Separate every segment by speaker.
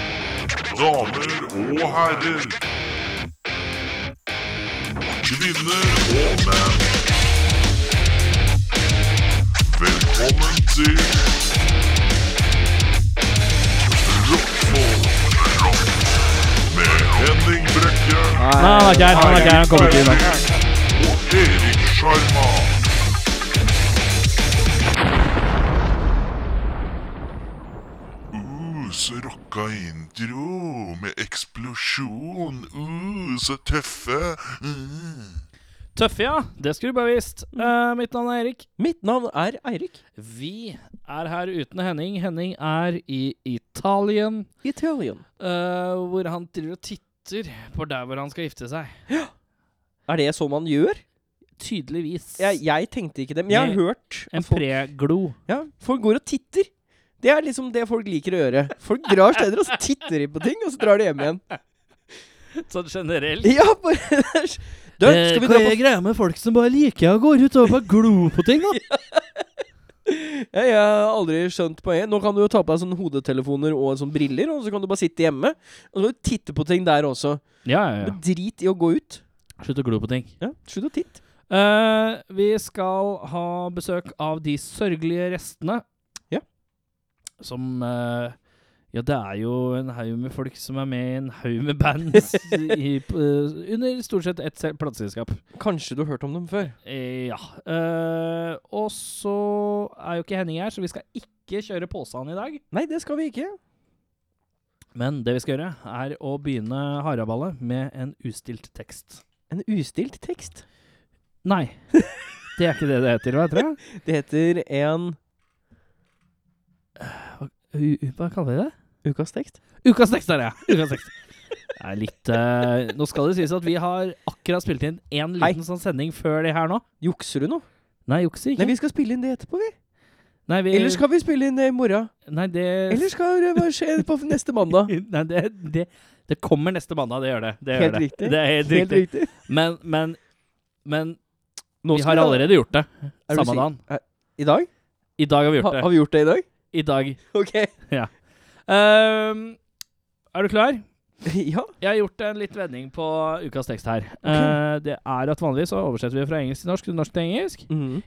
Speaker 1: Damer og herrer. Kvinner og menn. Velkommen til Rockfolk med Henning Brekke.
Speaker 2: Nei, han er ikke her. Han er ikke her. Han kommer ikke inn. da.
Speaker 1: Og Erik Sjarma. Uh, så rocka intro med eksplosjon. Uh, så tøffe. Mm.
Speaker 2: Tøffe, ja. Det skulle du bare visst. Eh, mitt navn er Erik.
Speaker 3: Mitt navn er Eirik.
Speaker 2: Vi er her uten Henning. Henning er i Italien,
Speaker 3: Italian.
Speaker 2: eh, hvor han driver og titter på der hvor han skal gifte seg.
Speaker 3: Er det så man gjør?
Speaker 2: Tydeligvis.
Speaker 3: Jeg, jeg tenkte ikke det, men jeg har
Speaker 2: Nei.
Speaker 3: hørt at
Speaker 2: en
Speaker 3: folk,
Speaker 2: preglo.
Speaker 3: ja, folk går og titter. Det er liksom det folk liker å gjøre. Folk drar steder og så titter de på ting, og så drar de hjem igjen.
Speaker 2: Sånn generelt.
Speaker 3: Ja, bare Du,
Speaker 2: Eh,
Speaker 3: skal vi dra på
Speaker 2: greia med folk som bare liker å gå ut og bare glo på ting, da?
Speaker 3: ja, Jeg har aldri skjønt poenget. Nå kan du jo ta på deg sånne hodetelefoner og sånne briller, og så kan du bare sitte hjemme og så kan du titte på ting der også.
Speaker 2: Ja, ja, ja.
Speaker 3: Men drit i å gå ut.
Speaker 2: Slutt å glo på ting.
Speaker 3: Ja, Slutt å titte.
Speaker 2: Eh, vi skal ha besøk av de sørgelige restene.
Speaker 3: Ja.
Speaker 2: Som eh, Ja, det er jo en haug med folk som er med i en haug med band i, eh, under stort sett ett se- plateselskap.
Speaker 3: Kanskje du har hørt om dem før.
Speaker 2: Eh, ja. Eh, og så er jo ikke Henning her, så vi skal ikke kjøre påstand i dag.
Speaker 3: Nei, det skal vi ikke.
Speaker 2: Men det vi skal gjøre, er å begynne haraballet med en ustilt tekst.
Speaker 3: En ustilt tekst.
Speaker 2: Nei. Det er ikke det det heter, hva heter det?
Speaker 3: Det heter en
Speaker 2: U- u- Hva kaller vi det?
Speaker 3: Ukas tekst.
Speaker 2: Ukas tekst er det! Ukas tekst. Det er litt eh, Nå skal det sies at vi har akkurat spilt inn én
Speaker 3: Hei.
Speaker 2: liten sånn sending før det her nå.
Speaker 3: Jukser du nå?
Speaker 2: Nei, jukser ikke.
Speaker 3: Nei, vi skal spille inn det etterpå, vi.
Speaker 2: Nei, vi-
Speaker 3: Eller skal vi spille inn det i morgen?
Speaker 2: Nei, det
Speaker 3: Eller skal det bare skje på neste mandag?
Speaker 2: Nei, det, det, det kommer neste mandag. Det gjør det. det, gjør
Speaker 3: Helt
Speaker 2: det.
Speaker 3: riktig.
Speaker 2: Det er helt,
Speaker 3: Helt
Speaker 2: riktig.
Speaker 3: riktig.
Speaker 2: Men, men, men
Speaker 3: Nå
Speaker 2: vi
Speaker 3: skal
Speaker 2: har
Speaker 3: vi-
Speaker 2: allerede gjort det.
Speaker 3: Er du
Speaker 2: Samme
Speaker 3: sikker?
Speaker 2: dagen.
Speaker 3: I dag?
Speaker 2: I dag har vi
Speaker 3: Ha,
Speaker 2: gjort det.
Speaker 3: har vi gjort det i dag?
Speaker 2: I dag.
Speaker 3: Ok.
Speaker 2: Ehm, er du klar?
Speaker 3: ja.
Speaker 2: Jeg har gjort en litt vending på ukas tekst her. Eh, det er at Vanligvis så oversetter vi fra engelsk til norsk til norsk til engelsk.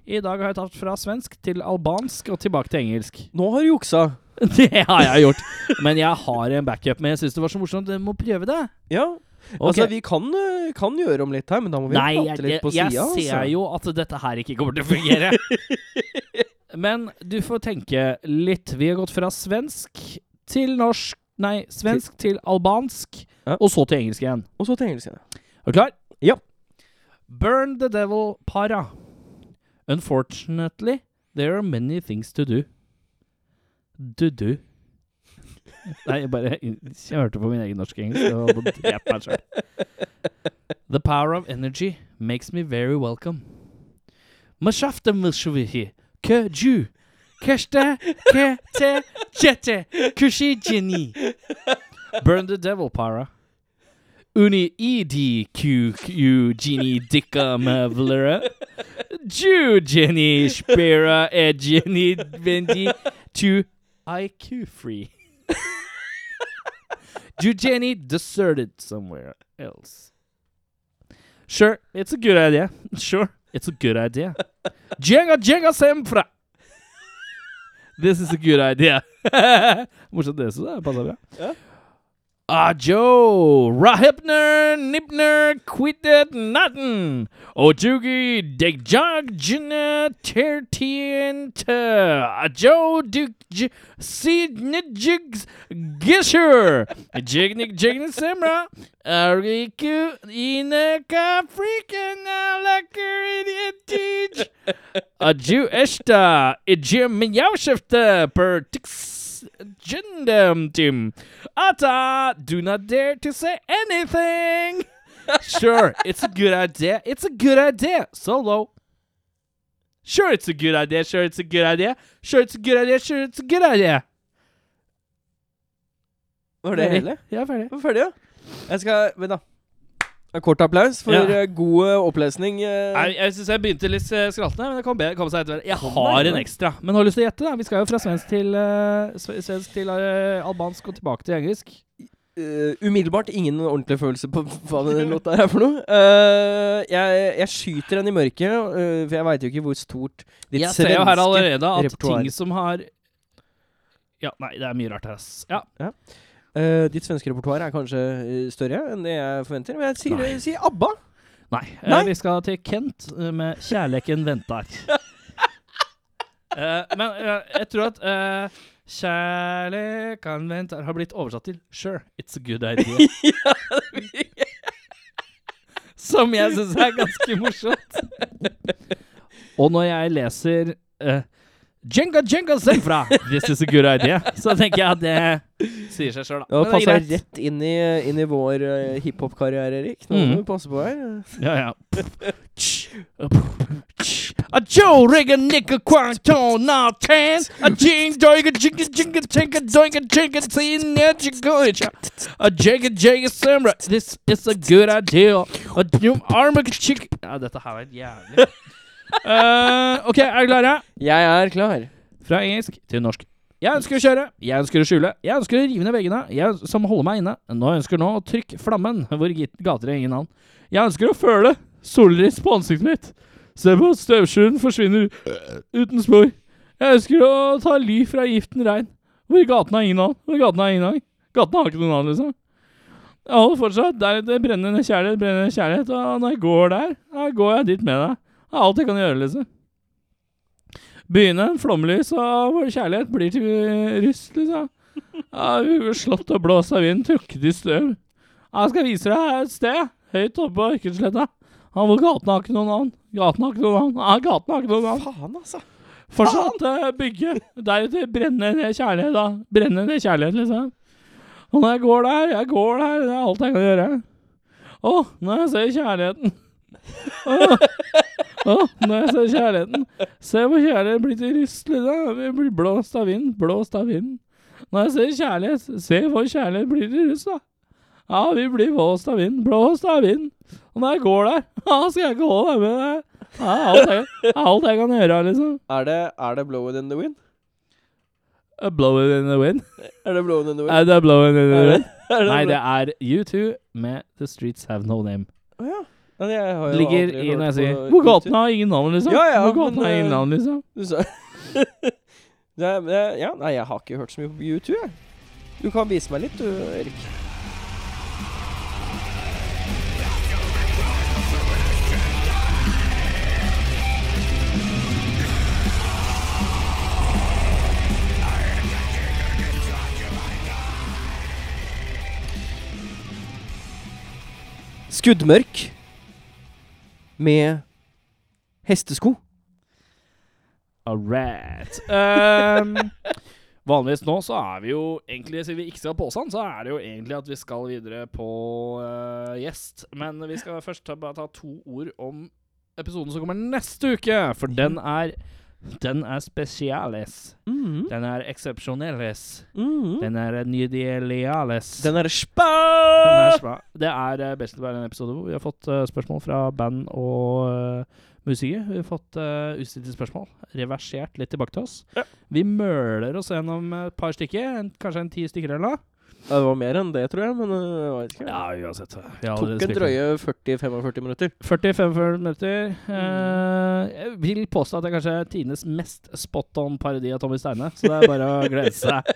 Speaker 2: I dag har jeg tatt fra svensk til albansk og tilbake til engelsk.
Speaker 3: Nå har du juksa.
Speaker 2: Det har jeg gjort. Men jeg har en backup med. Jeg syns det var så morsomt. Du må prøve det.
Speaker 3: Ja. Altså, vi kan, øh, kan gjøre om litt her, men da må vi
Speaker 2: Nei, jeg,
Speaker 3: prate litt på altså. sida.
Speaker 2: jeg ser jo at dette her ikke kommer til å fungere. Men du får tenke litt. Vi har gått fra svensk til norsk Nei, svensk til albansk,
Speaker 3: Ja.
Speaker 2: og så til engelsk igjen.
Speaker 3: Og så til engelsk. ja.
Speaker 2: Er du klar?
Speaker 3: Ja.
Speaker 2: Burn the devil para. Unfortunately, there are many things to do. Du-du. Nei, jeg bare Jeg hørte på min egen norsk og engelsk og holdt på å drepe meg selv. The power of energy makes me very welcome. Mashafta mulshavihi. Kju. Keshta kete chete. Kushi jini. Burn the devil para. Uni EDQQ Genie Dicka Mavlera Jew Jenny Spira Ed Jenny E Vendi to IQ free. Jew Jenny deserted somewhere else. Sure, it's a good idea. Sure, it's a good idea. Jenga Jenga Sempra. This is a good idea. ¿eh? Morsomt det, så det passer bra. Ajo, Rahipner, Nipner, Quitted, Natten, Ojugi, Degjog, Jina, Tertienta, Ajo, Dukj, Sid, Nidjigs, Gisher, Jignik, Jignik, Simra, Ariku, Inaka, Freakin, Alaker, Idiot, Teach, Aju Eshta, Ijim Yaushifta, Per Tix Jindem Tim. Ata, do not dare to say anything. sure, it's a good idea. It's a good idea. Solo. Sure, it's a good idea. Sure, it's a good idea. Sure, it's a good idea. Sure, it's a good idea.
Speaker 3: Var det hele?
Speaker 2: Ja, ferdig.
Speaker 3: Vi er ferdige, ja. Jeg skal Vent, da. En kort applaus for
Speaker 2: Ja.
Speaker 3: eh, god eh, opplesning. eh.
Speaker 2: Nei, jeg syns jeg begynte litt eh, skraltende, men det kom, be, kom seg etter hvert. Jeg
Speaker 3: Kom
Speaker 2: har
Speaker 3: deg,
Speaker 2: en
Speaker 3: ja.
Speaker 2: ekstra, men har lyst til å gjette. da Vi skal jo fra svensk til, eh, sve- svensk til eh, albansk og tilbake til engelsk.
Speaker 3: Eh, umiddelbart ingen ordentlig følelse på hva den låta her er for noe. Eh, jeg, jeg skyter den i mørket, eh, for jeg veit jo ikke hvor stort ditt
Speaker 2: Jeg ser jo her allerede at
Speaker 3: repertoar.
Speaker 2: ting som har Ja, nei, det er mye rart her, ass. Ja.
Speaker 3: eh, ditt svenske repertoar er kanskje eh, større enn det jeg forventer. Men jeg sier,
Speaker 2: Nei.
Speaker 3: jeg sier ABBA.
Speaker 2: Nei. eh,
Speaker 3: Nei.
Speaker 2: Vi skal til Kent eh, med 'Kjærleken ventar'. Eh, men eh, jeg tror at eh, 'Kjærleken ventar' har blitt oversatt til 'Sure, it's a good idea'. Som jeg syns er ganske morsomt. Og når jeg leser eh, Jenga Jenga Senfra, this is a good idea, så tenker jeg at det sier seg sjøl, da.
Speaker 3: Det
Speaker 2: Men det er
Speaker 3: passer
Speaker 2: greit.
Speaker 3: rett inn i, inn i vår eh, hiphop-karriere, Erik. Nå
Speaker 2: Mhm.
Speaker 3: må du passe på her.
Speaker 2: Ja, ja. A Joe Reagan Nickel Quarton Natan A Jing Doiga Jinga Jinga Tinka Doiga Jinga Tina Jingoicha A Jaga Jaga Samra This is a good idea A Jum Armag Chick Ah, Ja, dette her var helt jævlig Eh, Ok, er dere klare?
Speaker 3: Jeg er klar.
Speaker 2: Fra engelsk til norsk. Jeg ønsker å kjøre, jeg ønsker å skjule, jeg ønsker å rive ned veggene jeg, som holder meg inne. Nå ønsker nå å trykke flammen hvor git- gater er ingen annen. Jeg ønsker å føle sollys på ansiktet mitt. Se på at støvsugeren forsvinner uten spor. Jeg ønsker å ta ly fra giften rein. Hvor gaten er ingen annen. Hvor gaten er ingen annen. Gaten har ikke noen annen, liksom. Jeg holder fortsatt der det er brennende kjærlighet, brennende kjærlighet, og når jeg går der, da går jeg dit med deg. Det er alt jeg kan gjøre, liksom. Byene, flomlys og vår kjærlighet blir til rust, liksom. Ja, vi blir slått og blåst av vind, trukket i støv. Ja, Jeg skal vise deg et sted, høyt oppe på Ørkensletta. Ja, hvor gaten har ikke noen navn. Gaten har ikke noen navn. Ja, gaten har ikke noen navn.
Speaker 3: Faen, altså.
Speaker 2: Fortsatt eh, bygge. Deretter brenne ned kjærlighet, da. Brenne ned kjærlighet, liksom. Og når jeg går der, jeg går der, det er alt jeg kan gjøre. Å, når jeg ser kjærligheten. Å, å, når jeg ser kjærligheten. Se hvor kjærlighet blir til rust, liksom. Vi blir blåst av vind, blåst av vind. Når jeg ser kjærlighet, se hvor kjærlighet blir til rust, da. Ja, vi blir blåst av vind, blåst av vind. Og når jeg går der, ja, skal jeg ikke holde deg med deg. Ja, alt jeg, alt jeg kan gjøre, liksom.
Speaker 3: Er det, er det 'Blowing in the Wind'?
Speaker 2: A blow it in the wind.
Speaker 3: Er det 'Blowing in the Wind'?
Speaker 2: Er det blow it in the wind?
Speaker 3: Er det
Speaker 2: Nei,
Speaker 3: Blow-
Speaker 2: det er U2 med The Streets Have No Name.
Speaker 3: Å ja. Men jeg har
Speaker 2: Det
Speaker 3: jo
Speaker 2: ligger
Speaker 3: aldri
Speaker 2: i
Speaker 3: hørt
Speaker 2: når jeg sier
Speaker 3: på
Speaker 2: Hvor
Speaker 3: YouTube.
Speaker 2: gaten har ingen navn, liksom.
Speaker 3: Ja, ja,
Speaker 2: Hvor gaten
Speaker 3: men,
Speaker 2: har ingen
Speaker 3: eh,
Speaker 2: navn, liksom.
Speaker 3: Du sa det er, det er, Ja, nei, jeg har ikke hørt så mye på YouTube, jeg. Du kan vise meg litt, du, Erik. Skuddmørk med hestesko.
Speaker 2: All right. Um, vanligvis nå så er vi jo egentlig Siden vi ikke skal på Åsane, så er det jo egentlig at vi skal videre på eh, gjest. Men vi skal først ta, bare ta to ord om episoden som kommer neste uke. For den er Den er spesialis.
Speaker 3: Mhm.
Speaker 2: Den er eksepsjonelis.
Speaker 3: Mhm.
Speaker 2: Den er nydelialis.
Speaker 3: Den er
Speaker 2: Den er
Speaker 3: spa!
Speaker 2: svæ- Det er eh, basically bare en episode hvor vi har fått eh, spørsmål fra band og eh, musikere. Vi har fått uh, ustilte spørsmål, reversert litt tilbake til oss.
Speaker 3: Ja.
Speaker 2: Vi møler oss gjennom et par stykker, en, kanskje en ti stykker eller noe.
Speaker 3: Ja, det var mer enn det, tror jeg. Men øh, jeg vet ikke.
Speaker 2: Ja, uansett. Vi har allerede
Speaker 3: Tok en
Speaker 2: spilt
Speaker 3: drøye 40-45 minutter.
Speaker 2: 40-45 minutter.
Speaker 3: Mm.
Speaker 2: Eh, jeg vil påstå at det er kanskje tidenes mest spot on parodi av Tommy Steine, så det er bare å glede seg.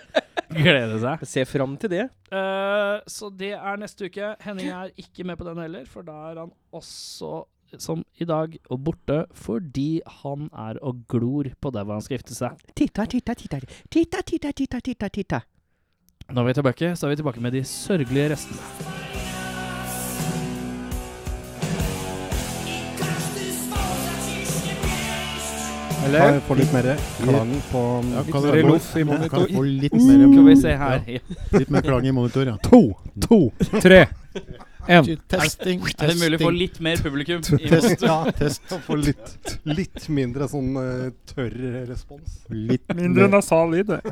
Speaker 2: Glede seg.
Speaker 3: Jeg ser fram til det.
Speaker 2: Eh, så det er neste uke. Henning er ikke med på den heller, for da er han også, som i dag, og borte fordi han er og glor på der hvor han skal gifte seg.
Speaker 4: Titta, titta, titta. Titta, titta, titta, titta, titta.
Speaker 2: Når vi er tilbake, så er vi tilbake med de sørgelige restene.
Speaker 5: Kan
Speaker 3: Eller?
Speaker 5: jeg få litt mer klang på
Speaker 6: Ja, kan
Speaker 5: Sorry,
Speaker 6: jeg få-
Speaker 5: loff i
Speaker 6: Kan
Speaker 5: monitor?
Speaker 6: jeg få litt mer,
Speaker 2: Skal vi se her.
Speaker 6: litt mer klang i monitor, ja.
Speaker 5: To, to, tre, en.
Speaker 6: Testing, testing.
Speaker 2: Er det mulig å få litt mer publikum? i oss?
Speaker 5: Test, ja, test.
Speaker 6: Få litt,
Speaker 5: Litt mindre sånn
Speaker 1: eh,
Speaker 5: tørr respons.
Speaker 6: litt
Speaker 5: nasal lyd, det.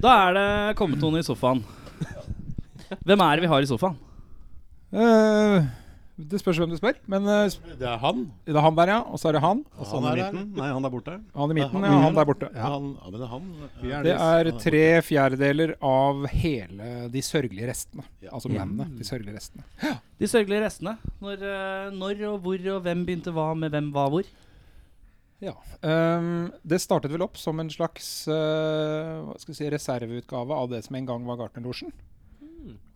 Speaker 2: Da er det kommet noen i sofaen. Hvem er det vi har i sofaen?
Speaker 7: Eh, det spørs hvem du spør, men eh, sp-
Speaker 1: Det er han.
Speaker 7: det er han der, ja. Og så er det han.
Speaker 1: Og han er der. Nei, han der borte.
Speaker 7: Han i midten,
Speaker 1: Det er
Speaker 7: ja.
Speaker 1: han.
Speaker 7: Han der borte.
Speaker 1: Ja. Han, ja, men det er liksom- han. Ja.
Speaker 7: Det er tre fjerdedeler av hele de sørgelige restene. Altså mennene. De sørgelige restene.
Speaker 2: De sørgelige restene. Når, eh, når og hvor og hvem begynte hva med hvem hva hvor.
Speaker 7: Ja. Ehm, det startet vel opp som en slags eh, hva skal vi si, reserveutgave av det som en gang var Gartnerlosjen.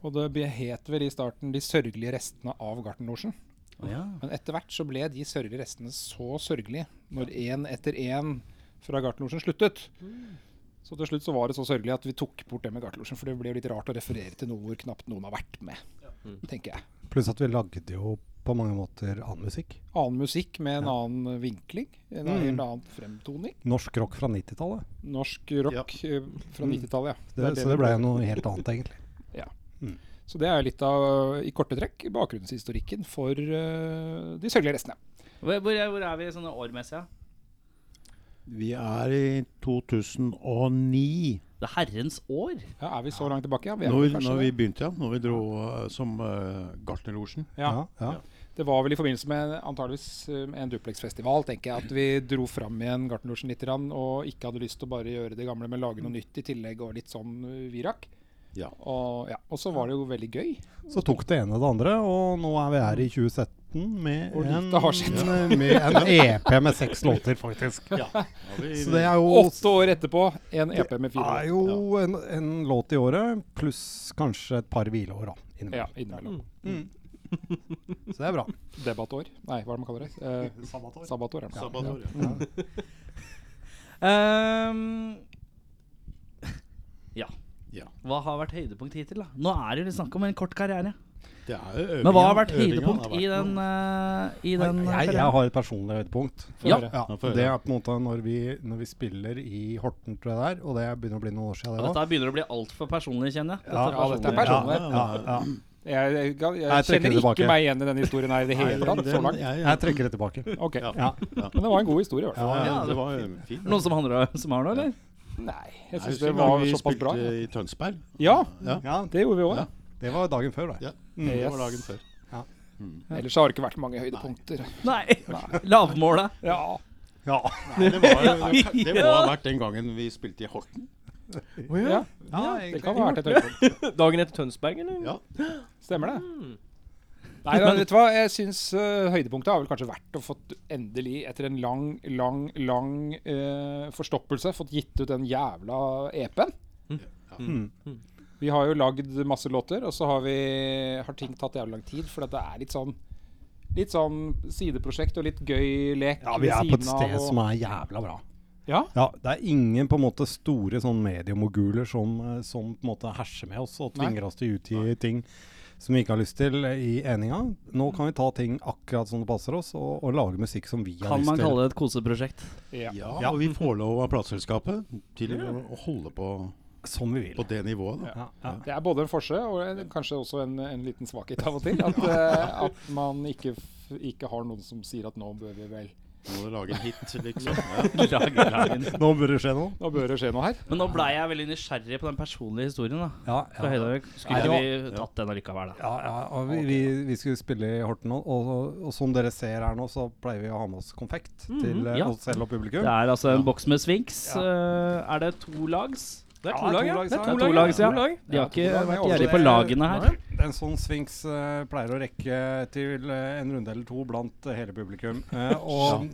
Speaker 7: Og det be- het vel i starten De sørgelige restene av Gartnerlosjen. Men etter hvert så ble de sørgelige restene så sørgelige når én etter én fra Gartnerlosjen sluttet. Så til slutt så var det så sørgelig at vi tok bort det med Gartnerlosjen. For det ble jo litt rart å referere til noe hvor knapt noen har vært med, tenker jeg.
Speaker 1: Pluss at vi lagde jo på mange måter annen musikk.
Speaker 7: Annen musikk med en annen vinkling. En helt annen fremtoning.
Speaker 1: Norsk rock fra 90-tallet.
Speaker 7: Norsk rock eh, fra
Speaker 1: Mm.
Speaker 7: 90-tallet, ja.
Speaker 1: Det,
Speaker 7: er
Speaker 1: så
Speaker 7: vi-
Speaker 1: det ble jo noe helt annet, egentlig.
Speaker 7: Så det er jo litt av, eh, i korte trekk, bakgrunnshistorikken for eh, de sørgelige restene.
Speaker 2: Hvor, hvor, er, hvor er vi sånne årmessig? Ja?
Speaker 1: Vi er i 2009.
Speaker 2: Det er herrens år.
Speaker 7: Ja, er vi så langt tilbake? Ja, vi er
Speaker 1: Når,
Speaker 7: kanskje
Speaker 1: når vi
Speaker 7: det.
Speaker 1: begynte, ja. Når vi dro eh, som uh, Gartnerlosjen.
Speaker 7: Ja.
Speaker 1: ja.
Speaker 7: Det var vel i forbindelse med antageligvis eh, en duplexfestival, tenker jeg, at vi dro fram igjen Gartnerlosjen litt grann, og ikke hadde lyst til å bare gjøre det gamle, men lage noe nytt i tillegg, og litt sånn eh, vi rakk.
Speaker 1: Mm. Ja.
Speaker 7: Og, ja. og så var det jo veldig gøy.
Speaker 1: Så tok det ene det andre, og nå er vi her i 2017 med
Speaker 7: Og
Speaker 1: en, eh,
Speaker 7: lite har skjedd.
Speaker 1: med en EP med seks låter, faktisk. Så det er jo,
Speaker 7: Åtte år etterpå, en EP med fire.
Speaker 1: er jo en, en låt i året, pluss kanskje et par hvileår da,
Speaker 7: Ja,
Speaker 1: innimellom.
Speaker 7: innimellom.
Speaker 1: Så det er bra.
Speaker 7: Debattår. Nei, hva er det man kaller det? Eh,
Speaker 1: Sabbatår.
Speaker 7: sabbatår. er det.
Speaker 2: Ehm, ja.
Speaker 1: Ja.
Speaker 2: Hva har vært høydepunkt hittil? da? Nå er det jo litt snakk om en kort karriere.
Speaker 1: Det er jo øvinga-
Speaker 2: Men hva har vært
Speaker 1: øvinga
Speaker 2: høydepunkt
Speaker 1: har vært
Speaker 2: i den,
Speaker 1: noe.
Speaker 2: eh, i den eh,
Speaker 1: Jeg, jeg
Speaker 2: karrieren?
Speaker 1: har et personlig høydepunkt.
Speaker 7: Få
Speaker 2: Ja.
Speaker 7: høre.
Speaker 1: Ja,
Speaker 7: Ja.
Speaker 1: for det er på en måte når vi, når vi spiller i Horten, tror jeg det er, og det begynner å bli noen år siden. det da.
Speaker 2: Dette begynner å bli altfor personlig, kjenner jeg.
Speaker 1: Ja,
Speaker 7: ja, dette er
Speaker 2: personlig.
Speaker 7: personlig.
Speaker 1: Ja, ja, ja.
Speaker 7: Jeg, jeg, jeg,
Speaker 1: Jeg trekker
Speaker 7: kjenner ikke
Speaker 1: tilbake.
Speaker 7: meg igjen i denne historien her i det hele tatt. Så langt.
Speaker 1: Jeg trekker det tilbake.
Speaker 7: Ok,
Speaker 1: Ja.
Speaker 7: Men det var en god historie, i hvert fall.
Speaker 2: Ja, det
Speaker 1: var fint.
Speaker 2: Noen som handler som har noe, eller?
Speaker 7: Nei, jeg syns det var såpass bra.
Speaker 1: i Tønsberg.
Speaker 7: Ja,
Speaker 1: Ja,
Speaker 7: det gjorde vi òg.
Speaker 1: Ja. Det var dagen før, da.
Speaker 7: det var dagen før. Ellers har det ikke vært mange høydepunkter.
Speaker 2: Nei. Lavmålet.
Speaker 7: Ja,
Speaker 1: Ja. det, må ha vært den gangen vi spilte i Horten.
Speaker 7: ja det kan ha vært et høydepunkt.
Speaker 3: Dagen etter Tønsberg, eller?
Speaker 1: Ja.
Speaker 7: Stemmer det? Nei, da, vet du hva? Jeg syns eh, høydepunktet har vel kanskje vært å fått endelig, etter en lang, lang, lang eh, forstoppelse, fått gitt ut den jævla EP-en. Vi har jo lagd masse låter, og så har, vi, har ting tatt jævlig lang tid. For det er litt sånn Litt sånn sideprosjekt og litt gøy lek.
Speaker 1: Ja, vi
Speaker 7: ved
Speaker 1: er på et
Speaker 7: siden av,
Speaker 1: sted
Speaker 7: og-
Speaker 1: som er jævla bra.
Speaker 7: Ja,
Speaker 1: Ja, Det er ingen på en måte store sånn mediemoguler som, eh, som på en måte herser med oss og tvinger oss til å utgi ting som vi ikke har lyst til eh, i eninga. Nå kan vi ta ting akkurat som det passer oss, og, og lage musikk som vi har
Speaker 2: Kan
Speaker 1: lyst
Speaker 2: man
Speaker 1: til.
Speaker 2: kalle det et koseprosjekt?
Speaker 7: ja.
Speaker 8: Ja, og vi får lov av plateselskapet til å å holde på
Speaker 1: Som vi vil.
Speaker 8: på det nivået. Da.
Speaker 1: Ja, ja.
Speaker 7: Det er både en forse og en, kanskje også en, en liten svakhet av og til. At, eh, at man ikke, f- ikke har noen som sier at nå bør vi vel
Speaker 8: Må du lage en hit, liksom. Ja.
Speaker 1: Nå bør det skje noe.
Speaker 7: Nå bør det skje noe her.
Speaker 2: Men nå blei jeg veldig nysgjerrig på den personlige historien. da
Speaker 1: Ja,
Speaker 2: Fra
Speaker 1: ja.
Speaker 2: Høydaverk
Speaker 1: Nei,
Speaker 2: skulle
Speaker 1: det
Speaker 2: vi tatt den allikevel, da.
Speaker 1: Ja, ja, og vi, vi, vi skulle spille i Horten, og, og, og som dere ser her nå, så pleier vi å ha med oss konfekt til eh,
Speaker 2: Mm, ja.
Speaker 1: oss selv og
Speaker 2: Det
Speaker 1: publikum.
Speaker 2: er altså en boks med Sphinx. Eh, Er det to lags?
Speaker 3: Det er
Speaker 1: Ja,
Speaker 3: to lag, ja.
Speaker 1: lags,
Speaker 3: Det
Speaker 1: ja.
Speaker 3: er to
Speaker 2: To
Speaker 3: lag,
Speaker 2: lags,
Speaker 3: ja.
Speaker 2: ja.
Speaker 3: To lag.
Speaker 2: De har ikke
Speaker 7: Ja, det er
Speaker 2: vært
Speaker 1: altså,
Speaker 7: også
Speaker 2: gjerrige på lagene her.
Speaker 1: En sånn svings eh, pleier å rekke til eh, en runde eller to blant eh, hele publikum. Eh, og,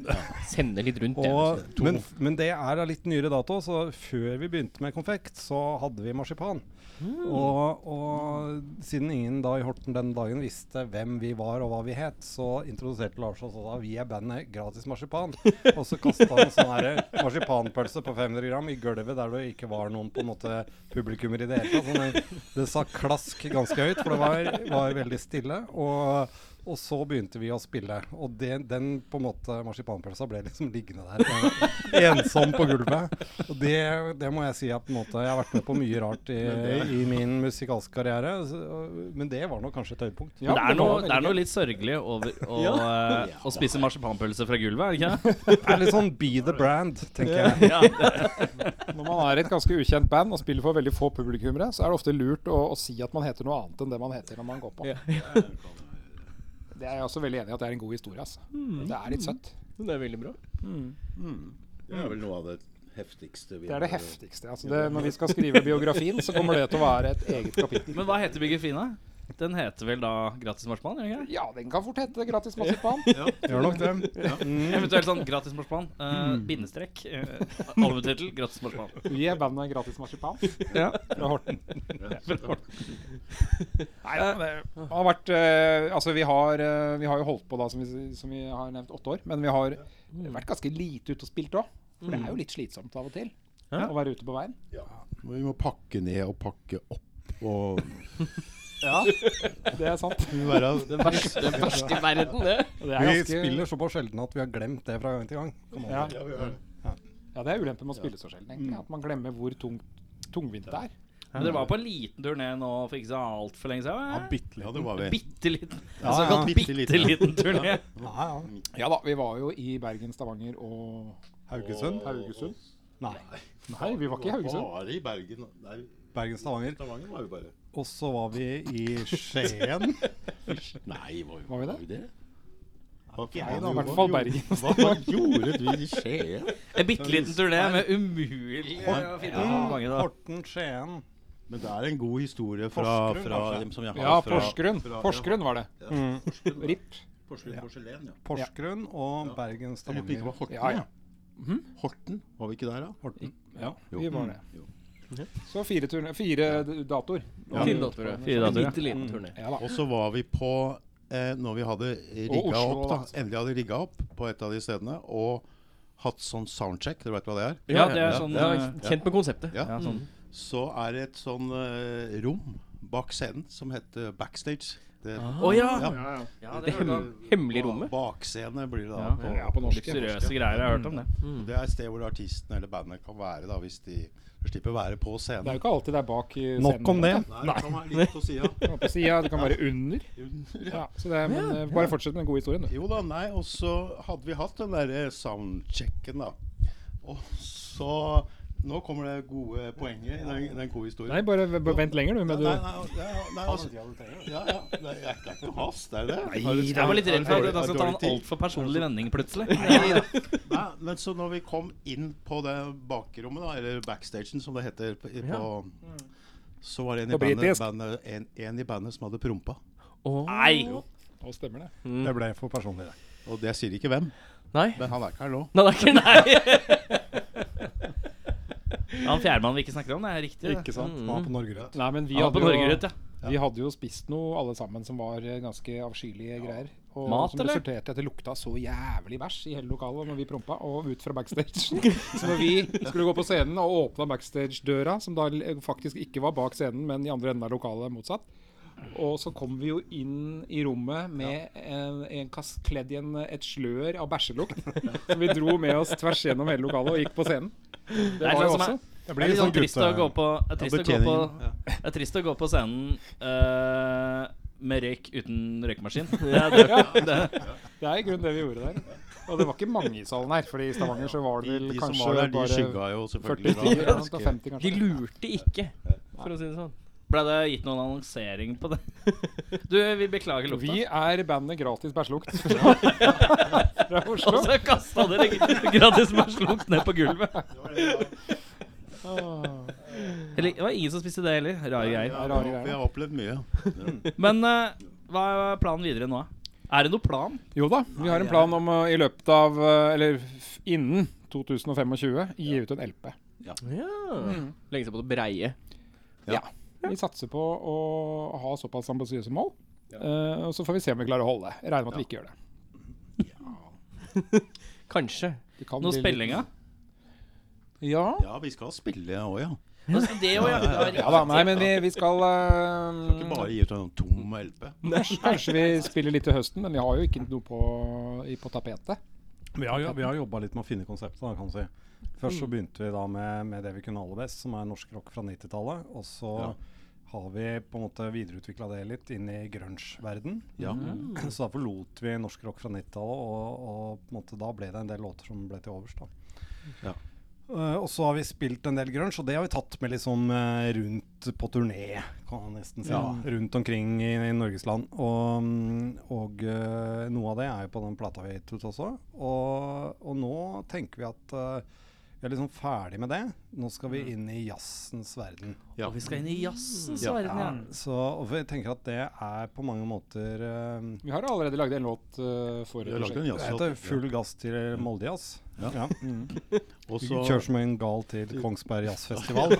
Speaker 3: Sender litt rundt, altså. ja.
Speaker 1: og, men, men det er av litt nyere dato, så før vi begynte med konfekt, så hadde vi marsipan. Og, og siden ingen da i Horten den dagen visste hvem vi var og hva vi het, så introduserte Lars oss da vi er bandet Gratis Marsipan. Og så kasta han en sånn her marsipanpølse på 500 gram i gulvet der det ikke var noen på en måte publikummer i det hele tatt. Sånn, det- det sa klask ganske høyt, for det var, var veldig stille. Og
Speaker 6: Og så begynte vi å spille, og det, den på en måte marsipanpølsa ble liksom liggende der. eh, ensom på gulvet. Og det, det må jeg si at på en måte, jeg har vært med på mye rart i, i min musikalske karriere, så, men det var nok kanskje et høydepunkt.
Speaker 7: Ja,
Speaker 2: det, er
Speaker 7: det var
Speaker 2: noe,
Speaker 7: veldig
Speaker 2: det er noe
Speaker 7: gøy.
Speaker 2: litt sørgelig over å, eh, å spise marsipanpølse fra gulvet, er det ikke? det?
Speaker 6: Det er litt sånn be the brand, tenker jeg.
Speaker 7: Når man er i et ganske ukjent band og spiller for veldig få publikummere, så er det ofte lurt å, å si at man heter noe annet enn det man heter når man går på.
Speaker 3: Ja.
Speaker 7: Det er jeg også veldig enig i at det er en god historie. Altså. Det er litt søtt.
Speaker 3: Det er veldig bra.
Speaker 8: Det er vel noe av det heftigste vi
Speaker 7: Det er det
Speaker 8: har-
Speaker 7: heftigste. Altså. Det, når vi skal skrive biografien, så kommer det til å være et eget kapittel.
Speaker 2: Men hva heter Biggefina? Den heter vel da Gratis marsipan? gjør den ikke det?
Speaker 7: Ja, den kan fort hete Gratis marsipan.
Speaker 6: Gjør nok det.
Speaker 3: Mm.
Speaker 2: Eventuelt sånn Gratis marsipan, eh, bindestrek, eh, albumtittel Gratis marsipan.
Speaker 7: Vi er bandet Gratis marsipan
Speaker 3: Ja.
Speaker 7: fra Horten. Nei, men det har vært eh, Altså, vi har, eh, vi har jo holdt på, da, som vi, som vi har nevnt, åtte år. Men vi har vært ganske lite ute og spilt òg. For det er jo litt slitsomt av og til
Speaker 3: Ja.
Speaker 7: å være ute på veien.
Speaker 8: Vi må pakke ned og pakke opp og
Speaker 7: Ja, det er sant.
Speaker 8: Vi må være
Speaker 3: Den verste, den verste i verden, det.
Speaker 7: Det er
Speaker 6: Vi
Speaker 7: ganske,
Speaker 6: spiller såpass sjelden at vi har glemt det fra gang til gang. Kom an.
Speaker 7: ja. ja, det er ulempen med å spille så sjelden, egentlig. At man glemmer hvor tungt tungvint det er.
Speaker 2: Men dere var på en liten turné nå for ikke så altfor lenge
Speaker 8: Ja,
Speaker 2: siden? eh,
Speaker 8: bitte litt. Ja, det var vi.
Speaker 2: Bitte liten.
Speaker 7: altså,
Speaker 8: Ja, ja,
Speaker 2: Såkalt bitte
Speaker 8: bitteliten, ja.
Speaker 2: liten turné.
Speaker 7: Ja da, vi var jo i Bergen, Stavanger og
Speaker 6: Haugesund?
Speaker 7: Haugesund.
Speaker 6: Nei.
Speaker 7: Nei, vi var ikke i Haugesund.
Speaker 8: Bare i Bergen. Nei,
Speaker 6: Bergen-Stavanger.
Speaker 8: Stavanger var jo bare
Speaker 6: Og så var vi i Skien.
Speaker 8: Nei, var,
Speaker 7: Var vi det?
Speaker 8: vi det? Var ikke
Speaker 7: Nei, da,
Speaker 8: jeg,
Speaker 7: i
Speaker 8: Hva
Speaker 7: hvert fall
Speaker 8: gjorde-
Speaker 7: Bergen.
Speaker 8: Hva, hva gjorde du i Skien?
Speaker 2: En bitte liten turné med umulig å finne ut hvor mange da.
Speaker 6: Horten, Skien.
Speaker 8: Men det er en god historie fra,
Speaker 6: Porsgrunn,
Speaker 8: fra
Speaker 6: kanskje?
Speaker 8: dem som jeg har
Speaker 7: Ja,
Speaker 8: fra
Speaker 7: Porsgrunn.
Speaker 8: fra-
Speaker 7: Porsgrunn var det. Mm.
Speaker 8: Ja, Porsgrunn, ja.
Speaker 7: RIP.
Speaker 8: Porsgrunn porselen, ja.
Speaker 6: Porsgrunn og Bergen-Stavanger.
Speaker 8: Eller ikke var Horten,
Speaker 7: Ja, ja.
Speaker 8: Horten, var vi ikke der da? Horten.
Speaker 7: Ja,
Speaker 8: Jo.
Speaker 7: vi var
Speaker 8: Mm.
Speaker 7: det. Så fire, turne, fire d- datoer.
Speaker 8: Ja.
Speaker 3: Fire datorer.
Speaker 2: Fire
Speaker 3: En
Speaker 2: datorer.
Speaker 3: bitte liten turné.
Speaker 7: Ja da.
Speaker 8: Og så var vi på, eh, når vi hadde
Speaker 7: Og
Speaker 8: rigga
Speaker 7: Oslo,
Speaker 8: opp, da,
Speaker 7: altså.
Speaker 8: endelig hadde rigga opp på et av de stedene, og hatt sånn soundcheck, dere vet hva det er?
Speaker 2: Ja, det er sånn
Speaker 3: Ja,
Speaker 2: eh,
Speaker 3: kjent med konseptet.
Speaker 8: Ja.
Speaker 2: ja, sånn.
Speaker 8: Så er det et sånn eh, rom bak scenen som heter backstage. Det,
Speaker 2: Å ja!
Speaker 3: Ah. Ja, det hemmelige rommet.
Speaker 8: Bakscene blir det da.
Speaker 2: Ja.
Speaker 8: På,
Speaker 7: Ja, på norsk.
Speaker 2: Luksuriøse greier. Jeg har hørt om det.
Speaker 8: Det er et sted hvor artisten eller bandet kan være, da, hvis de slipper å være på
Speaker 7: Det er
Speaker 8: scenen.
Speaker 7: jo ikke alltid det er bak i scenen.
Speaker 5: Nok om det.
Speaker 8: Nei, det kan være litt på siden.
Speaker 7: Det kan være På sida, det kan være under. Ja, så det er, men eh, bare fortsett med den gode historien, du.
Speaker 8: Jo da, nei, og så hadde vi hatt den derre soundchecken, da. Og så Nå kommer det gode poenget i den, den gode historien.
Speaker 7: Nei, bare v- bare vent lenger, du. Med du.
Speaker 8: Nei, nei, nei, nei, nei, altså, ja, ja, nei, jeg er ikke noe hast, er det? Har du-
Speaker 2: Jeg var litt redd for altså, at
Speaker 8: har du-
Speaker 2: da
Speaker 8: har
Speaker 2: skal
Speaker 8: du
Speaker 2: ta en
Speaker 8: dårlig tid?
Speaker 2: altfor personlig vending plutselig.
Speaker 8: Nei, men så når vi kom inn på det bakrommet, da, eller backstagen som det heter på, i- på Så var det en i,
Speaker 7: På
Speaker 8: bandet,
Speaker 7: britisk.
Speaker 8: bandet, en, en i bandet som hadde prompa.
Speaker 2: Nei!
Speaker 7: Å, stemmer det.
Speaker 6: Det ble for personlig, det.
Speaker 8: Og det sier ikke hvem,
Speaker 3: Nei.
Speaker 8: men han er ikke her nå.
Speaker 3: Nei, det er ikke nei.
Speaker 2: Han fjerdemann vi ikke snakker om, det er riktig.
Speaker 6: Ikke sant? Var på Norge Rødt.
Speaker 7: Nei, men vi
Speaker 2: Ja, på
Speaker 7: hadde,
Speaker 2: Norge Rundt,
Speaker 7: jo,
Speaker 2: ja.
Speaker 7: vi hadde jo spist noe, alle sammen, som var eh, ganske avskyelige greier. Og
Speaker 2: Mat,
Speaker 7: som
Speaker 2: eller?
Speaker 7: resulterte i at det lukta så jævlig bæsj i hele lokalet når vi prompa, og ut fra backstagen. Så når vi skulle gå på scenen og åpna backstage-døra, som da l- faktisk ikke var bak scenen, men i andre enden av lokalet motsatt, og så kom vi jo inn i rommet med en, en kass kledd i en, et slør av bæsjelukt. Som vi dro med oss tvers gjennom hele lokalet og gikk på scenen.
Speaker 2: Det er
Speaker 7: var jo
Speaker 2: sånn som
Speaker 7: også-
Speaker 2: er
Speaker 6: Det
Speaker 2: Det
Speaker 6: blir
Speaker 2: er litt
Speaker 6: sånn
Speaker 2: sånn trist å gå
Speaker 6: gutte...
Speaker 2: på Det er trist, å gå på, det er trist å gå på scenen eh, med røyk uten røykemaskin. Det er det- det-
Speaker 7: Det er i grunnen det vi gjorde der. Og det var ikke mange i salen her, fordi i Stavanger så var det
Speaker 8: De,
Speaker 7: vel
Speaker 8: de som
Speaker 7: kanskje
Speaker 8: var der, de
Speaker 7: bare
Speaker 8: skygga jo
Speaker 7: 40
Speaker 8: selvfølgelig. da.
Speaker 7: stykker. ja, da
Speaker 8: Ganske-
Speaker 7: 50
Speaker 3: De
Speaker 7: kanskje.
Speaker 3: lurte ikke, for å si det sånn.
Speaker 2: Ble det gitt noen annonsering på det? Du, vi beklager
Speaker 7: Vi
Speaker 2: lukta.
Speaker 7: er bandet Gratis bæsjelukt fra fra
Speaker 2: Og
Speaker 7: Oslo.
Speaker 2: så kasta dere gratis bæsjlukt ned på gulvet. Eller, det var ingen som spiste det heller. Rare
Speaker 8: Ja,
Speaker 2: greier.
Speaker 8: ja,
Speaker 7: Rare
Speaker 8: vi har opplevd mye.
Speaker 2: Men eh, hva er planen videre nå? Er det noen plan?
Speaker 7: Jo da, vi har en plan om å i løpet av eh, Eller f- innen 2025 gi ut en LP.
Speaker 3: Ja. Mm. Legge seg på det breie.
Speaker 7: Vi satser på å ha såpass ambisiøse mål. eh, og så får vi se om vi klarer å holde det. Jeg regner med at vi ikke gjør det.
Speaker 3: Kanskje.
Speaker 7: det kan
Speaker 2: Noe
Speaker 7: bli litt-
Speaker 2: spillinga?
Speaker 7: Ja.
Speaker 8: Ja, vi skal spille òg, ja.
Speaker 2: Altså, det og ja.
Speaker 7: Ja da, nei, men vi, vi skal
Speaker 8: Kan ikke
Speaker 7: eh,
Speaker 8: bare gi ut en tom LP.
Speaker 7: Kanskje vi spiller litt til høsten, men vi har jo ikke noe på, i- på tapetet.
Speaker 1: Vi har, jo- vi har jobba litt med å finne konseptet. Da, kan du si. Først så begynte vi da med, med det vi kunne aller best, som er norsk rock fra 90-tallet. Og så har vi på en måte videreutvikla det litt inn i grunge-verden. Mm. Så da forlot vi norsk rock fra 90-tallet, og, og på en måte da ble det en del låter som ble til overs. da.
Speaker 8: Ja.
Speaker 1: Eh, og så har vi spilt en del grunge, og det har vi tatt med liksom eh, rundt på turné, kan man nesten si.
Speaker 8: Ja.
Speaker 1: Rundt omkring i, i Norges land. Og, mm, og eh, noe av det er jo på den plata vi gitt ut også. Og, og nå tenker vi at eh, vi er liksom ferdig med det. Nå skal
Speaker 8: Mm.
Speaker 1: vi inn i jazzens verden.
Speaker 8: Ja.
Speaker 2: Og vi skal inn i jazzens
Speaker 8: Ja.
Speaker 2: verden, ja.
Speaker 1: Så og vi tenker at det er på mange måter eh,
Speaker 7: Vi har allerede lagd en låt eh, for
Speaker 8: Vi har lagd en
Speaker 1: det heter
Speaker 8: jazzlåt.
Speaker 1: full gass til Moldejazz.
Speaker 8: Ja.
Speaker 1: Ja.
Speaker 8: Og
Speaker 1: Vi
Speaker 8: så-
Speaker 1: Kjør som en gal til Kongsberg Jazzfestival.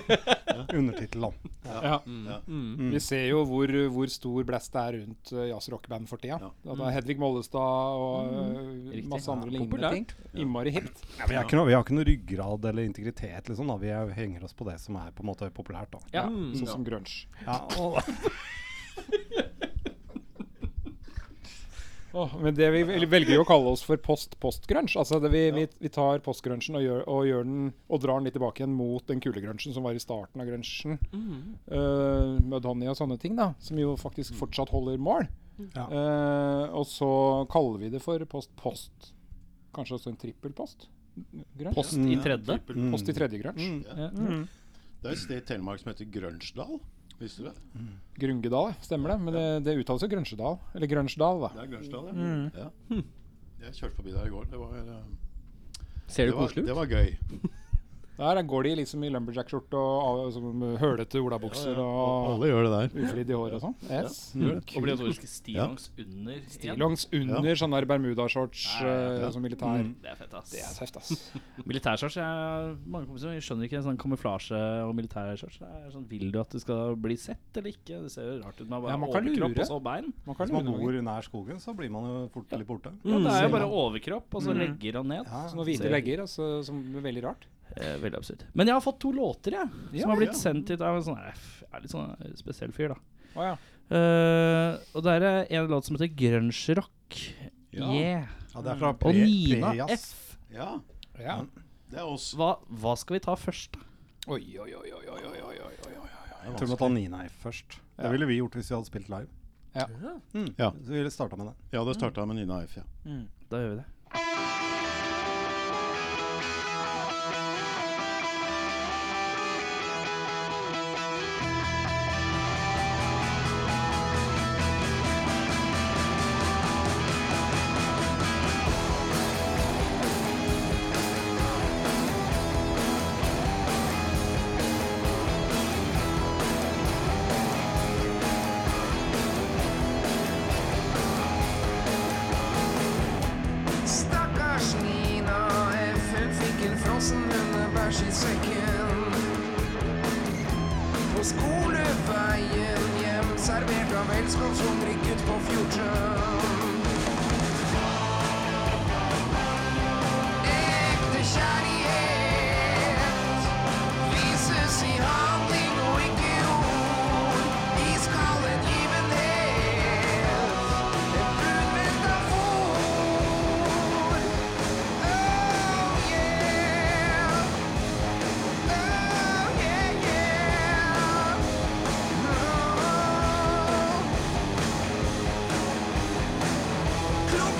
Speaker 1: Undertittel, da. Mm.
Speaker 7: Ja.
Speaker 8: Ja.
Speaker 2: Mm.
Speaker 7: Vi ser jo hvor, hvor stor blæst det er rundt eh, jazz-rockband for tida.
Speaker 8: Ja.
Speaker 7: Det er Hedvig Mollestad og eh,
Speaker 2: Mm. Riktig.
Speaker 7: masse andre
Speaker 2: Ja,
Speaker 7: lignende
Speaker 2: populært.
Speaker 7: ting. Innmari hipt.
Speaker 1: Ja, vi, har ikke noe, vi har ikke noe ryggrad eller integritet, liksom. da Vi er, henger oss på det som er på en måte populært. da
Speaker 7: Ja, sånn som grunge.
Speaker 1: ja, og,
Speaker 7: Åh, men det vi vel- velger jo å kalle oss for post-postgrunge. Altså det vi, vi, vi tar postgrunchen og, gjør, og, gjør den- og drar den litt tilbake igjen mot den kule grunchen som var i starten av grunchen. Uh, Mudhoney og sånne ting, da. Som jo faktisk fortsatt holder mål.
Speaker 1: Ja.
Speaker 7: Eh, og så kaller vi det for post-post. Kanskje også en trippelpost? Grunge?
Speaker 2: Post i tredje.
Speaker 8: Trippel-
Speaker 7: Post i tredje grunge. Mm.
Speaker 8: Det er et sted i Telemark som heter Grønsdal. Visste du det?
Speaker 7: Grungedal, ja, stemmer det? Men det, det uttales jo Grønsjedal. Eller Grønsjdal, da.
Speaker 8: Det er Grønsdal, ja. ja. Jeg kjørte forbi der i går. Det var, eh,
Speaker 9: Ser
Speaker 8: det
Speaker 9: du
Speaker 8: var,
Speaker 9: koselig ut?
Speaker 8: det var gøy.
Speaker 7: Der går de liksom i lumberjack-skjorte og av- som hølete olabukser og
Speaker 8: Alle gjør det der.
Speaker 7: uflidd i håret og sånn. Yes.
Speaker 2: Obligatorisk stillongs under. igjen.
Speaker 7: Stillongs under sånne der bermudashorts
Speaker 2: Ja, ja,
Speaker 7: eh, som militær.
Speaker 2: Det er fett, ass.
Speaker 7: Det er tøft, ass.
Speaker 2: Militærshorts er Mange kompiser skjønner ikke en sånn kamuflasje og militærshorts. Det er sånn, Vil du at du skal bli sett eller ikke? Det ser jo rart ut med bare
Speaker 7: Ja, man kan
Speaker 2: overkropp
Speaker 7: lure.
Speaker 2: og så bein.
Speaker 7: Man
Speaker 1: hvis
Speaker 7: kan
Speaker 1: man
Speaker 7: lure noen.
Speaker 1: bor nær skogen, så blir man jo fort litt borte.
Speaker 2: Mm. Ja, Mm. det er jo bare overkropp, og så legger han ned.
Speaker 7: Sånne hvite
Speaker 2: Ser-
Speaker 7: legger, altså, som er veldig rart.
Speaker 2: Eh, veldig absurd. Men jeg har fått to låter, jeg. Som
Speaker 7: Ja,
Speaker 2: har blitt sendt hit av en sånn Jeg er litt sånn eh, spesiell fyr, da.
Speaker 7: Å ja.
Speaker 2: Eh, og det er eh, en låt som heter Grunge-rock. Yeah.
Speaker 1: Ja, det er fra
Speaker 2: Og
Speaker 1: pre-
Speaker 2: Nina
Speaker 1: pre-jazz.
Speaker 2: F.
Speaker 8: Ja,
Speaker 7: ja.
Speaker 8: det er oss.
Speaker 2: Hva, hva skal vi ta først, da?
Speaker 7: Oi, oi, oi, oi, oi, oi, oi, oi, oi.
Speaker 1: Jeg tror vi må ta Nina F først. Det ville vi gjort hvis vi hadde spilt live.
Speaker 7: Ja.
Speaker 1: Mm.
Speaker 8: Ja.
Speaker 1: Så vi ville starta med det.
Speaker 8: Ja, det starta med Nina F, ja.
Speaker 2: Da gjør vi det.
Speaker 10: Stakkars Nina F. Hun fikk en frossen hundebæsj i sekken. På skoleveien hjem, servert av velskapshungrig gutt på 14. Oh, Ekte kjærlighet vises i handling og ikke i ord. Iskald hengivenhet, en brun metafor. Oh yeah, oh yeah, yeah. Oh.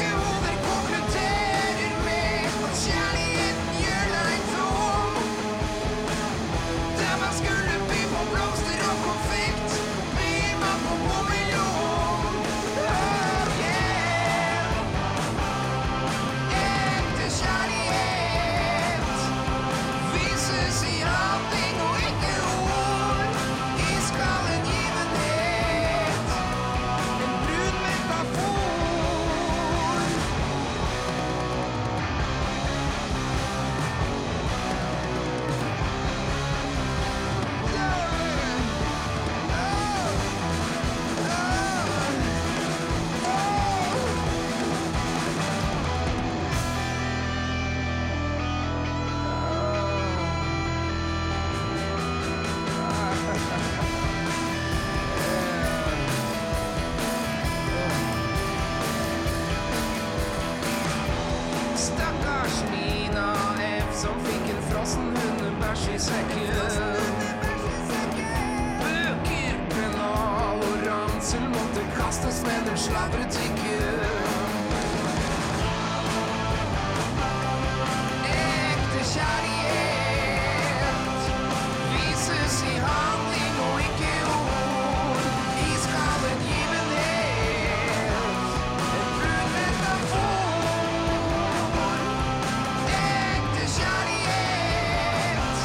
Speaker 10: bæsjesekken. Bøker, pennal og ransel måtte kastes, men den sladret ikke. Ekte kjærlighet vises i handling og ikke ord. Iskald hengivenhet, en brun metafor. Ekte kjærlighet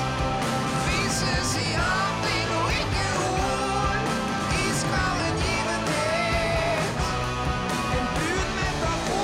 Speaker 10: vises i handling og ikke ord. Iskald hengivenhet, en brun metafor.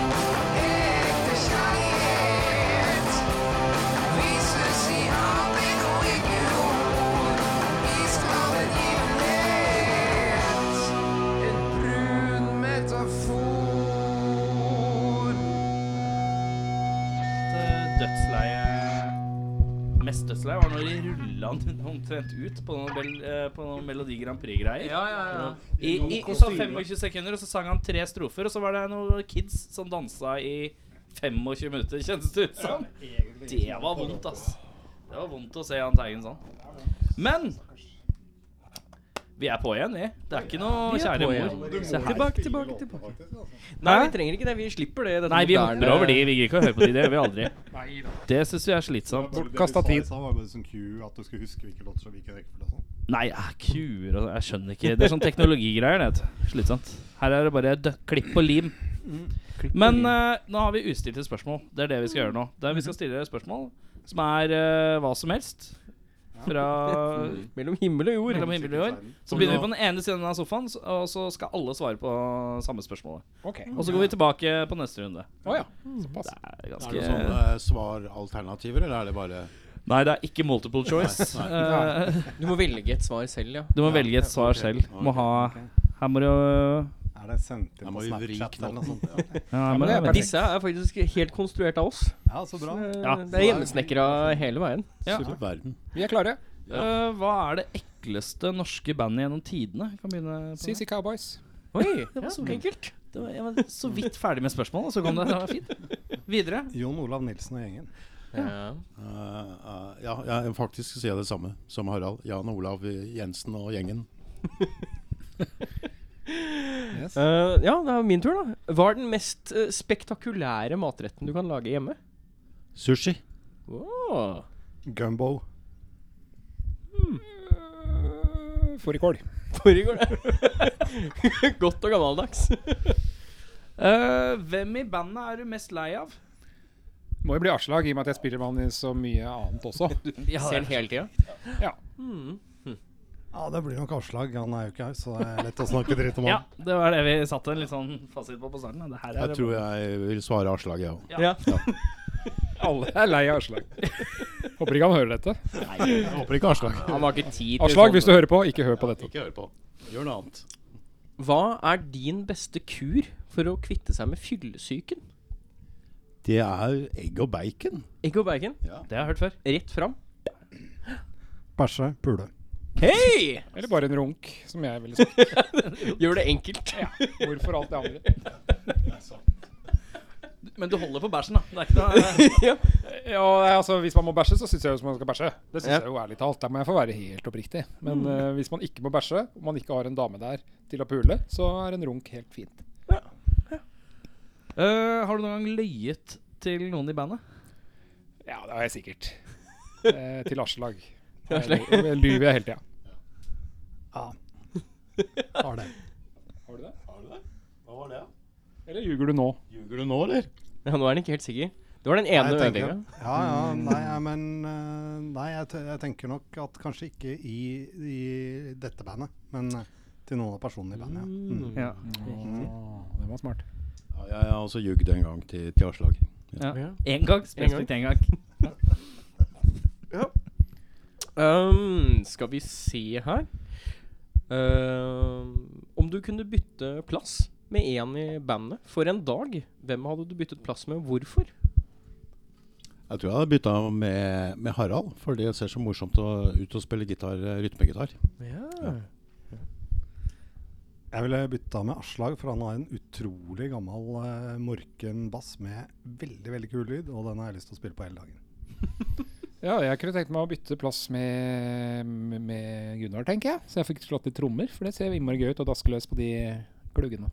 Speaker 10: Ekte kjærlighet vises i handling og ikke ord. Iskallen givenhet, en brun metafor.
Speaker 2: eh, Dødsleie Mest dødsleie var når de rulla den omtrent ut på noen, bel, eh, på noen Melodi Grand Prix-greier.
Speaker 3: Ja, ja, ja.
Speaker 2: I, i, og så 25 sekunder, og så sang han tre strofer, og så var det noen kids som dansa i 25 minutter, kjennes det ut som. Det var vondt, ass. Det var vondt å se han Teigen sånn. Men vi er på igjen, vi. Det er ikke noe
Speaker 3: Vi er
Speaker 2: kjære
Speaker 3: på
Speaker 2: mor.
Speaker 3: igjen.
Speaker 2: Se her.
Speaker 3: Tilbake, tilbake, tilbake.
Speaker 1: altså.
Speaker 3: Nei, vi trenger ikke det. Vi slipper det. dette
Speaker 2: Nei, vi
Speaker 3: moderne-
Speaker 2: hopper over de. Vi gidder ikke å høre på de. Det gjør vi aldri. Det syns vi er slitsomt.
Speaker 7: Bortkasta tid.
Speaker 1: var det som Q, at du skulle huske hvilke låter som hvilken rekkefølge og sånn.
Speaker 2: Nei, ah, kuer og Jeg skjønner ikke. Det er sånn teknologigreier, det. vet du. Slitsomt. Her er det bare dø- klipp og lim. Men eh, nå har vi ustilte spørsmål. Det er det vi skal gjøre nå. Der vi skal stille dere spørsmål som er eh, hva som helst. Fra
Speaker 3: Mellom himmel og jord.
Speaker 2: mellom himmel og jord. Så begynner vi på den ene siden av sofaen, s- og så skal alle svare på samme spørsmålet.
Speaker 7: Ok.
Speaker 2: Og så går vi tilbake på neste runde.
Speaker 7: Å ja. Såpass.
Speaker 2: Det er
Speaker 8: Er det
Speaker 2: ganske
Speaker 7: sånn,
Speaker 8: sånne svaralternativer, eller er det bare
Speaker 2: Nei, det er ikke multiple choice.
Speaker 8: Nei,
Speaker 2: Eh,
Speaker 3: Du må velge et svar selv, ja.
Speaker 2: Du må velge et svar selv. Må ha Her må du
Speaker 5: Er det sendt
Speaker 8: Jeg
Speaker 5: inn
Speaker 8: må
Speaker 5: på
Speaker 8: jo vri
Speaker 5: Snapchat eller noe sånt?
Speaker 2: ja, her må
Speaker 7: men det er
Speaker 2: du-
Speaker 7: perfekt.
Speaker 3: Disse er faktisk helt konstruert av oss. Eh,
Speaker 5: Ja, så bra.
Speaker 2: Ja.
Speaker 3: Det er hjemmesnekra hele veien.
Speaker 2: Ja.
Speaker 8: verden?
Speaker 7: Vi er klare.
Speaker 2: Eh, hva er det ekleste norske bandet gjennom tidene? Vi Kan begynne på det.
Speaker 7: CC Cowboys.
Speaker 3: Oi,
Speaker 2: var så
Speaker 3: enkelt.
Speaker 2: Det var, jeg var så vidt ferdig med spørsmålet, så kom det. Det var fint. Videre.
Speaker 5: Jon Olav Nilsen og gjengen.
Speaker 3: Ja.
Speaker 8: Eh, eh, ja, jeg faktisk sier jeg det samme som Harald. Jan Olav Jensen og gjengen.
Speaker 3: Eh, ja, det er min tur, da. Hva er den mest eh, spektakulære matretten du kan lage hjemme?
Speaker 8: Sushi.
Speaker 3: Åh.
Speaker 5: Gumbo.
Speaker 7: Eh, Fårikål.
Speaker 3: Forrige går det. Godt og gammeldags.
Speaker 2: Eh, hvem i bandet er du mest lei av?
Speaker 7: Må jo bli avslag i og med at jeg spiller med han i så mye annet også.
Speaker 2: Ja,
Speaker 3: Selv hele tida.
Speaker 5: Ja, det blir nok avslag. Han er jo ikke her, så det er lett å snakke dritt om
Speaker 2: ja,
Speaker 5: han.
Speaker 2: det var det vi satte en litt sånn fasit på på starten. Det her er
Speaker 8: Jeg tror jeg vil svare avslag, jeg òg.
Speaker 3: Ja.
Speaker 7: Alle er lei av avslag. Håper ikke han hører dette.
Speaker 8: Jeg håper ikke avslag.
Speaker 3: Han har ikke tid til
Speaker 7: Avslag, hvis du
Speaker 3: sånn.
Speaker 7: hører på, ikke hør på dette.
Speaker 8: Ikke hør på. Gjør noe annet.
Speaker 3: Hva er din beste kur for å kvitte seg med fyllesyken?
Speaker 8: Det er egg og bacon.
Speaker 3: Egg og bacon.
Speaker 2: Det har jeg hørt før.
Speaker 3: Rett fram.
Speaker 5: Bæsje, pule.
Speaker 3: Hei!
Speaker 7: Eller bare en runk, som jeg ville sagt.
Speaker 3: Gjør det enkelt.
Speaker 7: Hvorfor alt det andre?
Speaker 2: Men du holder på bæsjen, da. Det er ikke noe
Speaker 7: Ja, altså Hvis man må bæsje, så syns jeg jo som man skal bæsje. Det syns
Speaker 3: Ja.
Speaker 7: jeg jo ærlig talt. Der må jeg få være helt oppriktig. Men eh, hvis man ikke må bæsje, og man ikke har en dame der til å pule, så er en runk helt fint.
Speaker 2: Eh, Har du noen gang løyet til noen i bandet?
Speaker 7: Ja, det har jeg sikkert. Eh, til avslag.
Speaker 3: avslag.
Speaker 7: Jeg ly- jeg lyver jeg hele tida.
Speaker 5: Har det.
Speaker 7: Har du det?
Speaker 8: Har du det? Hva var det?
Speaker 7: Eller ljuger du nå?
Speaker 8: Ljuger du nå, eller?
Speaker 3: Ja, nå er han ikke helt sikker. Det var den ene
Speaker 5: Jeg tenker-
Speaker 3: øvinga.
Speaker 5: Ja, ja, nei, ja, men eh, Nei, jeg, te- jeg tenker nok at kanskje ikke i, i dette bandet, men eh, til noen av personene i bandet. Ja. Mm.
Speaker 2: Ja.
Speaker 7: det var smart.
Speaker 8: Ja, jeg har også ljugd en gang til, til avslag.
Speaker 2: Én gang? Spesifikt én gang.
Speaker 3: Ehm, skal vi se her Ehm, Om du kunne bytte plass med en i bandet for en dag, hvem hadde du byttet plass med, og hvorfor?
Speaker 8: Jeg tror jeg hadde bytta med, med Harald, for det ser så morsomt å, ut å spille gitar, eh, rytmegitar.
Speaker 3: Ja.
Speaker 1: Jeg ville bytta med Aslag, for han har en utrolig gammel eh, morken bass med veldig veldig kul lyd, og den har jeg lyst til å spille på hele dagen.
Speaker 7: Ja, jeg kunne tenkt meg å bytte plass med, med Gunnar, tenker jeg. Så jeg fikk slått litt trommer, for det ser innmari gøy ut å daske løs på de kluggene.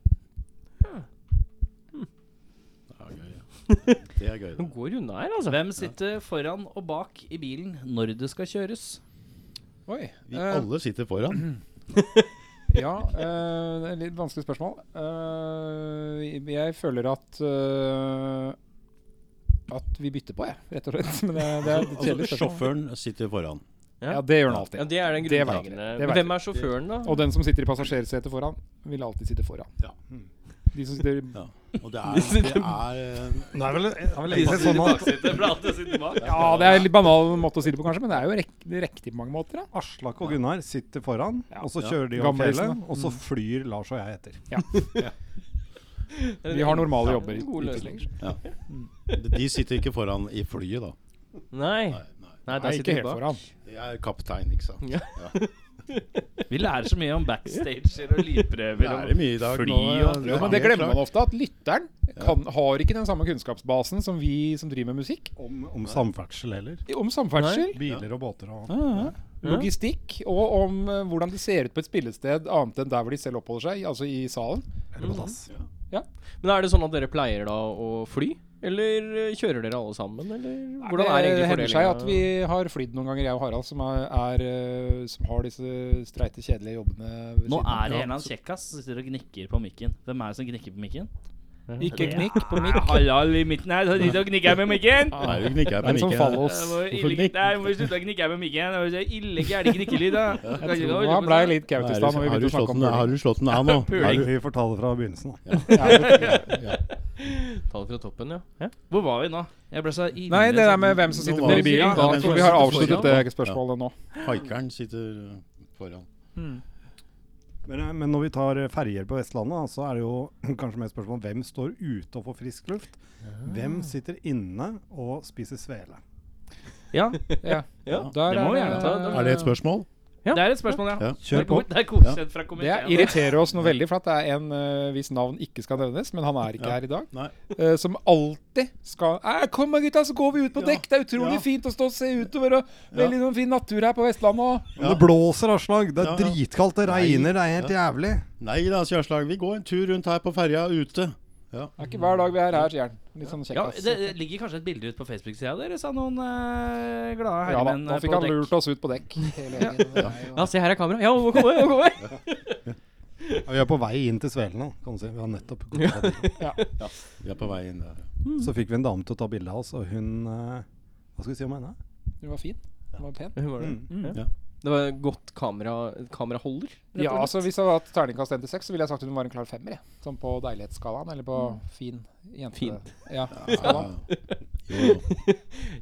Speaker 8: Ja, gøy, ja. Det er gøy.
Speaker 3: Hun
Speaker 8: Da.
Speaker 3: går unna her, altså.
Speaker 2: Hvem sitter foran og bak i bilen når det skal kjøres?
Speaker 7: Oi.
Speaker 8: Vi
Speaker 7: eh,
Speaker 8: alle sitter foran.
Speaker 7: ja, eh, det er et litt vanskelig spørsmål. Eh, jeg føler at eh, at vi bytter på, jeg, rett og slett. Men det, det er et kjedelig
Speaker 8: Altså,
Speaker 7: spørsmål.
Speaker 8: sjåføren sitter foran.
Speaker 7: Ja, det gjør han
Speaker 3: Ja,
Speaker 7: alltid.
Speaker 3: det er den
Speaker 7: Det vet
Speaker 3: grunnleggende.
Speaker 7: jeg. Det
Speaker 3: Men
Speaker 7: vet
Speaker 3: Hvem er sjåføren, da?
Speaker 7: Og den som sitter i passasjersetet foran, vil alltid sitte foran.
Speaker 8: Ja.
Speaker 7: De som sitter
Speaker 8: Og det er, det er eh,
Speaker 1: Nå er vel,
Speaker 7: Ja, det er en litt banal måte å si det på, kanskje, men det er jo rek riktig på mange måter. Da.
Speaker 1: Aslak og Gunnar sitter foran, og så
Speaker 8: Ja.
Speaker 1: kjører de opp
Speaker 7: Gamlisen,
Speaker 1: fjellet,
Speaker 7: da.
Speaker 1: og så flyr Lars og jeg etter.
Speaker 7: Vi har normale
Speaker 3: Ja,
Speaker 7: jobber. i-
Speaker 3: god
Speaker 7: i
Speaker 3: løsning.
Speaker 7: tillegg.
Speaker 8: De sitter ikke foran i flyet, da.
Speaker 3: Nei.
Speaker 8: Nei,
Speaker 3: Nei,
Speaker 8: nei.
Speaker 7: Nei,
Speaker 3: der
Speaker 7: ikke
Speaker 3: sitter
Speaker 7: helt
Speaker 3: hun bak.
Speaker 7: foran.
Speaker 8: Jeg er kaptein, ikke sant.
Speaker 3: Ja.
Speaker 2: Vi lærer så mye om backstager og lydprøver.
Speaker 8: Det
Speaker 2: og-
Speaker 8: er mye i dag
Speaker 2: Fly
Speaker 8: nå. ja.
Speaker 2: og-
Speaker 7: Ja, men det glemmer man ofte, at lytteren kan, har ikke den samme kunnskapsbasen som vi som driver med musikk.
Speaker 1: Om, om samferdsel heller.
Speaker 7: Om samferdsel,
Speaker 1: Biler og båter og
Speaker 7: ah, logistikk, og om eh, hvordan det ser ut på et spillested annet enn der hvor de selv oppholder seg, altså i salen.
Speaker 1: eller på
Speaker 8: Mm.
Speaker 1: dass.
Speaker 3: Men er det sånn at dere pleier da å fly? Eller eh, kjører dere alle sammen, eller hvordan er
Speaker 7: det
Speaker 3: egentlig
Speaker 7: hender seg at vi
Speaker 3: fordelinga?
Speaker 7: har flydd noen ganger, jeg og Harald, som, er, er, eh, som har disse streite, kjedelige jobbene. ved
Speaker 2: Nå
Speaker 7: siden av.
Speaker 2: er det en eller annen kjekkas som sitter og gnikker på mikken. Hvem er det som gnikker på mikken?
Speaker 7: Ikke knikk på mikk.
Speaker 2: Halal i midten her, så sitter og gnikker med mikken!
Speaker 8: Nei, vi
Speaker 7: Det
Speaker 8: knikker
Speaker 7: er
Speaker 8: men
Speaker 7: en sånn
Speaker 8: ikke-
Speaker 2: Det
Speaker 7: fallos.
Speaker 2: var
Speaker 8: Hvorfor
Speaker 2: ille-
Speaker 8: gnikk?
Speaker 2: Nei, må vi slutte å gnikke med mikken. Det var så ille gæren gnikkelyd, da. Kan
Speaker 7: Jeg
Speaker 2: ikke
Speaker 7: tror
Speaker 2: holde
Speaker 7: han
Speaker 2: på
Speaker 7: ble
Speaker 2: sånn.
Speaker 7: litt
Speaker 8: Nei,
Speaker 7: kaut i
Speaker 8: er
Speaker 7: stad
Speaker 8: du-
Speaker 7: når vi
Speaker 8: Har du
Speaker 7: begynte å
Speaker 8: slått
Speaker 7: snakke om
Speaker 8: den, har
Speaker 7: puling.
Speaker 8: du slått den av nå?
Speaker 1: Nei,
Speaker 8: Er du-
Speaker 1: vi får ta det fra begynnelsen, da.
Speaker 3: Ta det fra toppen, ja. ja.
Speaker 2: Hvor var vi nå? Jeg ble så ille
Speaker 7: Nei, det der
Speaker 2: sånn-
Speaker 7: med hvem som sitter
Speaker 8: var
Speaker 7: foran i
Speaker 8: det-
Speaker 7: bilen.
Speaker 8: Ja,
Speaker 7: Da tror
Speaker 8: hvem som
Speaker 7: vi har
Speaker 8: sitter
Speaker 7: avsluttet
Speaker 8: foran.
Speaker 7: det spørsmålet nå.
Speaker 8: Haikeren sitter eh, foran.
Speaker 1: Men, eh, men når vi tar eh, ferjer på Vestlandet, da, så er det jo kanskje mer spørsmål om hvem står ute og får frisk luft. Hvem sitter inne og spiser svele?
Speaker 2: Ja,
Speaker 7: Ja.
Speaker 3: Ja,
Speaker 7: Der
Speaker 2: det må vi
Speaker 7: er
Speaker 2: gjerne
Speaker 7: det-
Speaker 2: ta.
Speaker 8: Er det et spørsmål?
Speaker 2: det er et spørsmål, ja.
Speaker 8: Ja.
Speaker 1: Kjør på.
Speaker 2: Det er godkjent fra
Speaker 7: Det
Speaker 2: komiteen.
Speaker 7: irriterer oss noe veldig, for at det er en uh, hvis navn ikke skal nevnes, men han er ikke
Speaker 8: Ja.
Speaker 7: her i dag,
Speaker 8: Nei.
Speaker 7: eh, som alltid skal «Æ, 'Kom da, gutta, så går vi ut på
Speaker 8: Ja.
Speaker 7: dekk!' 'Det er utrolig
Speaker 8: Ja.
Speaker 7: fint å stå og se utover, og veldig noen fin natur her på Vestlandet.' Og.
Speaker 1: Men Det blåser avslag, det er
Speaker 8: Ja, ja.
Speaker 1: dritkaldt, det
Speaker 8: Nei.
Speaker 1: regner, det er helt jævlig.
Speaker 8: Nei da, Kjærslag. Vi går en tur rundt her på ferja ute. Ja.
Speaker 7: Det er ikke hver dag vi er her, sier han. Litt sånn
Speaker 2: Ja,
Speaker 7: kjekkas.
Speaker 2: det det ligger kanskje et bilde ut på Facebook-sida deres av noen eh, glade
Speaker 7: Ja da,
Speaker 2: herremenn
Speaker 7: nå
Speaker 2: eh,
Speaker 7: fikk
Speaker 2: på
Speaker 7: han
Speaker 2: dekk.
Speaker 7: lurt oss ut på dekk. Hele gjengen. Det er jo-
Speaker 3: ja, se her er kamera. Ja, hvor kommer jeg? Hvor kommer jeg?
Speaker 1: Ja, vi er på vei inn til svelen nå, kan du si. Vi har nettopp gått av bilen.
Speaker 8: Vi er på vei inn der.
Speaker 1: Så fikk vi en dame til å ta bilde av oss, og hun eh, Hva skal vi si om henne?
Speaker 7: Hun var fin. Hun var pen.
Speaker 3: Hvor var det?
Speaker 7: Mm.
Speaker 3: Det var et godt kamera, kameraholder. rett og
Speaker 7: Ja,
Speaker 3: slett.
Speaker 7: altså Hvis jeg hadde hatt terningkast 1 til 6, så ville jeg sagt hun var en klar femmer. Jeg. Sånn på deilighetsskalaen, eller på fin jente.
Speaker 3: Fin.
Speaker 7: Ja.
Speaker 8: Ja. Jo, jo.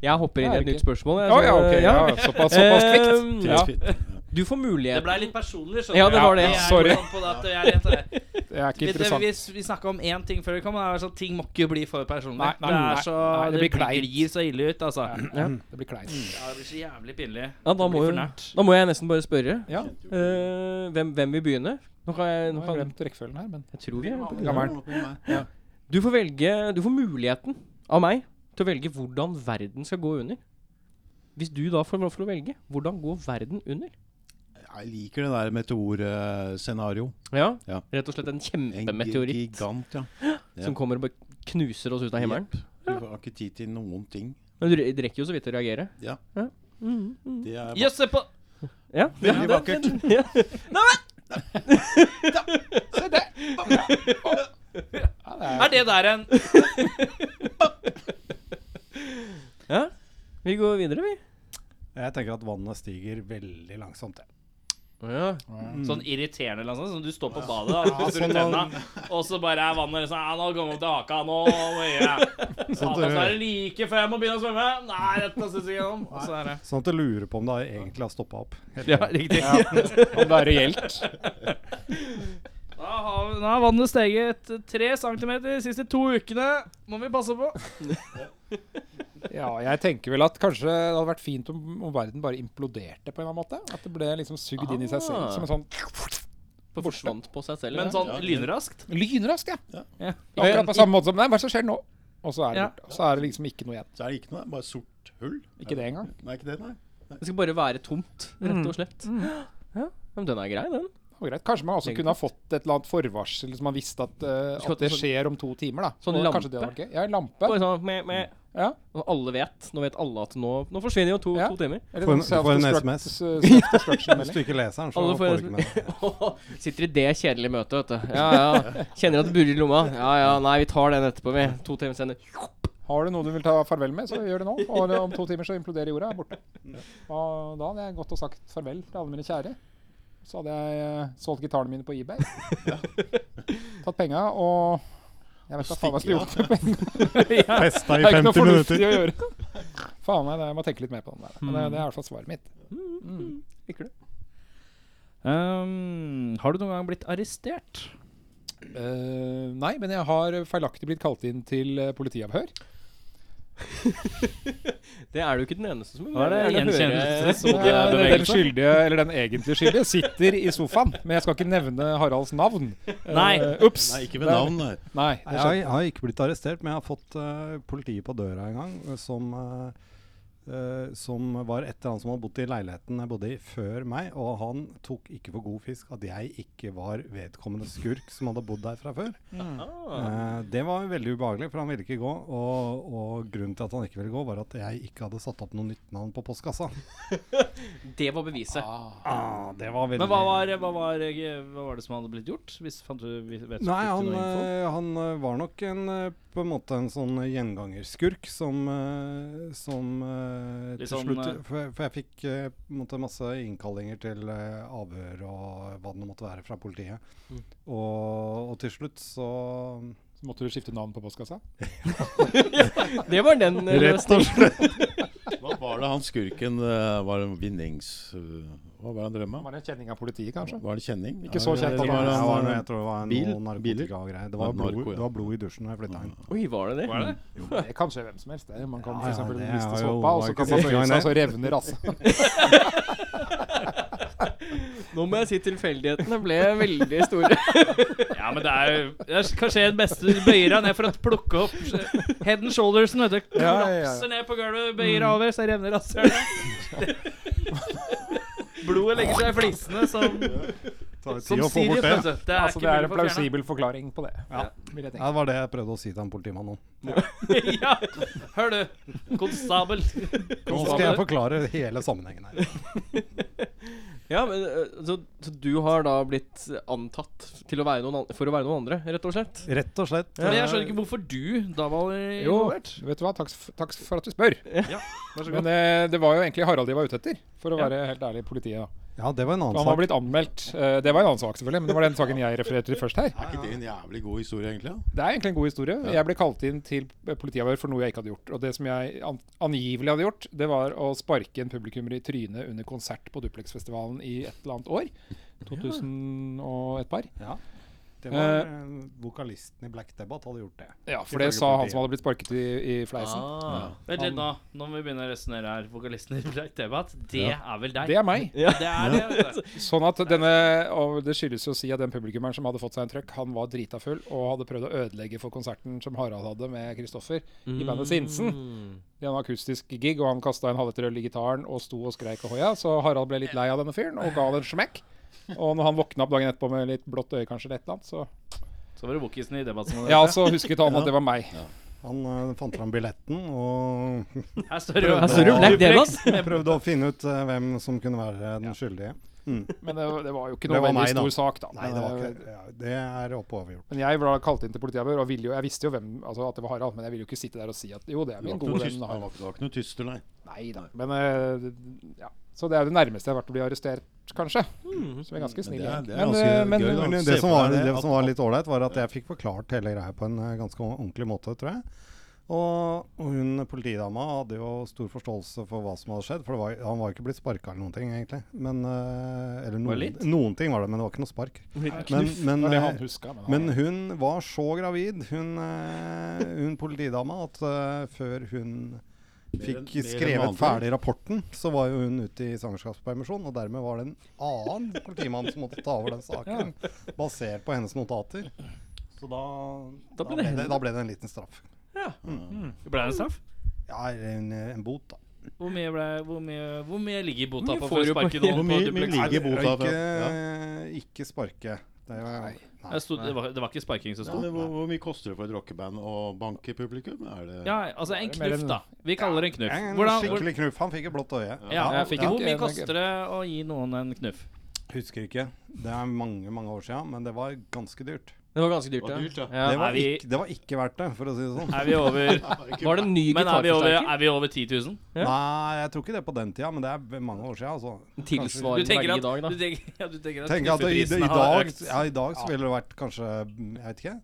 Speaker 3: Jeg hopper inn i
Speaker 7: Er
Speaker 3: et
Speaker 7: det
Speaker 3: nytt spørsmål. jeg,
Speaker 7: Å
Speaker 3: så-
Speaker 7: ja, ok. Ja, såpass, såpass kvikt.
Speaker 3: Ehm,
Speaker 7: Ja.
Speaker 3: Du får mulighet
Speaker 2: Det blei litt personlig, skjønner
Speaker 3: Ja, det var det.
Speaker 2: Jeg er
Speaker 7: Sorry.
Speaker 2: sånn på det at jeg er litt-
Speaker 7: Det er ikke
Speaker 2: Vi, det,
Speaker 7: interessant.
Speaker 2: vi, vi snakka om én ting før vi kom. og Det er sånn, ting må ikke bli for personlig.
Speaker 7: Nei, nei,
Speaker 2: det,
Speaker 7: nei,
Speaker 2: er så,
Speaker 7: nei, det
Speaker 2: det,
Speaker 7: blir kleint.
Speaker 2: glir så ille ut, altså. Mm. Ja.
Speaker 7: Det blir kleint.
Speaker 2: det blir så jævlig pinlig.
Speaker 3: Ja, da
Speaker 2: det
Speaker 3: må,
Speaker 2: blir
Speaker 3: jo,
Speaker 2: for nært.
Speaker 3: da må jeg nesten bare spørre.
Speaker 7: Ja.
Speaker 3: Eh, hvem, hvem vil begynne? Nå kan jeg,
Speaker 7: Nå
Speaker 3: nå kan,
Speaker 7: har jeg glemt rekkefølgen her, men
Speaker 3: jeg tror vi er på-
Speaker 7: Gammel.
Speaker 3: Du får velge Du får muligheten av meg til å velge hvordan verden skal gå under. Hvis du da får lov til å velge, hvordan går verden under?
Speaker 8: Jeg liker det der meteorscenario.
Speaker 3: Ja,
Speaker 8: Ja.
Speaker 3: Rett og slett en
Speaker 8: En
Speaker 3: kjempemeteoritt
Speaker 8: gigant, ja.
Speaker 3: som kommer og bare knuser oss ut av himmelen.
Speaker 8: Du har ikke tid til noen ting.
Speaker 3: Men du, re- du rekker jo så vidt å reagere.
Speaker 8: Det er
Speaker 2: Jøss, se på
Speaker 3: Ja,
Speaker 8: veldig vakkert.
Speaker 3: ja.
Speaker 2: Er det der en
Speaker 3: Vi går videre, vi.
Speaker 1: Jeg tenker at vannet stiger veldig langsomt. jeg.
Speaker 3: Ja.
Speaker 2: Sånn irriterende eller noe sånt. Som du står på badet og pusser
Speaker 7: sånn
Speaker 2: ut tenna, og så bare er vannet liksom «Ja, Nå kommer det til haka, nå må jeg gjøre det».
Speaker 1: Sånn
Speaker 2: Ja, da er det like før jeg må begynne å svømme. Nei, dette syns jeg ikke noe om. Og så er det
Speaker 1: Sånn at jeg lurer på om det egentlig har stoppa opp.
Speaker 2: Ja, riktig.
Speaker 7: Om det er reelt.
Speaker 2: Da har vi- nå har vannet steget tre centimeter de siste to ukene. Må vi passe på.
Speaker 7: Ja, jeg tenker vel at kanskje det hadde vært fint om, om verden bare imploderte på en eller annen måte. At det ble liksom sugd inn i seg selv
Speaker 3: Ah.
Speaker 7: som en sånn
Speaker 3: Forsvant på seg selv.
Speaker 2: Men
Speaker 3: ja.
Speaker 2: sånn lynraskt.
Speaker 7: lynrask, ja.
Speaker 2: Ja.
Speaker 7: Og jeg- På samme måte som Nei, hva er det som skjer nå? Og så er det,
Speaker 2: Ja.
Speaker 7: borte. Og så er det liksom ikke noe igjen.
Speaker 8: Så er det ikke noe, bare sort hull.
Speaker 7: Ikke det engang.
Speaker 8: Nei, ikke det, nei.
Speaker 3: Det skal bare være tomt, rett og slett. Ja, Men den er grei, den.
Speaker 7: Det var greit. Kanskje man også
Speaker 3: Egentlig.
Speaker 7: kunne ha fått et eller annet forvarsel som man visste at,
Speaker 3: Skulle
Speaker 7: eh, at det
Speaker 3: hatt en sånn-
Speaker 7: skjer om to timer. da
Speaker 3: Sånn
Speaker 7: Og
Speaker 3: lampe?
Speaker 7: Kanskje det hadde vært gøy. Ja, en lampe.
Speaker 3: Bare sånn meh, meh.
Speaker 7: Ja.
Speaker 3: Og alle vet. Nå vet alle at nå, nå forsvinner jo to,
Speaker 7: Ja.
Speaker 3: to timer.
Speaker 7: Eller
Speaker 1: Få en-
Speaker 7: sånn
Speaker 1: få en
Speaker 7: self-destruct-
Speaker 1: SMS.
Speaker 7: s- self-destruction-melding.
Speaker 1: Hvis du ikke leser den, så
Speaker 3: Alle får
Speaker 1: får du ikke med deg.
Speaker 3: Sitter i det kjedelige møtet, vet du. Ja, ja. Kjenner at det burrer i lomma. Ja, ja, nei, vi tar den etterpå, vi. To timer senere.
Speaker 7: Har du noe du vil ta farvel med, så gjør det nå. Og om to timer så imploderer jorda er borte. Og da hadde jeg gått og sagt farvel til alle mine kjære. Så hadde jeg eh, solgt gitarene mine på eBay. Tatt penga og Jeg vet da faen hva jeg skulle gjort med penga. Ja,
Speaker 1: Festa
Speaker 7: det
Speaker 1: i
Speaker 7: er ikke noe
Speaker 1: 50
Speaker 7: fornuftig
Speaker 1: minutter.
Speaker 7: å gjøre. Faen meg, det- jeg må tenke litt mer på den der. Men det, det er i hvert fall svaret mitt.
Speaker 1: Mm.
Speaker 7: Mm.
Speaker 2: Um, har du noen gang blitt arrestert?
Speaker 7: Eh, nei, men jeg har feilaktig blitt kalt inn til eh, politiavhør.
Speaker 3: Det er du ikke den eneste som
Speaker 2: Hva er det?
Speaker 3: Jeg vil gjerne høre-
Speaker 2: Gjenkjennelse?
Speaker 7: Eh, Den
Speaker 2: Bevegelse?
Speaker 7: skyldige, eller den egentlig skyldige, sitter i sofaen. Men jeg skal ikke nevne Haralds navn.
Speaker 2: Nei.
Speaker 7: Eh, Ups.
Speaker 8: Nei, ikke
Speaker 7: Det
Speaker 8: ved
Speaker 7: er-
Speaker 8: navn, nei.
Speaker 7: Nei,
Speaker 1: Jeg
Speaker 7: det skjedde.
Speaker 1: har, jeg har ikke blitt arrestert, men jeg har fått eh, politiet på døra en gang eh, som eh, eh, som var et eller annet som hadde bodd i leiligheten jeg bodde i før meg. Og han tok ikke for god fisk at jeg ikke var vedkommende skurk som hadde bodd der fra før.
Speaker 2: Mm.
Speaker 1: Eh, det var veldig ubehagelig, for han ville ikke gå. Og, og grunnen til at han ikke ville gå, var at jeg ikke hadde satt opp noe nytt navn på postkassa.
Speaker 3: Det var beviset.
Speaker 1: Ah, det var veldig
Speaker 2: Men hva var, hva, var, hva var det som hadde blitt gjort? Hvis fant du, vet, vet du
Speaker 1: Nei, han,
Speaker 2: noe info?
Speaker 1: eh, han eh, var nok en, eh, på en måte en sånn gjengangerskurk som, eh, som eh,
Speaker 2: Litt
Speaker 1: til
Speaker 2: sånn,
Speaker 1: slutt
Speaker 2: eh,
Speaker 1: For, for jeg fikk eh, på en måte masse innkallinger til eh, avhør og hva det nå måtte være fra politiet.
Speaker 2: Mm.
Speaker 1: Og, og til slutt så
Speaker 7: Så måtte du skifte navn på postkassa?
Speaker 3: Det var den eh, løsningen.
Speaker 8: Hva var det han skurken eh, Var det vinnings... eh, Hva var det han drømma?
Speaker 7: Var det en kjenning av politiet, kanskje?
Speaker 8: Var det kjenning?
Speaker 7: Ikke så kjent,
Speaker 8: Det
Speaker 1: Det
Speaker 7: da.
Speaker 8: var
Speaker 1: var,
Speaker 8: han, eh,
Speaker 1: noe- jeg tror det var
Speaker 8: bil-
Speaker 1: noe narkotikagreier. Det, var
Speaker 8: Var det narko,
Speaker 1: blod-
Speaker 8: ja.
Speaker 1: det var blod i dusjen da jeg flytta inn.
Speaker 3: Oi, var det det?
Speaker 2: Var det?
Speaker 7: Det kan skje hvem som helst. det. Man
Speaker 1: Ja,
Speaker 7: kan for
Speaker 1: ja,
Speaker 7: eksempel
Speaker 1: det
Speaker 7: miste
Speaker 1: er jo-
Speaker 7: såpa, og så
Speaker 1: var
Speaker 7: kan
Speaker 1: ikke
Speaker 7: man
Speaker 1: siste
Speaker 7: bøye
Speaker 1: gang,
Speaker 7: seg, og så revner altså. rassa.
Speaker 3: Nå må jeg si tilfeldighetene ble veldig store.
Speaker 2: Ja, men det er jo det er kanskje den beste Du bøyer deg ned for å plukke opp head and shouldersen, vet du.
Speaker 7: Ja, ja, ja.
Speaker 2: Klapser ned på gulvet, bøyer deg over, så revner rasshølet. Blodet legger seg i flisene som,
Speaker 1: Tar
Speaker 2: som
Speaker 1: tid å få
Speaker 2: Sirius,
Speaker 1: bort det.
Speaker 2: vet du. Det er
Speaker 7: Altså, det
Speaker 2: ikke mulig å få
Speaker 7: er en
Speaker 2: fjerna.
Speaker 7: plausibel forklaring på det. Ja, vil jeg
Speaker 1: Ja,
Speaker 7: tenke.
Speaker 1: det var det jeg prøvde å si til han politimannen.
Speaker 2: ja. Hør du, konstabel.
Speaker 1: Nå skal jeg forklare hele sammenhengen her.
Speaker 3: Ja, men eh, så, så du har da blitt antatt til å være noen an for å være noen andre, rett og slett?
Speaker 1: Rett og slett.
Speaker 2: Men jeg skjønner ikke hvorfor du da var
Speaker 7: Jo,
Speaker 2: involvert.
Speaker 7: vet du hva, takk, f- takk for at du spør.
Speaker 2: Vær så god.
Speaker 7: Men eh, det var jo egentlig Harald de var ute etter, for å
Speaker 2: Ja.
Speaker 7: være helt ærlig, politiet. da.
Speaker 1: Ja, det var en annen
Speaker 7: Han var
Speaker 1: sak.
Speaker 7: blitt anmeldt. Eh, Det var en annen sak, selvfølgelig, men det var den saken jeg refererte til først her.
Speaker 8: Er ikke det en jævlig god historie, egentlig? da?
Speaker 7: Det er egentlig en god historie. Jeg ble kalt inn til politiavhør for noe jeg ikke hadde gjort. Og det som jeg an angivelig hadde gjort, det var å sparke en publikummer i trynet under konsert på Duplexfestivalen i et eller annet år. 2000 og et par.
Speaker 1: Det
Speaker 7: var,
Speaker 1: var eh, Vokalisten i Black Debbath hadde gjort det.
Speaker 7: Ja, for det sa han som hadde blitt sparket i, i fleisen.
Speaker 2: Ah. Vent litt nå. Nå må vi begynne å resonnere her. Vokalisten i Black Debatt, det er vel deg?
Speaker 7: Det er meg.
Speaker 2: Det er det. vet du.
Speaker 7: Sånn at denne, og det skyldes jo å si at den publikummeren som hadde fått seg en trøkk, han var drita full og hadde prøvd å ødelegge for konserten som Harald hadde med Kristoffer i bandet Sinsen. Det var en akustisk gig, og han kasta en halvliter øl i gitaren og sto og skreik og hoia. Så Harald ble litt lei av denne fyren og ga han en smekk. Og når han våkna opp dagen etterpå med litt blått øye, kanskje, eller et eller annet, så
Speaker 2: Så var det Wokisen i Debatt som var
Speaker 7: Ja, altså. så husket han at det var meg.
Speaker 1: Han eh, fant fram billetten og
Speaker 2: Her står det jo
Speaker 3: Her står det jo Black Debbath.
Speaker 1: prøvde å finne ut eh, hvem som kunne være den skyldige.
Speaker 7: Men det, det var jo ikke
Speaker 1: Det
Speaker 7: noe
Speaker 1: var
Speaker 7: veldig
Speaker 1: meg, da.
Speaker 7: stor sak, da.
Speaker 1: Nei, det var ikke ja, Det er oppe overgjort.
Speaker 7: Men jeg ble kalt inn til politiavhør, og ville jo, jeg visste jo hvem, altså at det var Harald, men jeg ville jo ikke sitte der og si at jo, det er
Speaker 8: Det var
Speaker 7: min
Speaker 8: ikke noe
Speaker 7: gode
Speaker 8: tyst-
Speaker 7: venn
Speaker 8: det
Speaker 7: Harald.
Speaker 8: var ikke- det var ikke noe tyster, nei.
Speaker 7: Nei da. Men eh, det- ja. Så det er jo det nærmeste jeg har vært å bli arrestert, kanskje.
Speaker 1: Hmm.
Speaker 7: Som er ganske
Speaker 8: Men
Speaker 7: snill.
Speaker 8: det er-
Speaker 7: gjeng.
Speaker 8: det er
Speaker 7: Men,
Speaker 8: ganske
Speaker 7: eh, men,
Speaker 8: gøy, da.
Speaker 1: Men
Speaker 8: se
Speaker 1: det som
Speaker 8: på
Speaker 1: var,
Speaker 8: deg det
Speaker 1: det
Speaker 8: at-
Speaker 1: som var litt ålreit, var at jeg fikk forklart hele greia på en eh, ganske ordentlig måte, tror jeg. Og og hun politidama hadde jo stor forståelse for hva som hadde skjedd. For det var, han var jo ikke blitt sparka eller noen ting, egentlig. Men, eh, eller
Speaker 3: Bare
Speaker 1: noen,
Speaker 3: litt?
Speaker 1: noen ting var det, men det var ikke noe spark.
Speaker 3: Litt
Speaker 1: Men, men,
Speaker 7: det var det
Speaker 1: eh,
Speaker 7: han huska. Men,
Speaker 1: Men
Speaker 7: han,
Speaker 1: hun var så gravid, hun, eh, hun politidama, at eh, før hun
Speaker 8: enn-
Speaker 1: fikk
Speaker 8: mer enn vanlig.
Speaker 1: skrevet ferdig rapporten, så var jo hun ute i svangerskapspermisjon. Og dermed var det en annen politimann som måtte ta over den saken, basert på hennes notater. Så da,
Speaker 3: Da ble det
Speaker 1: da, ble, det,
Speaker 3: henne.
Speaker 1: da ble det en liten straff.
Speaker 2: Ble det en straff?
Speaker 1: Ja, eller en, eh, en bot, da.
Speaker 2: Hvor mye, ble, hvor mye, hvor mye ligger bota
Speaker 3: Hvor mye
Speaker 2: på
Speaker 3: får
Speaker 2: for
Speaker 3: du
Speaker 2: å
Speaker 3: på-
Speaker 2: sparke noen
Speaker 8: Hvor
Speaker 2: på
Speaker 8: mye-
Speaker 2: duplex?
Speaker 8: mye ligger bota
Speaker 1: Ikke, eh,
Speaker 8: for? Ja.
Speaker 1: ikke sparke. Det var,
Speaker 2: Det, sto, det, var, det var ikke sparking som
Speaker 8: Ja,
Speaker 2: sto?
Speaker 8: men hvor, hvor mye koster det for et rockeband å banke publikum? Er det
Speaker 2: Ja, altså en
Speaker 7: Det er mer
Speaker 2: knuff,
Speaker 7: enn-
Speaker 2: da. Vi kaller det en knuff.
Speaker 1: en
Speaker 2: Hvordan, hvor,
Speaker 1: skikkelig knuff. Han fikk et blått øye.
Speaker 2: ja,
Speaker 7: Jeg fikk
Speaker 2: hvor
Speaker 7: ikke
Speaker 2: mye
Speaker 7: en-
Speaker 2: koster det å gi noen en knuff?
Speaker 1: Husker ikke. Det er mange, mange år siden, men det var ganske dyrt.
Speaker 3: Det var ganske dyrt,
Speaker 8: Det var dyrt, ja.
Speaker 1: Det var,
Speaker 2: er vi-
Speaker 1: ikke, det var ikke verdt det, for å si det sånn.
Speaker 2: Er vi over
Speaker 3: Var det en ny
Speaker 2: Men er vi over,
Speaker 3: gitarforsterker?
Speaker 2: er vi over 10 000?
Speaker 3: Ja.
Speaker 1: Nei, jeg tror ikke det på den tida, men det er v- mange år siden. Altså.
Speaker 2: Du
Speaker 3: Tilsvarende
Speaker 2: tenker
Speaker 3: verdi i
Speaker 2: at,
Speaker 3: dag, da.
Speaker 2: du tenker, ja, du tenker at
Speaker 1: Tenk at det, i,
Speaker 2: knuffeprisene
Speaker 1: i,
Speaker 2: har
Speaker 1: dag,
Speaker 2: økt.
Speaker 1: ja, I dag så ville det vært kanskje mm, Jeg vet ikke.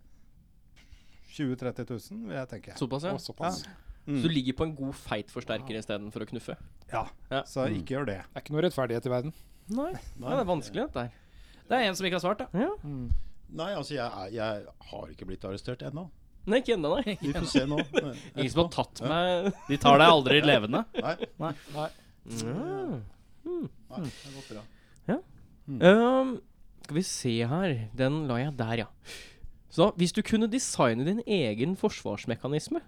Speaker 1: 20 000-30 000, vil jeg tenke.
Speaker 3: Såpass, ja.
Speaker 7: og såpass.
Speaker 3: Så du ligger på en god feit forsterker istedenfor å knuffe?
Speaker 1: Ja.
Speaker 3: Ja.
Speaker 1: Så ikke gjør det.
Speaker 7: Det er ikke noe rettferdighet i verden.
Speaker 3: Nei. Ja, det er vanskelig, dette her.
Speaker 2: Det er en som ikke har svart, da.
Speaker 8: Nei, altså, jeg, er- jeg har ikke blitt arrestert ennå.
Speaker 3: Nei, ikke ennå, nei.
Speaker 8: Vi får se nå.
Speaker 3: Ingen som har tatt meg
Speaker 2: De tar deg aldri levende.
Speaker 8: Nei,
Speaker 3: Mm.
Speaker 8: nei, det har gått bra.
Speaker 3: Um, skal vi se her. Den la jeg der, ja. Så da, hvis du kunne designe din egen forsvarsmekanisme,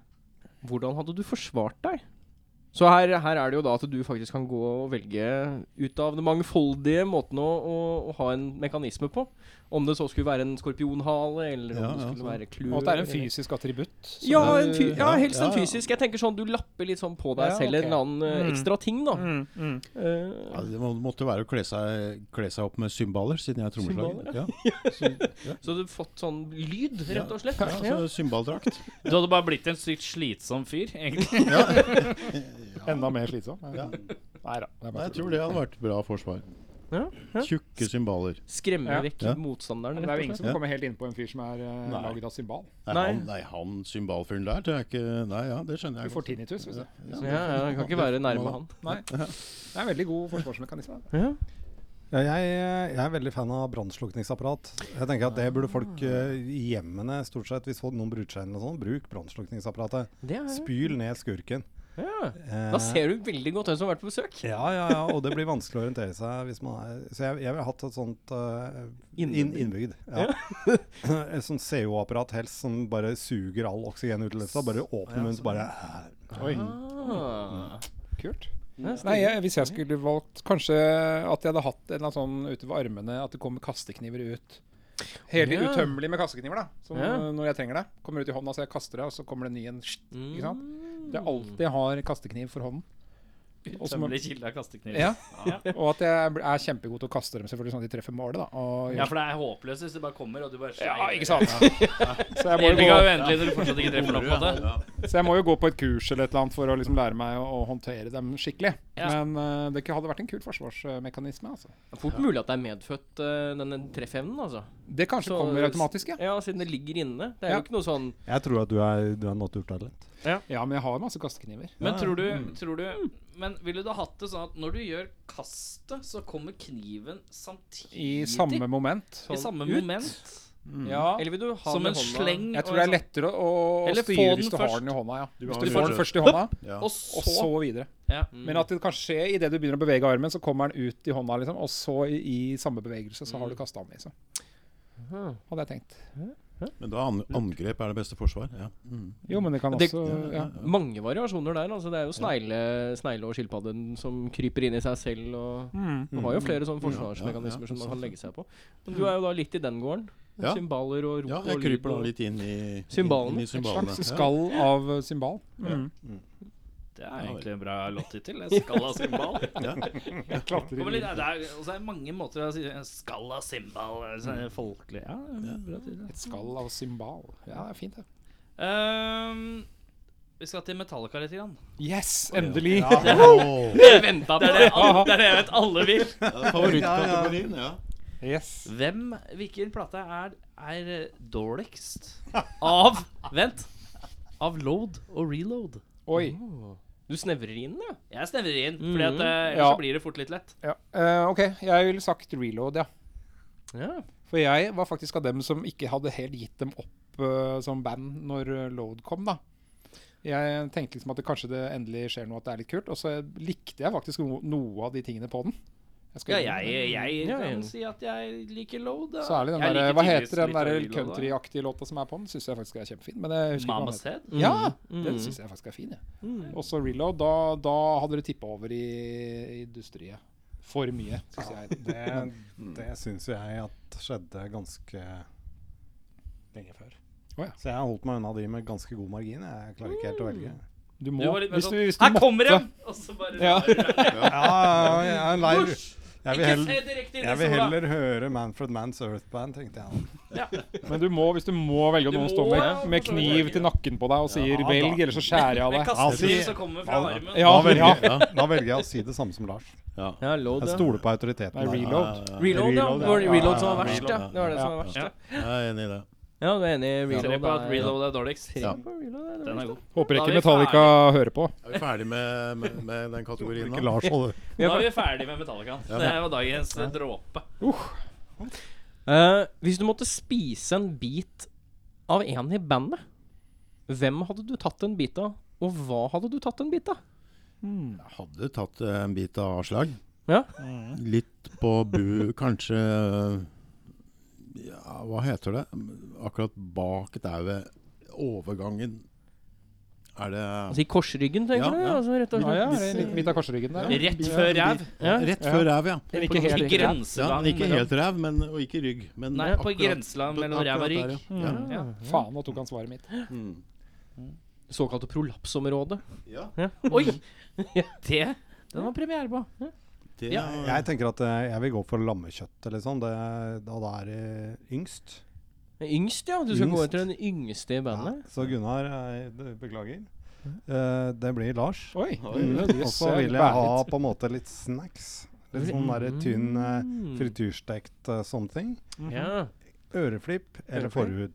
Speaker 3: hvordan hadde du forsvart deg? Så her, her er det jo da at du faktisk kan gå og velge ut av de mangfoldige måtene å, å, å ha en mekanisme på. Om det så skulle være en skorpionhale, eller om
Speaker 8: Ja, sånn.
Speaker 3: det
Speaker 8: ja,
Speaker 3: skulle
Speaker 8: sant.
Speaker 3: være klør.
Speaker 7: Og at det er en
Speaker 3: eller-
Speaker 7: fysisk attributt. som
Speaker 3: Ja,
Speaker 7: du-
Speaker 3: en fy ja,
Speaker 8: sånn, Ja,
Speaker 3: helst en
Speaker 8: ja, ja.
Speaker 3: fysisk. Jeg tenker sånn, Du lapper litt sånn på deg
Speaker 7: Ja,
Speaker 3: selv en
Speaker 7: ok.
Speaker 3: eller annen eh,
Speaker 7: Mm.
Speaker 3: ekstra ting, da.
Speaker 7: Mm, mm.
Speaker 3: Eh,
Speaker 8: Ja, det må- måtte jo være å kle seg, kle seg opp med cymbaler, siden jeg er trommeslager.
Speaker 3: Cymbaler,
Speaker 8: Ja.
Speaker 3: så hadde du fått sånn lyd, rett og slett.
Speaker 8: Ja, så Cymbaldrakt.
Speaker 2: Du hadde bare blitt en sykt slitsom fyr, egentlig.
Speaker 7: Enda mer slitsom. Nei
Speaker 8: Ja.
Speaker 7: da. det er
Speaker 8: Nei,
Speaker 7: bare
Speaker 8: Jeg tror det hadde vært bra forsvar.
Speaker 3: Ja, ja.
Speaker 8: Tjukke cymbaler.
Speaker 3: Skremme
Speaker 7: Ja.
Speaker 3: vekk
Speaker 8: Ja.
Speaker 3: motstanderen.
Speaker 7: Men det
Speaker 3: rett
Speaker 7: er
Speaker 3: og
Speaker 7: jo ingen
Speaker 3: slett.
Speaker 7: som kommer helt inn på en fyr som er eh,
Speaker 8: Nei.
Speaker 7: laget av cymbal.
Speaker 8: Nei,
Speaker 3: Nei.
Speaker 8: han, nei, han cymbalfyren der, det er ikke Nei, ja, det skjønner
Speaker 7: Du
Speaker 8: jeg
Speaker 7: får
Speaker 8: godt.
Speaker 7: tinnitus. Hvis du.
Speaker 3: Ja, ja, jeg kan ikke være nærme han.
Speaker 7: Nei. Det er en veldig god forsvarsmekanisme. da.
Speaker 1: Ja, jeg, jeg er veldig fan av brannslukningsapparat. Jeg tenker at det burde folk eh, i hjemmene stort sett, hvis noen bryter seg inn eller sånn, bruk brannslukningsapparatet.
Speaker 3: Det er,
Speaker 1: Spyl ned skurken.
Speaker 3: ja.
Speaker 1: Eh,
Speaker 3: Da ser du veldig godt hvem som har vært på besøk.
Speaker 1: Ja, ja, ja, og det blir vanskelig å orientere seg hvis man er Så jeg, jeg ville hatt et sånt eh, inn, innbygd. Ja. et sånt CO-apparat helst som bare suger all oksygen ut i lufta. Bare åpner munnen, så bare
Speaker 3: Ah.
Speaker 7: Kult.
Speaker 3: Det er
Speaker 7: Nei, jeg, Hvis jeg skulle valgt Kanskje at jeg hadde hatt en eller annen sånn ute ved armene At det kommer kastekniver ut. Helt
Speaker 3: Ja.
Speaker 7: utømmelig med kastekniver. da Som
Speaker 3: Ja.
Speaker 7: eh, Når jeg trenger det. Kommer ut i hånda, så jeg kaster det, og så kommer det en ny en. sht,
Speaker 3: Mm.
Speaker 7: Ikke sant? Det er alltid jeg har kastekniv for hånden. Og så må-
Speaker 2: Utømmelig kilde av kastekniv.
Speaker 7: Ja. Og at jeg bl- er kjempegod til å kaste dem, selvfølgelig, sånn at de treffer målet. da og,
Speaker 2: Ja, for det er håpløst hvis det bare kommer, og du bare
Speaker 7: Ja, ikke sant? Så jeg, må jo
Speaker 2: Evig
Speaker 7: gå,
Speaker 2: er uendelig når du fortsatt ikke treffer nok på det.
Speaker 7: så jeg må jo gå på et kurs eller et eller annet for å liksom lære meg å, å håndtere dem skikkelig.
Speaker 2: Ja.
Speaker 7: Men eh, det ikke hadde vært en kul forsvarsmekanisme. altså
Speaker 3: Fort mulig at det er medfødt, eh, denne treffevnen, altså.
Speaker 7: Det kanskje
Speaker 3: Så-
Speaker 7: kommer automatisk, ja.
Speaker 3: Ja, siden det ligger inne. Det er
Speaker 7: Ja.
Speaker 3: jo ikke noe sånn
Speaker 1: Jeg tror at du er, du er naturtalent.
Speaker 7: Ja, men jeg har masse kastekniver.
Speaker 2: Men tror du,
Speaker 1: Mm.
Speaker 2: tror du Men ville du hatt det sånn at når du gjør kastet, så kommer kniven samtidig?
Speaker 7: I samme moment. Sånn
Speaker 2: I samme moment?
Speaker 7: Ja.
Speaker 3: Eller vil du ha
Speaker 2: Som
Speaker 3: den
Speaker 2: en
Speaker 3: i hånda?
Speaker 2: sleng?
Speaker 7: Jeg tror
Speaker 2: og
Speaker 7: det
Speaker 2: en
Speaker 7: er
Speaker 2: sånn-
Speaker 7: lettere å, å
Speaker 2: Eller få
Speaker 7: styre
Speaker 2: den
Speaker 7: hvis du
Speaker 2: først.
Speaker 7: har den i hånda. ja
Speaker 8: Du
Speaker 7: Hvis
Speaker 8: har
Speaker 7: du
Speaker 8: den
Speaker 7: får
Speaker 8: først.
Speaker 7: den først i hånda,
Speaker 8: Ja.
Speaker 2: Og
Speaker 7: og så
Speaker 2: så
Speaker 7: videre.
Speaker 2: Ja.
Speaker 7: Men at det kan skje idet du begynner å bevege armen, så kommer den ut i hånda, liksom. Og så i, i samme bevegelse
Speaker 2: Mm.
Speaker 7: så har du kasta den i seg. Hadde jeg tenkt.
Speaker 8: Men da an angrep er det beste forsvar. Ja. Mm.
Speaker 7: Jo, men det kan
Speaker 3: Det-
Speaker 7: også ja.
Speaker 3: Mange variasjoner der. altså Det er jo snegle, snegle og skilpadden som kryper inn i seg selv.
Speaker 7: Mm.
Speaker 3: og Man har jo flere sånne forsvarsmekanismer som man kan legge seg på. Men du er jo da litt i den gården.
Speaker 8: Ja.
Speaker 3: Symbaler og rop
Speaker 8: ja,
Speaker 3: og
Speaker 8: jeg
Speaker 3: lyd
Speaker 8: kryper da
Speaker 3: og-
Speaker 8: litt inn i
Speaker 3: Symbalene.
Speaker 8: Inn i
Speaker 7: Et
Speaker 8: symbalene.
Speaker 7: slags skall av symbal. Mm.
Speaker 6: Det er egentlig en bra låttittel. det er Skalla Simbal.
Speaker 1: Klatrer
Speaker 6: Kommer litt-
Speaker 1: i
Speaker 6: Det er, og så er det mange måter å si Skalla Simbal. sånn Folkelig. Ja, det er en bra tittel.
Speaker 7: Et skall av symbal. Ja, det er fint, det.
Speaker 6: Ehm, vi skal til Metallica litt. Grann.
Speaker 7: Yes, endelig!
Speaker 3: Venta på
Speaker 6: Det, er det, alle, det er det jeg vet alle vil.
Speaker 8: Favorittkategorien, ja.
Speaker 7: Yes.
Speaker 6: Hvem, Hvilken plate er, er eh, dårligst av Vent. Av load og reload.
Speaker 7: Oi.
Speaker 3: Du snevrer inn, ja.
Speaker 6: Jeg snevrer inn, Fordi at eh, ellers
Speaker 7: Ja.
Speaker 6: så blir det fort litt lett.
Speaker 7: Ja. eh, ok, jeg ville sagt reload, ja.
Speaker 3: Ja.
Speaker 7: For jeg var faktisk av dem som ikke hadde helt gitt dem opp eh, som band når eh, Load kom, da. Jeg tenkte liksom at det kanskje det endelig skjer noe, at det er litt kult. Og så likte jeg faktisk no noe av de tingene på den. Jeg skal
Speaker 6: Ja,
Speaker 7: innrømme
Speaker 6: jeg, jeg
Speaker 3: Ja, ja.
Speaker 6: kan si at jeg liker load.
Speaker 7: det. Særlig den
Speaker 6: Jeg
Speaker 7: der,
Speaker 6: liker
Speaker 7: hva
Speaker 6: tidligst
Speaker 7: heter den
Speaker 6: litt av
Speaker 7: der
Speaker 6: reload, da.
Speaker 7: countryaktige låta som er på den? Syns jeg faktisk er kjempefin. Men jeg husker ikke hva den
Speaker 6: Mama's
Speaker 7: heter.
Speaker 6: Head?
Speaker 7: Ja,
Speaker 3: Mm.
Speaker 7: den syns jeg faktisk er fin. jeg.
Speaker 6: Mm.
Speaker 7: Og så Reload. Da, da hadde det tippa over i, i dusteriet. For mye, syns jeg.
Speaker 1: Det, Mm. det syns jo jeg at skjedde ganske lenge før.
Speaker 7: Å ja.
Speaker 1: Så jeg har holdt meg unna de med ganske god margin. Jeg klarer ikke helt å velge.
Speaker 7: Du må,
Speaker 6: Du var litt mer
Speaker 7: hvis du,
Speaker 6: sånn
Speaker 7: hvis du
Speaker 6: Her
Speaker 7: måtte
Speaker 6: kommer de! Og så bare
Speaker 7: Ja.
Speaker 1: Ja, jeg er lei
Speaker 6: Hysj!
Speaker 1: Jeg vil
Speaker 6: Ikke
Speaker 1: heller,
Speaker 6: se direkte inn
Speaker 1: jeg
Speaker 6: i
Speaker 1: vil
Speaker 6: sola.
Speaker 1: heller høre Manfred Manns Earth Band, tenkte jeg.
Speaker 7: Men du må, hvis du må velge at
Speaker 6: Du
Speaker 7: noen
Speaker 6: må,
Speaker 7: står med,
Speaker 6: ja,
Speaker 7: med
Speaker 6: for så vidt.
Speaker 7: kniv til nakken på deg og sier 'velg, eller så skjærer jeg av
Speaker 6: Med
Speaker 7: deg'.
Speaker 6: kastekniv
Speaker 1: Altså,
Speaker 6: som kommer fra
Speaker 1: hva da?
Speaker 6: armen.
Speaker 7: Ja,
Speaker 1: Da velger,
Speaker 7: ja.
Speaker 8: Ja.
Speaker 1: jeg- da velger jeg å si det samme som Lars.
Speaker 3: ja load,
Speaker 1: Jeg
Speaker 3: ja.
Speaker 1: stoler på autoriteten.
Speaker 7: Nei,
Speaker 1: der.
Speaker 7: reload.
Speaker 3: Reload, ja.
Speaker 1: Reload,
Speaker 3: Det
Speaker 1: ja.
Speaker 3: var reload som
Speaker 1: Ja,
Speaker 3: var verst, ja.
Speaker 8: ja.
Speaker 3: Det var det som var verst,
Speaker 6: Ja.
Speaker 3: ja.
Speaker 8: Jeg er enig i det.
Speaker 3: Ja, du er enig i reload?
Speaker 6: Tre på at
Speaker 3: er-
Speaker 6: reload er dårligst.
Speaker 8: Ja.
Speaker 3: På reload er det
Speaker 6: Den
Speaker 3: verst,
Speaker 6: er god.
Speaker 7: Håper
Speaker 6: Da er
Speaker 7: ikke
Speaker 6: vi
Speaker 7: Metallica hører på.
Speaker 8: Er vi ferdig med, med, med den kategorien
Speaker 1: Ikke
Speaker 8: nå?
Speaker 1: Lars holder.
Speaker 6: Nå er vi ferdig med Metallica.
Speaker 8: Ja.
Speaker 6: Det var dagens eh, dråpe.
Speaker 3: Eh, hvis du måtte spise en bit av en i bandet, hvem hadde du tatt en bit av, og hva hadde du tatt en bit av?
Speaker 8: Jeg hadde tatt eh, en bit av avslag.
Speaker 3: Ja.
Speaker 8: Litt på bu... Kanskje Ja, hva heter det? Akkurat bak der ved overgangen er det
Speaker 3: Altså i korsryggen, tenker
Speaker 8: Ja,
Speaker 3: du?
Speaker 8: ja.
Speaker 3: Altså, rett og
Speaker 7: Ja,
Speaker 3: slett.
Speaker 7: ja, det er litt midt av korsryggen der.
Speaker 6: Rett før ræv.
Speaker 3: Ja.
Speaker 8: Rett før ræv, ja.
Speaker 7: Men ikke
Speaker 6: I
Speaker 7: helt rett.
Speaker 8: ja
Speaker 6: grenseland.
Speaker 8: men ikke
Speaker 6: mellom-
Speaker 8: helt ræv, men, og ikke rygg. Men
Speaker 6: Nei, på
Speaker 8: akkurat-
Speaker 6: grenseland mellom
Speaker 8: akkurat
Speaker 6: ræv og
Speaker 8: der,
Speaker 6: rygg. Mm.
Speaker 8: Ja.
Speaker 6: Ja.
Speaker 7: Faen, nå tok han svaret mitt.
Speaker 8: Ja. Mm.
Speaker 3: Såkalte prolapsområdet.
Speaker 8: ja,
Speaker 6: Oi! Det Den var premiere på.
Speaker 8: det
Speaker 6: Ja.
Speaker 8: er-
Speaker 1: Jeg tenker at eh, jeg vil gå for lammekjøtt, liksom. Det, da det er eh, yngst.
Speaker 3: Yngst, ja. Du skal gå
Speaker 1: Yngst.
Speaker 3: etter den yngste i bandet.
Speaker 1: Ja, så Gunnar, jeg det- beklager. Eh, det blir Lars.
Speaker 7: Oi.
Speaker 1: Og så vil jeg ha på en måte litt snacks. Litt sånn der
Speaker 3: Mm.
Speaker 1: tynn eh, frityrstekt eh, sånne ting.
Speaker 3: Ja.
Speaker 1: Øreflipp eller forhud.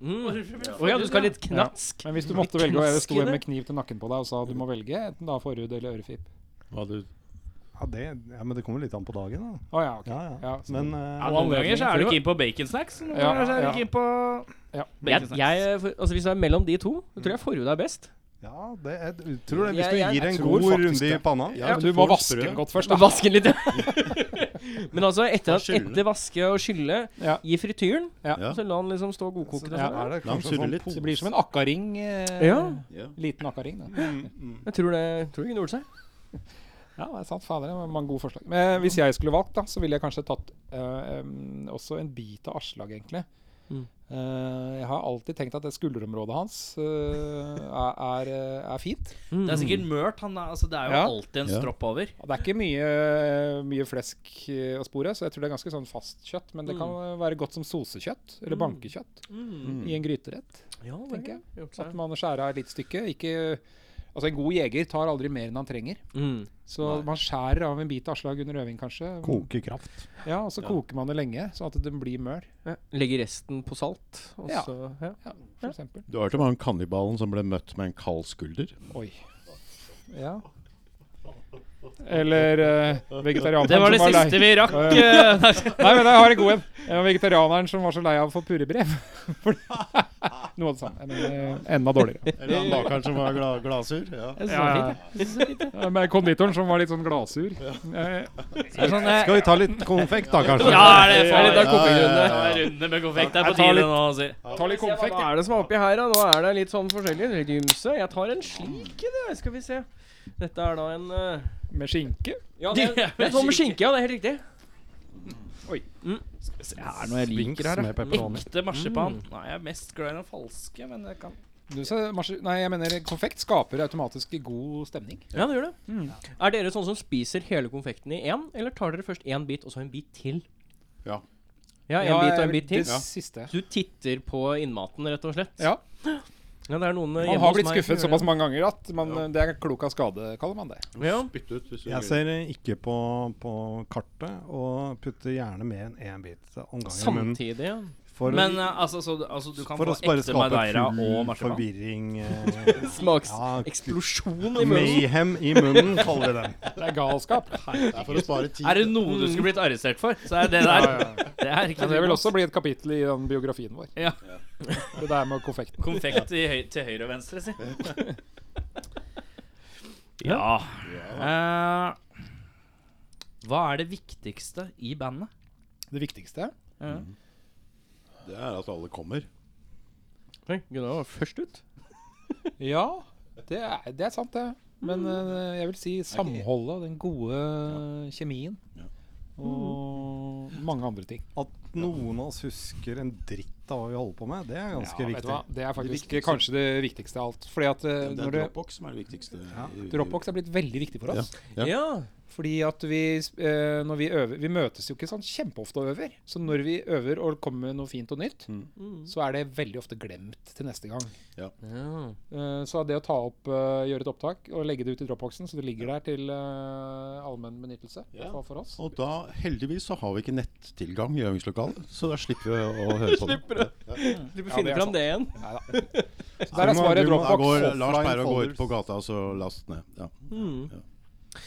Speaker 3: Mm. Å ja, du skal ha litt knatsk.
Speaker 7: Men hvis du måtte velge, og jeg sto
Speaker 3: Knaskende.
Speaker 7: med kniv til nakken på deg og sa du må velge enten da forhud eller ørefip
Speaker 8: Hva du
Speaker 1: Ja, det, ja, men det kommer litt an på dagen, da.
Speaker 7: Å ja, ok.
Speaker 1: Ja, ja.
Speaker 7: Ja, så-
Speaker 1: Men eh,
Speaker 6: Ja, noen ganger så er du keen på baconsnacks. Noen
Speaker 7: Ja,
Speaker 6: ganger så er
Speaker 7: ja.
Speaker 6: du keen på
Speaker 7: Ja.
Speaker 3: Jeg,
Speaker 6: baconsnacks.
Speaker 3: jeg, for- altså Hvis det er mellom de to, så tror jeg forhud er best.
Speaker 1: ja, det, jeg tror det. Hvis
Speaker 3: Jeg- jeg-
Speaker 1: du gir en
Speaker 7: jeg tror
Speaker 1: god
Speaker 7: faktisk
Speaker 1: runde i
Speaker 7: det.
Speaker 1: panna
Speaker 8: Ja,
Speaker 7: Men du må
Speaker 8: får
Speaker 7: vaske
Speaker 8: sprø.
Speaker 7: den godt først,
Speaker 3: Og
Speaker 7: da.
Speaker 3: vaske den litt, ja. Men altså, etter,
Speaker 8: Og
Speaker 3: at,
Speaker 8: skylle.
Speaker 3: etter vaske og skylle,
Speaker 7: Ja.
Speaker 3: i frityren,
Speaker 8: Ja.
Speaker 3: og så la den liksom stå
Speaker 1: så
Speaker 3: godkokende.
Speaker 1: da
Speaker 3: Ja.
Speaker 1: er det
Speaker 8: La den
Speaker 1: kanskje
Speaker 8: surre
Speaker 1: sånn
Speaker 8: litt.
Speaker 1: pose.
Speaker 7: Det blir som en akkaring. Eh,
Speaker 3: Ja.
Speaker 8: Ja.
Speaker 7: Liten akkaring. Da.
Speaker 3: Jeg tror det tror det kunne gjort seg.
Speaker 7: Ja, det er sant. Fader, det var mange gode forslag. Men eh, hvis jeg skulle valgt, da, så ville jeg kanskje tatt eh, em, også en bit av Aslag, egentlig.
Speaker 3: Mm.
Speaker 7: Eh, jeg har alltid tenkt at det skulderområdet hans eh, er, er, eh, er fint.
Speaker 6: Det er sikkert mørt. Han er, altså, det er jo
Speaker 7: Ja.
Speaker 6: alltid en
Speaker 8: Mm. Ja.
Speaker 6: stropp over.
Speaker 7: Og Det er ikke mye, mye flesk eh, å spore, så jeg tror det er ganske sånn fast kjøtt. Men det kan
Speaker 3: Mm.
Speaker 7: være godt som sosekjøtt eller bankekjøtt i en gryterett,
Speaker 3: Mm. Ja, det
Speaker 7: tenker jeg.
Speaker 3: kunne gjort
Speaker 7: At
Speaker 3: seg.
Speaker 7: man skjærer av et lite stykke. Ikke, altså En god jeger tar aldri mer enn han trenger.
Speaker 3: Mm.
Speaker 7: Så man skjærer av en bit av Aslag under øving, kanskje.
Speaker 1: kokekraft.
Speaker 7: Ja, Og så koker man det lenge, sånn at den blir mør,
Speaker 3: Ja. Legge resten på salt. Og
Speaker 7: Ja.
Speaker 3: Så, ja.
Speaker 7: for eksempel.
Speaker 8: Du har hørt om han kannibalen som ble møtt med en kald skulder?
Speaker 7: Oi. Ja. Eller uh, vegetarianeren
Speaker 6: Det var det
Speaker 7: som var lei-
Speaker 6: siste vi rakk.
Speaker 7: Ja,
Speaker 6: eh, nei,
Speaker 7: Nei, men jeg har en god en. Det var vegetarianeren som var så lei av å få purrebrev. For- Noe av det samme. Men eh, enda dårligere.
Speaker 8: Eller han bakeren som var gla glasur? Ja.
Speaker 6: jeg synes det
Speaker 7: Ja,
Speaker 6: var
Speaker 7: ja.
Speaker 6: fint,
Speaker 7: Ja, men konditoren som var litt sånn gladsur. Eh,
Speaker 6: det. Det er sånn, eh,
Speaker 1: Skal vi ta litt konfekt, da, kanskje?
Speaker 6: Ja, er det
Speaker 3: Ja, ja,
Speaker 6: ferdig?
Speaker 3: ja, ja,
Speaker 8: Eh,
Speaker 6: Da er runde med konfekt. Det er på
Speaker 7: Jeg tar
Speaker 6: tide
Speaker 7: litt-
Speaker 6: nå. altså. sier-
Speaker 7: ta litt konfekt.
Speaker 3: Hva er det som er oppi her, da? Nå er det litt sånn forskjellig. Litt ymse. Jeg tar en slik, en, jeg. skal vi se. Dette er da en eh,
Speaker 7: Med skinke.
Speaker 3: Ja, det er, det er sånn med skinke, ja. Det er helt riktig.
Speaker 6: Det er noe jeg liker her.
Speaker 1: Med pepperoni.
Speaker 8: Mm.
Speaker 6: Ekte marsipan. Nei, jeg er mest glad i den falske, men jeg kan
Speaker 7: Du sa marsj- Nei, jeg mener konfekt skaper automatisk god stemning.
Speaker 3: Ja, det gjør det.
Speaker 8: Mm.
Speaker 3: Er dere sånn som spiser hele konfekten i én, eller tar dere først én bit og så en bit til?
Speaker 8: Ja.
Speaker 3: Ja, en
Speaker 7: Ja,
Speaker 3: bit og en
Speaker 7: jeg-
Speaker 3: bit til.
Speaker 7: Det siste.
Speaker 3: Du titter på innmaten, rett og slett?
Speaker 7: Ja.
Speaker 3: Ja, det er noen eh,
Speaker 7: Man
Speaker 3: hjemme
Speaker 7: har
Speaker 3: hos
Speaker 7: blitt
Speaker 3: meg som
Speaker 7: skuffet
Speaker 3: gjør
Speaker 7: såpass
Speaker 3: det.
Speaker 7: mange ganger at man, det er klok av skade, kaller man det.
Speaker 3: Ja.
Speaker 8: Bytte ut hvis du
Speaker 1: Jeg ser eh, ikke på, på kartet, og putter gjerne mer enn én bit om gangen. Men
Speaker 3: Samtidig, ja.
Speaker 1: for,
Speaker 2: Men eh, altså, så, du- altså du kan
Speaker 1: for
Speaker 2: få
Speaker 1: å bare
Speaker 2: ekte
Speaker 1: skape
Speaker 2: Madeira og
Speaker 1: full
Speaker 2: marsipan.
Speaker 1: forvirring eh, ja,
Speaker 3: Smakseksplosjon i munnen.
Speaker 1: Mayhem i munnen, kaller vi den.
Speaker 7: Det er galskap.
Speaker 8: Det er for å spare tid.
Speaker 2: Er det noe du skulle blitt arrestert for, så er det der. Det er ikke
Speaker 7: Ja, det
Speaker 2: noe.
Speaker 7: vil også bli et kapittel i den biografien vår.
Speaker 2: Ja.
Speaker 7: Det der med konfekten.
Speaker 2: Konfekt i høy til høyre og venstre, si. ja. Eh, hva er det viktigste i bandet?
Speaker 7: Det viktigste
Speaker 8: Det er at alle kommer.
Speaker 7: Eh,
Speaker 3: Oi, Gunnar var først ut.
Speaker 7: Ja, det er, det er sant, det.
Speaker 3: Mm.
Speaker 7: Men eh, jeg vil si samholdet, den gode kjemien. Og
Speaker 3: Mm.
Speaker 7: mange andre ting.
Speaker 1: At noen av oss husker en dritt av hva vi holder på med, det er ganske
Speaker 7: Ja, vet du
Speaker 1: viktig.
Speaker 7: hva? Det er faktisk
Speaker 8: viktigste.
Speaker 7: kanskje det viktigste av alt. Fordi at eh,
Speaker 8: Det er
Speaker 7: når det,
Speaker 8: Dropbox som er det viktigste. i- i-
Speaker 7: Dropbox er blitt veldig viktig for
Speaker 8: Ja.
Speaker 7: oss.
Speaker 8: Ja.
Speaker 7: Fordi at vi, eh, når vi øver Vi møtes jo ikke sånn kjempeofte og øver. Så når vi øver og kommer med noe fint og nytt, så er det veldig ofte glemt til neste gang.
Speaker 3: Ja.
Speaker 7: Eh, så det å ta opp, eh, gjøre et opptak og legge det ut i dropboxen, så det ligger der til eh, allmenn benyttelse
Speaker 8: Ja.
Speaker 7: for, for oss
Speaker 8: Og da, heldigvis, så har vi ikke nettilgang i øvingslokalet, så da slipper vi å, å høre på det.
Speaker 3: Du
Speaker 7: Ja, det
Speaker 3: finner
Speaker 7: er
Speaker 3: fram det igjen.
Speaker 7: Så der er svaret
Speaker 8: Da
Speaker 7: dropbox.
Speaker 8: går Lars
Speaker 1: offline
Speaker 8: pleier å gå
Speaker 1: folders.
Speaker 8: ut på gata og så laste ned. Ja.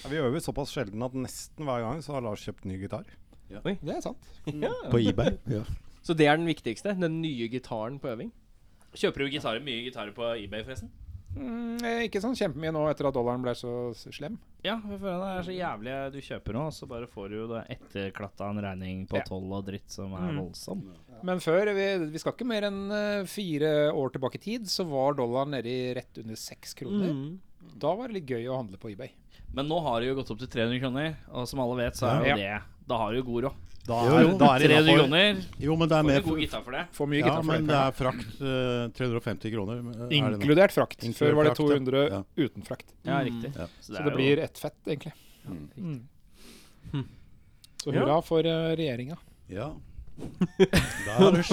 Speaker 1: Ja, Vi øver såpass sjelden at nesten hver gang så har Lars kjøpt ny gitar.
Speaker 7: Det er sant.
Speaker 8: På eBay. Ja.
Speaker 3: Så det er den viktigste? Den nye gitaren på øving?
Speaker 2: Kjøper du gitarer, mye gitarer på eBay, forresten?
Speaker 7: Mm, eh, ikke sånn kjempemye nå etter at dollaren ble så s- slem.
Speaker 2: Ja, jeg føler det er så jævlig Du kjøper noe, så bare får du jo det etterklatta en regning på
Speaker 7: Ja.
Speaker 2: toll og dritt som er voldsom.
Speaker 7: Men før, vi, vi skal ikke mer enn eh, fire år tilbake i tid, så var dollaren nede i rett under seks kroner. Da var det litt gøy å handle på eBay.
Speaker 2: Men nå har det jo gått opp til 300 kroner, og som alle vet, så er
Speaker 7: Ja.
Speaker 2: jo det Da har du jo god råd.
Speaker 1: Da
Speaker 8: Jo,
Speaker 1: er,
Speaker 8: jo.
Speaker 1: da er det
Speaker 2: 300
Speaker 1: innenfor.
Speaker 2: kroner,
Speaker 8: Jo, men det er
Speaker 2: får
Speaker 8: med
Speaker 2: du god gitar for det.
Speaker 7: Får mye
Speaker 8: Ja,
Speaker 7: gitar for
Speaker 8: men
Speaker 7: det.
Speaker 8: det er frakt eh, 350 kroner. eh, er det nå.
Speaker 7: Inkludert frakt.
Speaker 8: Inkludert
Speaker 7: Før var det
Speaker 8: frakt, ja.
Speaker 7: 200
Speaker 8: Ja.
Speaker 7: uten frakt.
Speaker 2: Ja, riktig.
Speaker 8: Ja.
Speaker 7: Så
Speaker 2: er
Speaker 7: det
Speaker 2: jo-
Speaker 7: blir ett fett, egentlig. Mm. Hm. Så hurra for uh, regjeringa.
Speaker 8: Ja.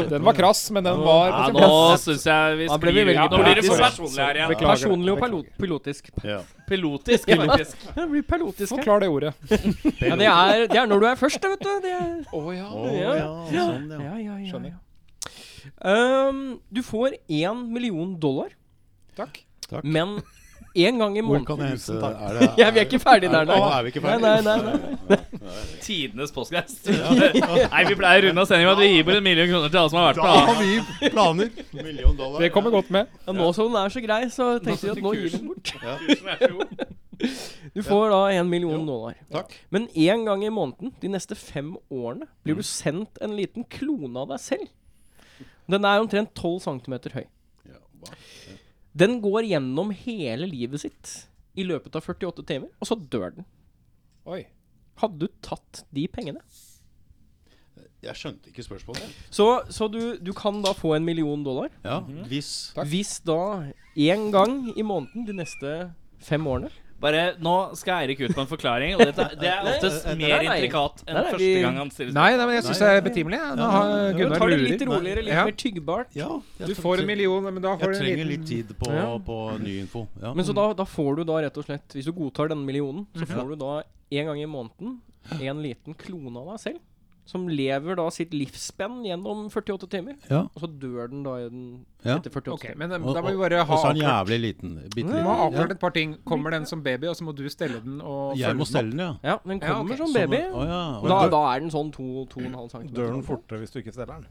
Speaker 7: Den var krass, men den var
Speaker 2: ja,
Speaker 7: på sin
Speaker 2: Nå
Speaker 7: plass.
Speaker 2: syns jeg vi
Speaker 3: Da ble vi
Speaker 2: sklir-
Speaker 3: veldig
Speaker 2: Nå blir det
Speaker 3: politisk.
Speaker 2: for personlig her igjen.
Speaker 7: Beklager.
Speaker 3: Personlig og pilo-
Speaker 7: Beklager.
Speaker 3: pilotisk.
Speaker 8: ja.
Speaker 2: Pilotisk, faktisk.
Speaker 3: Ja, det blir pilotisk her.
Speaker 7: Forklar det ordet.
Speaker 3: Ja, det, er, det er når du er først, da, vet du. Det er
Speaker 7: Å ja.
Speaker 3: ja.
Speaker 8: sånn, ja.
Speaker 3: Ja, ja, ja.
Speaker 7: Skjønner.
Speaker 3: ja. Ehm, du får én million dollar,
Speaker 7: Takk.
Speaker 3: men én gang i
Speaker 8: Hvor
Speaker 3: måneden
Speaker 8: kan jeg hente er det,
Speaker 3: Ja, vi er ikke ferdig der,
Speaker 8: nå.
Speaker 3: nei.
Speaker 8: Er vi ikke ferdig?
Speaker 3: Nei, nei,
Speaker 2: Tidenes postgast. Nei, vi pleier å runde av sendinga med at vi gir bort en million kroner til alle som har vært på. Da.
Speaker 8: Million dollar.
Speaker 7: Det kommer godt med.
Speaker 3: ja, Nå som den er så grei, så tenkte vi at nå gir vi den bort. Du får da én million dollar.
Speaker 8: Takk.
Speaker 3: Men én gang i måneden de neste fem årene blir du
Speaker 8: Mm.
Speaker 3: sendt en liten klone av deg selv. Den er omtrent 12 cm høy.
Speaker 8: Ja, hva?
Speaker 3: Den går gjennom hele livet sitt i løpet av 48 timer, og så dør den.
Speaker 7: Oi.
Speaker 3: Hadde du tatt de pengene?
Speaker 8: Jeg skjønte ikke spørsmålet.
Speaker 3: Så, så du, du kan da få en million dollar.
Speaker 8: Ja, Hvis
Speaker 7: Takk.
Speaker 3: Hvis da én gang i måneden de neste fem årene
Speaker 2: Bare, nå skal Eirik ut på en forklaring, og dette, det er oftest
Speaker 3: Nei, nei,
Speaker 2: mer
Speaker 3: nei, nei.
Speaker 2: intrikat enn
Speaker 3: Nei, nei,
Speaker 2: første
Speaker 3: vi-
Speaker 2: gang han stiller
Speaker 7: Nei, nei, men jeg syns det er betimelig. jeg. Nå har
Speaker 3: Du
Speaker 7: Gunnar
Speaker 3: tar det litt
Speaker 7: lurer.
Speaker 3: roligere, litt
Speaker 7: Ja.
Speaker 3: mer tyggbart.
Speaker 8: Ja. jeg
Speaker 7: Du
Speaker 8: tror-
Speaker 7: får en million, men da får
Speaker 8: Jeg
Speaker 7: du en
Speaker 8: trenger
Speaker 7: liten
Speaker 8: litt tid på,
Speaker 3: Ja.
Speaker 8: på ny info. Ja.
Speaker 3: Men så da, da får du da rett og slett, hvis du godtar denne millionen, så
Speaker 7: Mhm.
Speaker 3: får du da en gang i måneden en liten klone av deg selv. Som lever da sitt livsspenn gjennom 48 timer.
Speaker 8: Ja.
Speaker 3: Og så dør den da i den
Speaker 8: Ja.
Speaker 3: etter 48
Speaker 7: Ok,
Speaker 3: timer.
Speaker 7: men eh,
Speaker 8: Og-
Speaker 7: da må vi bare ha
Speaker 8: Og så er den
Speaker 7: avklart-
Speaker 8: jævlig liten. Bitte
Speaker 7: vi
Speaker 8: liten.
Speaker 7: må ha avklart et par ting. Kommer den som baby, og så må du stelle den og følge
Speaker 8: Jeg må
Speaker 7: den opp?
Speaker 8: stelle den, ja.
Speaker 3: Ja, den
Speaker 7: Ja,
Speaker 3: kommer
Speaker 7: ok, sånn
Speaker 3: som baby.
Speaker 8: Å, ja.
Speaker 3: og da, da er den sånn 2-2,5 cm.
Speaker 1: Dør den fortere hvis du ikke steller den?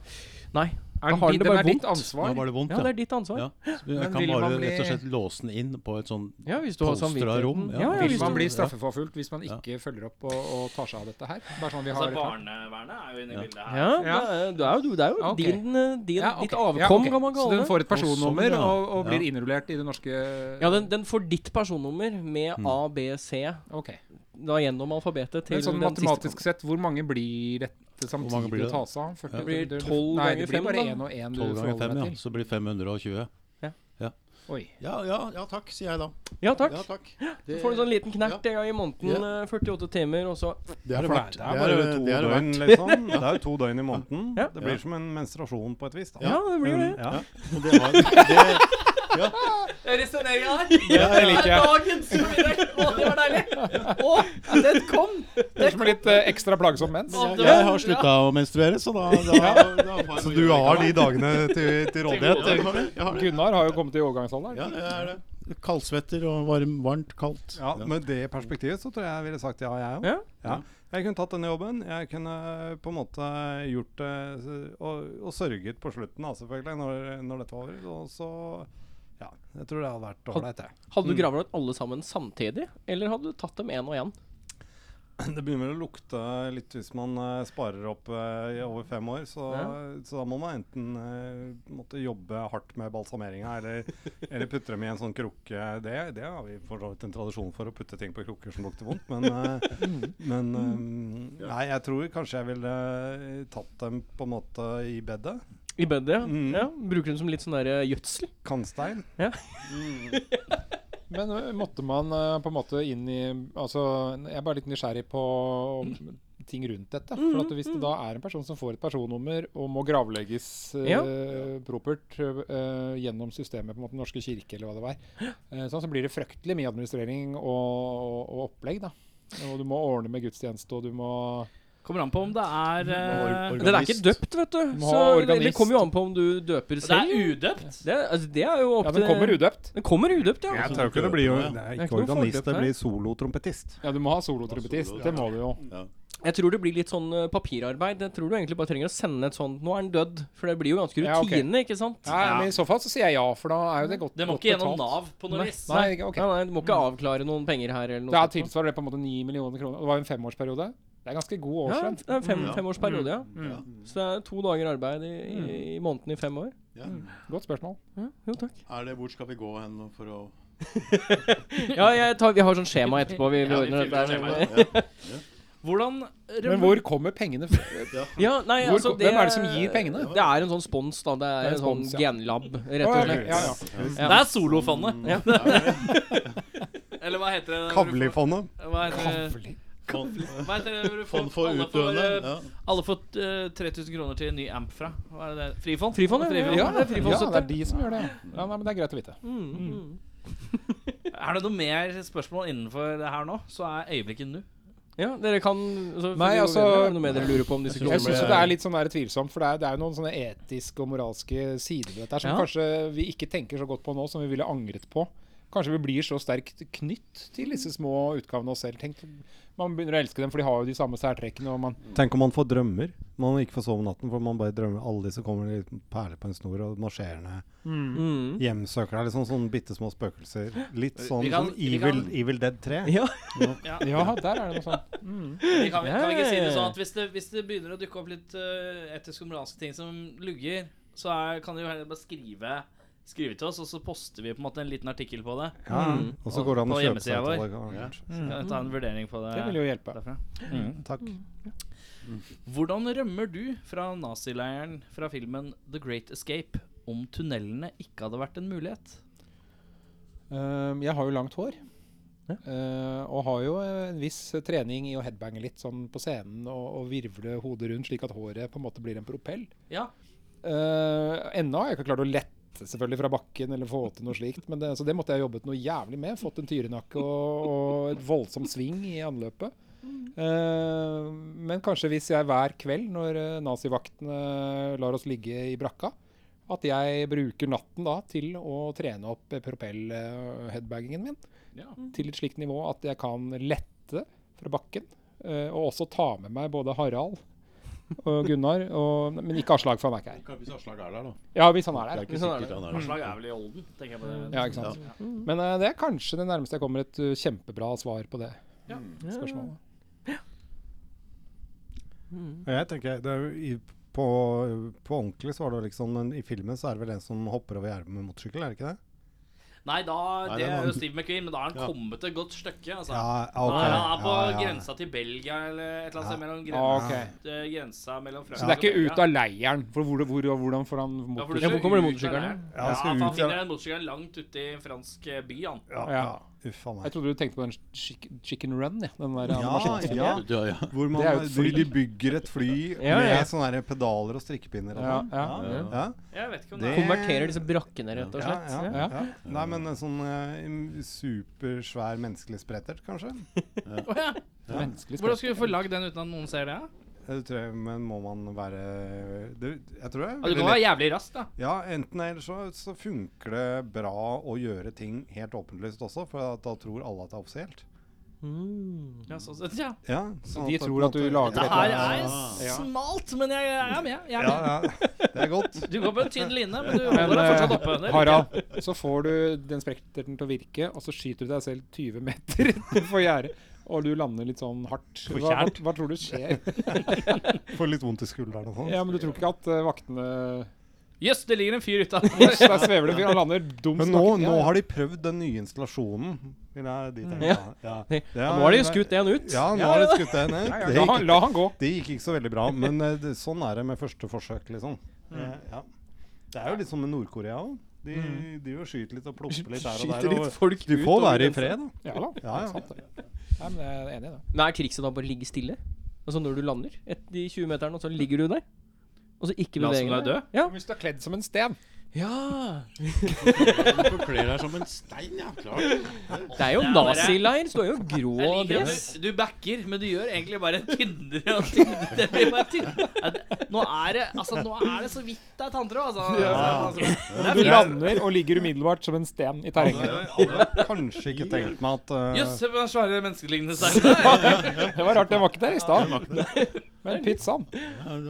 Speaker 3: Nei.
Speaker 7: Er
Speaker 3: Da har den
Speaker 7: den,
Speaker 3: det
Speaker 7: den
Speaker 3: bare
Speaker 7: er ditt
Speaker 3: vondt.
Speaker 8: Nå
Speaker 7: ansvar.
Speaker 8: var det vondt,
Speaker 3: Ja, det er ditt ansvar.
Speaker 8: Ja.
Speaker 3: Ja,
Speaker 8: Så Jeg
Speaker 7: Men
Speaker 8: kan
Speaker 7: vil man
Speaker 8: bare
Speaker 7: bli-
Speaker 8: rett og slett låse den inn på et sånn
Speaker 3: hvis du har
Speaker 8: Polstra rom,
Speaker 3: samvittigheten. Ja,
Speaker 8: ja.
Speaker 3: ja,
Speaker 7: Vil
Speaker 3: hvis
Speaker 7: man
Speaker 3: du,
Speaker 7: bli straffeforfulgt hvis man ikke følger opp og, og tar seg av dette her? Bare sånn vi
Speaker 2: Altså,
Speaker 7: har
Speaker 2: barnevernet er jo inne i bildet her.
Speaker 3: ja, det er- det er jo, du- det er jo
Speaker 7: Ok.
Speaker 3: din, eh, din,
Speaker 7: Ja, ok.
Speaker 3: ditt avkom,
Speaker 7: Ja, ok.
Speaker 3: kan man
Speaker 7: Så
Speaker 3: kalle
Speaker 7: den
Speaker 3: det.
Speaker 7: får et personnummer
Speaker 8: Å, sånn, ja.
Speaker 7: og, og blir
Speaker 8: Ja.
Speaker 7: innrullert i det norske
Speaker 3: Ja, den, den får ditt personnummer med A, B, C
Speaker 7: Ok.
Speaker 3: da gjennom alfabetet til
Speaker 7: Men sånn
Speaker 3: den siste
Speaker 7: matematisk sett, hvor mange blir dette
Speaker 8: mange
Speaker 7: samtidig å
Speaker 8: blir det?
Speaker 7: ta seg av? 40
Speaker 3: Det blir
Speaker 7: du- du-
Speaker 3: 12
Speaker 7: Nei,
Speaker 3: ganger
Speaker 7: det blir
Speaker 3: fem,
Speaker 7: bare
Speaker 3: da.
Speaker 7: én og én du
Speaker 8: 12 ganger
Speaker 7: forholder
Speaker 8: 5,
Speaker 7: deg
Speaker 8: ja.
Speaker 7: til.
Speaker 8: Så blir det 520.
Speaker 3: Ja.
Speaker 8: Ja.
Speaker 7: Oi.
Speaker 8: Ja, ja, ja takk, sier jeg da.
Speaker 3: Ja, takk.
Speaker 8: Ja, takk.
Speaker 3: Du får en sånn liten knert en gang i måneden.
Speaker 8: Ja.
Speaker 3: eh, 48 timer, og så
Speaker 8: Det har det vært.
Speaker 7: Det er
Speaker 8: Det er-
Speaker 1: Bare to
Speaker 8: det har det
Speaker 1: døgn,
Speaker 8: vært.
Speaker 1: liksom. Det er jo to døgn i måneden.
Speaker 3: Ja.
Speaker 1: Det blir som en menstruasjon på et vis. da. Mm,
Speaker 3: Ja, det blir det.
Speaker 1: Ja.
Speaker 8: Og det har- det-
Speaker 3: Jeg resonnerer her.
Speaker 7: Ja, det liker jeg.
Speaker 3: Dagens formiddag. Å, det var deilig. Å, den kom.
Speaker 7: Det er som en litt eh, ekstra plagsom mens.
Speaker 3: Å, det
Speaker 8: Jeg jeg
Speaker 3: var-
Speaker 8: har slutta å menstruere, så da, da, da, da
Speaker 1: Så du har de dagene eh, til, til
Speaker 8: Ja,
Speaker 1: rådighet?
Speaker 8: jeg har det. Jeg har det.
Speaker 7: Gunnar har jo kommet i overgangsalderen.
Speaker 8: Ja, det er det. Kaldsvetter og varm, varmt, kaldt.
Speaker 1: Ja, Med det perspektivet så tror jeg jeg ville sagt ja, jeg òg.
Speaker 3: Ja.
Speaker 1: Ja. Jeg kunne tatt denne jobben. Jeg kunne eh, på en måte gjort det s- og, og sørget på slutten, da, selvfølgelig, når, når dette var over. Og så Ja. Jeg tror det hadde vært ålreit, det.
Speaker 3: Hadde du gravlagt alle sammen samtidig, eller hadde du tatt dem én og én?
Speaker 1: Det begynner vel å lukte litt hvis man eh, sparer opp eh, i over fem år. Så, så da må man enten eh, måtte jobbe hardt med balsameringa, eller, eller putte dem i en sånn krukke. Det, det har vi for så vidt en tradisjon for, å putte ting på krukker som lukter vondt. Men, eh, men eh, nei, jeg tror kanskje jeg ville eh, tatt dem på en måte i bedet.
Speaker 3: I bedet, ja.
Speaker 1: Mm.
Speaker 3: ja. Bruker dem som litt sånn der eh, gjødsel.
Speaker 1: Kannstein.
Speaker 7: Men eh, måtte man eh, på en måte inn i Altså, jeg er bare litt nysgjerrig på ting rundt dette. For at hvis det da er en person som får et personnummer og må gravlegges eh,
Speaker 3: Ja.
Speaker 7: propert eh, gjennom systemet, på en måte Den norske kirke eller hva det var, eh, sånn, så blir det fryktelig mye administrering og, og, og opplegg, da. Og du må ordne med gudstjeneste, og du må
Speaker 2: Kommer an på om det er eh,
Speaker 3: Den er ikke døpt, vet du.
Speaker 7: Må
Speaker 3: Så
Speaker 7: ha
Speaker 3: det, det
Speaker 7: organist.
Speaker 3: kommer jo an på om du døper
Speaker 2: Det
Speaker 3: selv.
Speaker 2: er udøpt.
Speaker 3: Det, er- altså, det er jo opp
Speaker 7: Ja,
Speaker 3: til
Speaker 7: den kommer udøpt.
Speaker 3: Den kommer udøpt, ja.
Speaker 1: Jeg tror ikke det blir jo det
Speaker 8: Ja.
Speaker 1: er
Speaker 3: Det er ikke
Speaker 1: ikke
Speaker 3: noe
Speaker 1: organist,
Speaker 3: fordøpt
Speaker 1: det
Speaker 3: her.
Speaker 1: blir solotrompettist.
Speaker 7: Ja, du må ha solotrubetist. Det må du jo.
Speaker 3: Jeg tror det blir litt sånn eh, papirarbeid. Jeg tror du egentlig bare trenger å sende et sånt 'nå er han dødd', for det blir jo ganske
Speaker 7: Ja, ok.
Speaker 3: rutine, ikke sant?
Speaker 7: Nei, men I så fall så sier jeg ja, for da er jo det godt
Speaker 2: Det må
Speaker 7: godt
Speaker 2: ikke gjennom
Speaker 7: betalt.
Speaker 2: Nav på noe
Speaker 3: Nei.
Speaker 2: vis.
Speaker 7: Nei, ok.
Speaker 3: Nei, nei, du må ikke avklare noen penger her eller noe.
Speaker 7: Da
Speaker 3: sånt.
Speaker 7: tilsvarer det på en måte 9 millioner kroner. Det var jo en femårsperiode. Det er ganske god
Speaker 3: ja,
Speaker 7: årslønn.
Speaker 3: det er en fem,
Speaker 8: Mm.
Speaker 3: femårsperiode, ja. Mm.
Speaker 8: Ja.
Speaker 7: Mm.
Speaker 3: Så det er to dager arbeid i, i, i måneden i fem år.
Speaker 8: Ja.
Speaker 7: Godt spørsmål.
Speaker 3: Ja, jo, takk.
Speaker 8: Er det, hvor skal vi gå hen for å
Speaker 3: Ja, jeg tar, vi har sånn skjema etterpå. Vi, vi ordner dette her.
Speaker 8: ja.
Speaker 2: Hvordan
Speaker 7: Men hvor kommer pengene fra?
Speaker 3: Ja, nei,
Speaker 7: Hvor,
Speaker 3: altså,
Speaker 7: hvem er det som gir pengene?
Speaker 3: Det er en sånn spons, da. Det er,
Speaker 7: Det er
Speaker 3: en
Speaker 7: spons,
Speaker 3: sånn
Speaker 7: ja.
Speaker 3: genlab, rett
Speaker 7: Å,
Speaker 3: og
Speaker 7: ja,
Speaker 3: slett.
Speaker 7: ja, ja.
Speaker 2: Det er
Speaker 8: Mm.
Speaker 2: solofondet.
Speaker 3: Ja.
Speaker 2: Eller hva heter det?
Speaker 1: Kavlifondet.
Speaker 2: Hva heter det?
Speaker 8: Fond-
Speaker 2: Hva heter det hvor du får,
Speaker 8: Fond Sånn for
Speaker 6: Sånn
Speaker 2: alle, får,
Speaker 8: utdøende.
Speaker 2: eh,
Speaker 8: Ja.
Speaker 2: alle får eh, 3000 kroner til en ny amp fra? Hva er det? Frifond?
Speaker 3: Frifond, ja.
Speaker 7: Ja,
Speaker 3: det er frifondsstøtte.
Speaker 7: det er de som gjør det. Ja, nei, men Det er greit å vite.
Speaker 3: Mm, mm.
Speaker 2: Er det noe mer spørsmål innenfor det her nå, så er øyeblikket nå.
Speaker 3: Ja, dere kan så,
Speaker 7: Nei,
Speaker 3: vi går
Speaker 7: altså-
Speaker 3: videre. Er det noe mer dere lurer på om disse
Speaker 7: Jeg
Speaker 3: kronene?
Speaker 7: syns det er litt sånn der tvilsomt, for det er, det er jo noen sånne etiske og moralske sider ved dette her som
Speaker 3: Ja.
Speaker 7: kanskje vi ikke tenker så godt på nå, som vi ville angret på. Kanskje vi blir så sterkt knytt til disse små utgavene av oss selv. Tenk, man begynner å elske dem, for de har jo de samme særtrekkene. Og man,
Speaker 1: Tenk om man får drømmer. Man ikke får sove om natten, for man bare drømmer alle disse kommer en liten perle på en snor og marsjerer ned.
Speaker 3: Mm.
Speaker 1: Hjemsøker deg. Liksom sånne bitte små spøkelser. Litt sånn,
Speaker 2: Vi kan-
Speaker 1: sånn
Speaker 2: vi
Speaker 1: evil,
Speaker 2: kan-
Speaker 1: evil Dead 3.
Speaker 3: Ja.
Speaker 7: ja, der er det noe sånt.
Speaker 2: Vi kan, kan vi ikke si det
Speaker 3: Ja.
Speaker 2: sånn at hvis det, hvis det begynner å dukke opp litt eh, etiske og moralske ting som lugger, så er, kan du jo heller bare skrive Skrive til oss, og så poster vi på en måte en liten artikkel på det.
Speaker 1: Ja. Og så går det an å
Speaker 2: På
Speaker 1: kjøpe seg
Speaker 2: hjemmesida
Speaker 1: et av det.
Speaker 2: Skal vi ta en vurdering på det
Speaker 7: Det vil jo hjelpe.
Speaker 2: derfra?
Speaker 1: Takk.
Speaker 2: Hvordan rømmer du fra nazileiren fra filmen The Great Escape om tunnelene ikke hadde vært en mulighet?
Speaker 7: Ehm, jeg har jo langt hår. Eh, og har jo en viss trening i å headbange litt sånn på scenen og, og virvle hodet rundt, slik at håret på en måte blir en propell.
Speaker 2: Ja.
Speaker 7: Eh, ennå har jeg ikke klart å lette selvfølgelig fra bakken eller få til noe slikt, men det, så det måtte jeg jobbet noe jævlig med. Fått en tyrenakke og, og et voldsomt sving i anløpet. Eh, men kanskje hvis jeg hver kveld når eh, nazivaktene lar oss ligge i brakka, at jeg bruker natten da til å trene opp propell-headbagingen min
Speaker 2: Ja.
Speaker 7: til et slikt nivå at jeg kan lette fra bakken, eh, og også ta med meg både Harald og Gunnar, og, men ikke Aslag, for han er ikke her.
Speaker 8: Hvis Aslag er der, da.
Speaker 7: Ja, hvis han er
Speaker 8: Det er
Speaker 7: her.
Speaker 8: ikke sikkert han er der.
Speaker 2: Forslag er vel i olden, tenker jeg på det.
Speaker 7: Ja, ikke sant? Men eh, det er kanskje det nærmeste jeg kommer et eh, kjempebra svar på det spørsmålet.
Speaker 1: Jeg tenker, det er jo i, på, på ordentlig så var det jo liksom men I filmen så er det vel en som hopper over gjerdet med motorsykkel, er det ikke det?
Speaker 6: Nei, da,
Speaker 8: Nei,
Speaker 6: det
Speaker 8: den
Speaker 6: er
Speaker 8: var-
Speaker 6: jo Steve McQueen, men da har han
Speaker 8: Ja.
Speaker 6: kommet et godt stykke. Altså.
Speaker 1: Ja,
Speaker 6: Nå er
Speaker 1: ok.
Speaker 6: han er på
Speaker 1: Ja, ja, ja.
Speaker 6: grensa til Belgia eller et eller annet sted mellom
Speaker 7: Ah,
Speaker 6: grensa,
Speaker 7: ok.
Speaker 6: eh, grensa mellom
Speaker 7: Så
Speaker 6: Frankrike
Speaker 7: det er ikke
Speaker 6: Belgia.
Speaker 7: ut av leiren? For hvor, hvor, hvordan får han
Speaker 6: Ja, for du
Speaker 7: motor?
Speaker 3: Ja, hvor
Speaker 6: ser
Speaker 3: kommer de
Speaker 6: ut av
Speaker 3: motorsykkelen?
Speaker 6: leiren.
Speaker 1: Ja,
Speaker 6: Ja,
Speaker 1: han skal
Speaker 6: for han
Speaker 1: ut,
Speaker 6: finner
Speaker 1: ja.
Speaker 6: den motorsykkelen langt ute i en fransk eh, by, han.
Speaker 1: Ja,
Speaker 7: Ja.
Speaker 1: ja. Uff a
Speaker 7: Jeg
Speaker 1: meg.
Speaker 7: trodde du tenkte på den chick- Chicken Run, ja. Den der eh,
Speaker 1: Ja,
Speaker 7: animasjonen.
Speaker 1: ja.
Speaker 8: Du, ja.
Speaker 1: Hvor man,
Speaker 7: Det er jo et fly.
Speaker 1: de bygger et fly
Speaker 3: Ja, ja.
Speaker 1: med sånne der pedaler og strikkepinner. Og
Speaker 7: Ja,
Speaker 1: sånn.
Speaker 7: ja.
Speaker 1: Ja. Ja.
Speaker 6: Jeg vet ikke om det,
Speaker 1: Det-
Speaker 6: er
Speaker 3: Konverterer disse brakkene, rett og
Speaker 1: Ja,
Speaker 3: slett.
Speaker 1: ja,
Speaker 7: Ja.
Speaker 1: ja. Nei, men en sånn eh, supersvær menneskelig sprettert, kanskje?
Speaker 6: Å ja.
Speaker 7: Menneskelig
Speaker 6: Hvordan
Speaker 7: spørsmål.
Speaker 6: skal vi få lagd den uten at noen ser det? da?
Speaker 1: Jeg tror, jeg- men må man være det, Jeg tror det er
Speaker 6: Ja, du
Speaker 1: veldig
Speaker 6: kan være jævlig rask, da.
Speaker 1: Ja, enten eller så, så funker det bra å gjøre ting helt åpenlyst også, for at da tror alle at det er offisielt.
Speaker 3: Mm.
Speaker 6: Ja, sånn sett, ja.
Speaker 1: Ja, sånn
Speaker 7: de
Speaker 1: at det
Speaker 7: tror
Speaker 1: på en
Speaker 7: at du
Speaker 1: måte-
Speaker 7: lager
Speaker 6: Det
Speaker 7: et
Speaker 6: her
Speaker 7: eller
Speaker 6: er
Speaker 7: Ah. Ja.
Speaker 6: smalt, men jeg, jeg er med. Jeg er
Speaker 1: Ja,
Speaker 6: med.
Speaker 1: ja, det er godt.
Speaker 6: Du går på en tynn line, men du
Speaker 7: Men
Speaker 6: holder deg fortsatt oppe.
Speaker 7: eh,
Speaker 6: Det liker jeg.
Speaker 7: Harald, så får du den sprekterten til å virke, og så skyter du deg selv 20 meter for gjerdet. Og du lander litt sånn hardt. Hva, hva, hva tror du skjer?
Speaker 1: Får litt vondt i skulderen og sånn.
Speaker 7: Ja, men du tror ikke at eh, vaktene
Speaker 6: Jøss, det ligger en fyr utafor.
Speaker 7: Yes, der svever det en fyr. Han lander dumt
Speaker 1: Men nå, nå har de prøvd den nye installasjonen. Vil jeg dit jeg vil ha. ja.
Speaker 3: Ja,
Speaker 1: Det er-
Speaker 3: nå har de jo skutt en ut.
Speaker 1: Ja, nå har de skutt den ned.
Speaker 7: ja,
Speaker 1: Det
Speaker 7: la, han,
Speaker 1: gikk,
Speaker 7: la han gå.
Speaker 1: det gikk ikke så veldig bra, men eh, det, sånn er det med første forsøk, liksom. Eh, Ja. Det er jo litt som med Nord-Korea òg. De, de jo skyter litt og plopper litt her og
Speaker 3: Skyter
Speaker 1: der.
Speaker 3: litt
Speaker 1: Og
Speaker 3: folk
Speaker 1: du
Speaker 3: ut
Speaker 1: får
Speaker 3: over
Speaker 1: være i
Speaker 3: grensa.
Speaker 1: fred, da.
Speaker 7: Ja da.
Speaker 1: Ja, ja.
Speaker 7: Sant det. Nei, men jeg er enig i det.
Speaker 3: Men er trikset da bare å ligge stille? Altså når du lander et, de 20 meterne, og så ligger du der? Og så ikke
Speaker 6: La som
Speaker 3: beveger
Speaker 6: deg dø?
Speaker 3: Ja.
Speaker 7: Hvis du er kledd som en sten
Speaker 3: ja.
Speaker 8: Du forkler deg som en stein, ja. Klart.
Speaker 3: Det er jo
Speaker 6: Det er bare-
Speaker 3: nazileir. Det står jo
Speaker 6: Jeg
Speaker 3: grå
Speaker 6: liker
Speaker 3: dress.
Speaker 6: at du, du backer, men du gjør egentlig bare tynnere og tynnere. Det blir bare tynnere. Ja, det- Nå er det altså, nå er det så vidt det er tanntråd, altså. altså. Det er
Speaker 7: Du
Speaker 6: fint.
Speaker 7: lander og ligger umiddelbart som en sten i terrenget.
Speaker 1: Kanskje ikke tenkt meg at eh,
Speaker 6: Jøss, se på den svære menneskelignende
Speaker 7: Det
Speaker 6: steinen.
Speaker 7: var rart, den var ikke der i stad. Men pizzaen.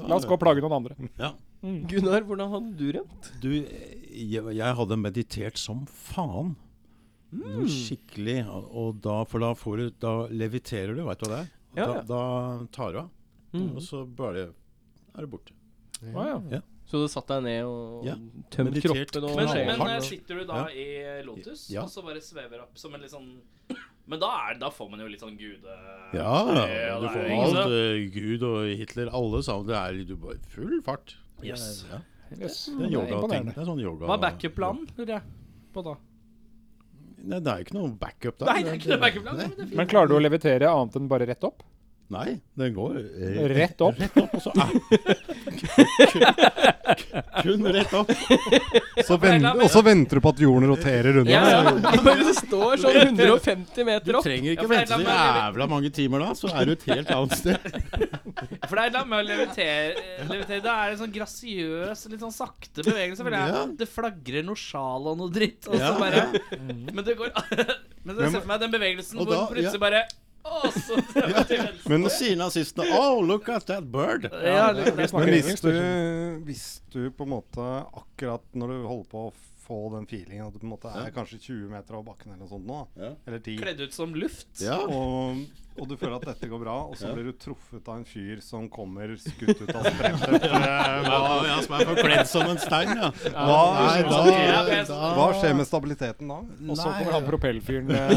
Speaker 7: La oss gå og plage noen andre.
Speaker 3: Gunnar, hvordan hadde du rømt?
Speaker 8: Du, jeg, jeg hadde meditert som faen. Skikkelig. Og og da, for da, får du, da leviterer du, veit du hva det er?
Speaker 3: Ja, ja.
Speaker 8: Da, da tar du av. Og så bare er du borte.
Speaker 7: Å, ja.
Speaker 3: Så du satt deg ned og
Speaker 8: Ja.
Speaker 3: tømt
Speaker 8: Meditert
Speaker 3: kroppen og
Speaker 6: Men,
Speaker 8: knallhardt.
Speaker 6: men eh, sitter du da i Lotus,
Speaker 8: Ja.
Speaker 6: og så bare svever opp som en litt sånn Men da, er, da får man jo litt sånn gude...
Speaker 8: Ja,
Speaker 6: Ja,
Speaker 8: du
Speaker 6: det
Speaker 8: får
Speaker 6: er jo ikke
Speaker 8: alt. eh, Gud og Hitler, alle sammen. Det er du bare full fart.
Speaker 6: Yes.
Speaker 8: Ja,
Speaker 7: Yes.
Speaker 8: det er yoga-ting.
Speaker 7: imponerende.
Speaker 8: Det er sånn yoga...
Speaker 6: Hva er backup-planen, lurer jeg på da?
Speaker 8: Nei, det er jo ikke noe backup der.
Speaker 6: Nei, det er ikke noe backup-plan. men det er fint.
Speaker 7: Men klarer du å levitere annet enn bare rett opp?
Speaker 8: Nei, den går eh,
Speaker 7: Rett opp?
Speaker 8: Rett opp, og så er Kun rett opp.
Speaker 1: så vent, Og så venter du på at jorden roterer rundt
Speaker 3: Ja,
Speaker 1: deg.
Speaker 3: ja. Bare du står sånn 150
Speaker 8: Du
Speaker 3: meter opp.
Speaker 8: trenger
Speaker 6: Ja,
Speaker 8: ikke
Speaker 6: for det
Speaker 8: vente
Speaker 6: er
Speaker 8: så
Speaker 6: lang-
Speaker 8: jævla mange timer da, så er du et helt annet sted.
Speaker 6: For det er noe med å levitere, eh, levitere Det er en sånn grasiøs, litt sånn sakte bevegelse. For det, er,
Speaker 8: Ja.
Speaker 6: det flagrer noe sjal og noe dritt. Og så
Speaker 8: Ja.
Speaker 6: bare Men det går Men jeg ser for meg den bevegelsen
Speaker 8: Og
Speaker 6: hvor
Speaker 8: da-
Speaker 6: plutselig
Speaker 8: ja.
Speaker 6: bare Å, så
Speaker 8: Men nå sier nazistene Oh, look at that bird.
Speaker 6: ja, det, det,
Speaker 1: Men hvis du, hvis du på en måte akkurat når du holder på å få den feelingen at du på en måte er kanskje 20 meter over bakken eller noe sånt nå, da,
Speaker 8: Ja.
Speaker 1: eller 10,
Speaker 6: Kledd ut som luft.
Speaker 8: Ja.
Speaker 1: og, og du føler at dette går bra, og så blir du truffet av en fyr som kommer skutt ut av sprettet.
Speaker 8: Ja, ja, som er forkledd som en stein, ja.
Speaker 1: Hva,
Speaker 8: Nei, da,
Speaker 6: Samtidig er det-
Speaker 8: da
Speaker 1: hva skjer med stabiliteten da?
Speaker 7: Og så kommer
Speaker 8: Nei.
Speaker 7: han propellfyren eh,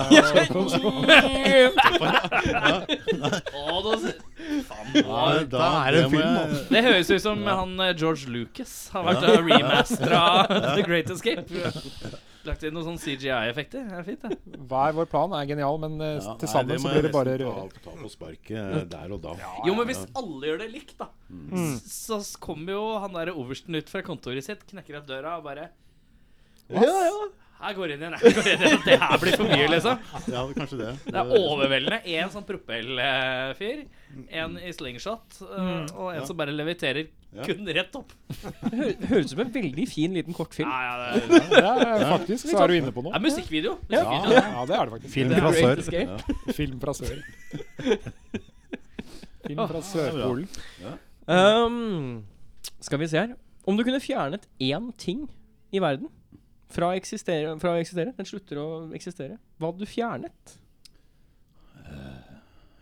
Speaker 6: Å, da,
Speaker 8: Nei,
Speaker 6: faen,
Speaker 8: da er det film.
Speaker 6: det høres ut som han eh, George Lucas har vært og remastera The Great Escape. Lagt inn noen sånn sånne CGI-effekter. Det er fint, det.
Speaker 7: Hver vår plan er genial, men eh,
Speaker 8: Ja,
Speaker 7: til
Speaker 8: nei,
Speaker 7: sammen så
Speaker 8: må
Speaker 7: blir
Speaker 8: jeg
Speaker 7: det bare
Speaker 8: nesten
Speaker 7: røre.
Speaker 8: Ta, ta på sparket eh, der og da.
Speaker 6: Jo, men hvis alle gjør det likt, da,
Speaker 8: Mm.
Speaker 6: s- så s- kommer jo han der oversten ut fra kontoret sitt, knekker opp døra og bare Her går jeg inn igjen. Her går jeg inn igjen. Det her blir for mye, liksom.
Speaker 8: Ja, kanskje det. Eh,
Speaker 6: Det er overveldende. Én sånn propellfyr, én i slingshot, eh, og en som bare leviterer
Speaker 8: Ja.
Speaker 6: kun rett opp.
Speaker 3: Hø- Høres ut som en veldig fin liten kortfilm.
Speaker 6: Ja, ja, det er-
Speaker 7: Ja, ja, faktisk så er du inne på
Speaker 6: det
Speaker 7: noe.
Speaker 6: er musikkvideo.
Speaker 7: Ja,
Speaker 6: musikkvideo.
Speaker 7: ja det er det faktisk.
Speaker 1: Film fra
Speaker 3: Great
Speaker 1: sør.
Speaker 3: Escape.
Speaker 7: Film fra sør. Film fra Sørpolen.
Speaker 3: Um, skal vi se her. Om du kunne fjernet én ting i verden fra å eksistere, fra å eksistere Den slutter å eksistere. Hva hadde du fjernet?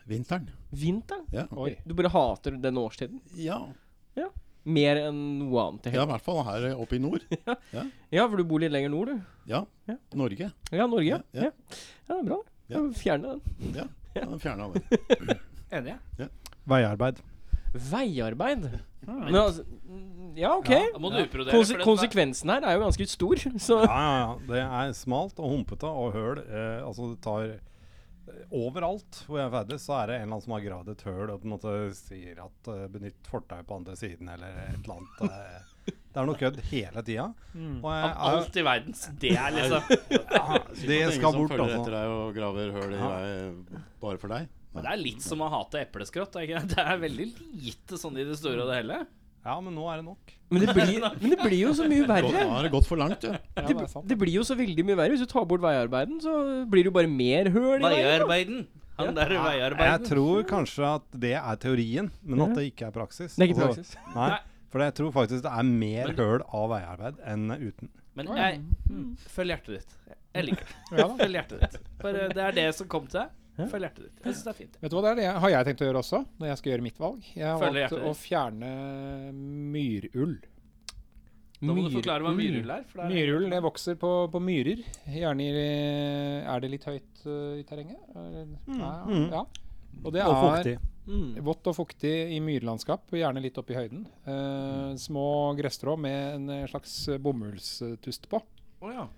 Speaker 8: Vinteren.
Speaker 3: Vinteren?
Speaker 7: Oi.
Speaker 3: Du bare hater den årstiden?
Speaker 8: Ja.
Speaker 3: Ja. Mer enn noe annet. jeg
Speaker 8: Ja,
Speaker 3: helt-
Speaker 8: i hvert fall her oppe i nord.
Speaker 3: ja, for du bor litt lenger nord, du.
Speaker 8: Ja.
Speaker 3: Ja.
Speaker 8: Norge.
Speaker 3: Ja, Norge. Ja, ja.
Speaker 8: Ja, ja.
Speaker 3: det er bra.
Speaker 8: Ja.
Speaker 3: Fjerne den.
Speaker 8: Ja, ja fjerna det.
Speaker 7: Enig.
Speaker 1: Veiarbeid.
Speaker 3: Veiarbeid. Men altså Ja, OK.
Speaker 2: Da må du utbrodere.
Speaker 3: Konse konsekvensen her er jo ganske stor, så
Speaker 1: Ja, ja, ja. Det er smalt og humpete og høl. Eh, altså det tar eh, Overalt hvor jeg ferdes, så er det en eller annen som har gravd et høl og på en måte sier at eh, 'benytt fortau på andre siden' eller et eller annet. eh. Det er noe kødd hele tida.
Speaker 7: Mm.
Speaker 1: Og jeg, er-
Speaker 2: Alt i verdens. Det er liksom
Speaker 1: det
Speaker 8: Ingen
Speaker 1: skal
Speaker 8: som
Speaker 1: bort,
Speaker 8: følger
Speaker 1: altså.
Speaker 8: etter deg og graver høl i deg bare for deg.
Speaker 2: Men Det er litt som å hate epleskrott. er det Ikke? Det er veldig lite sånn i det store og det hele.
Speaker 1: Ja, men nå er det nok.
Speaker 3: Men det blir, men det blir jo så mye
Speaker 8: Gå-
Speaker 3: verre.
Speaker 8: Nå har det gått for langt, du.
Speaker 7: Ja,
Speaker 3: Det,
Speaker 7: det er sant.
Speaker 3: det blir jo så veldig mye verre. Hvis du tar bort veiarbeiden, så blir det jo bare mer høl i veien. da.
Speaker 2: Veiarbeiden. Han der
Speaker 1: Jeg
Speaker 2: veiarbeiden.
Speaker 1: tror kanskje at det er teorien, men at det ikke er praksis.
Speaker 3: Det er ikke
Speaker 1: Altså,
Speaker 3: praksis.
Speaker 1: Nei, for jeg tror faktisk det er mer høl av veiarbeid enn uten.
Speaker 2: Men jeg mm. Følg hjertet ditt. Jeg liker det.
Speaker 7: Ja da.
Speaker 2: Følg hjertet ditt. Bare det er det som kom til deg. Følg hjertet ditt. Jeg syns det er fint.
Speaker 7: Vet du hva det er? Det har jeg tenkt å gjøre også, når jeg skal gjøre mitt valg. Jeg har
Speaker 2: Følger
Speaker 7: valgt
Speaker 2: hjertet
Speaker 7: å
Speaker 2: ditt.
Speaker 7: fjerne myrull.
Speaker 2: Da må du forklare hva myrull er. For det er
Speaker 7: Myrull det vokser på, på myrer. Gjerne i Er det litt høyt øh, i terrenget? Eller- Ja, ja. Og det
Speaker 1: Mm, Og
Speaker 7: er
Speaker 1: fuktig.
Speaker 3: Mm.
Speaker 7: Vått og fuktig i myrlandskap, og gjerne litt oppe i høyden.
Speaker 1: Mm.
Speaker 7: Eh, små gresstrå med en eh, slags eh, bomullstust på,
Speaker 2: Å, ja.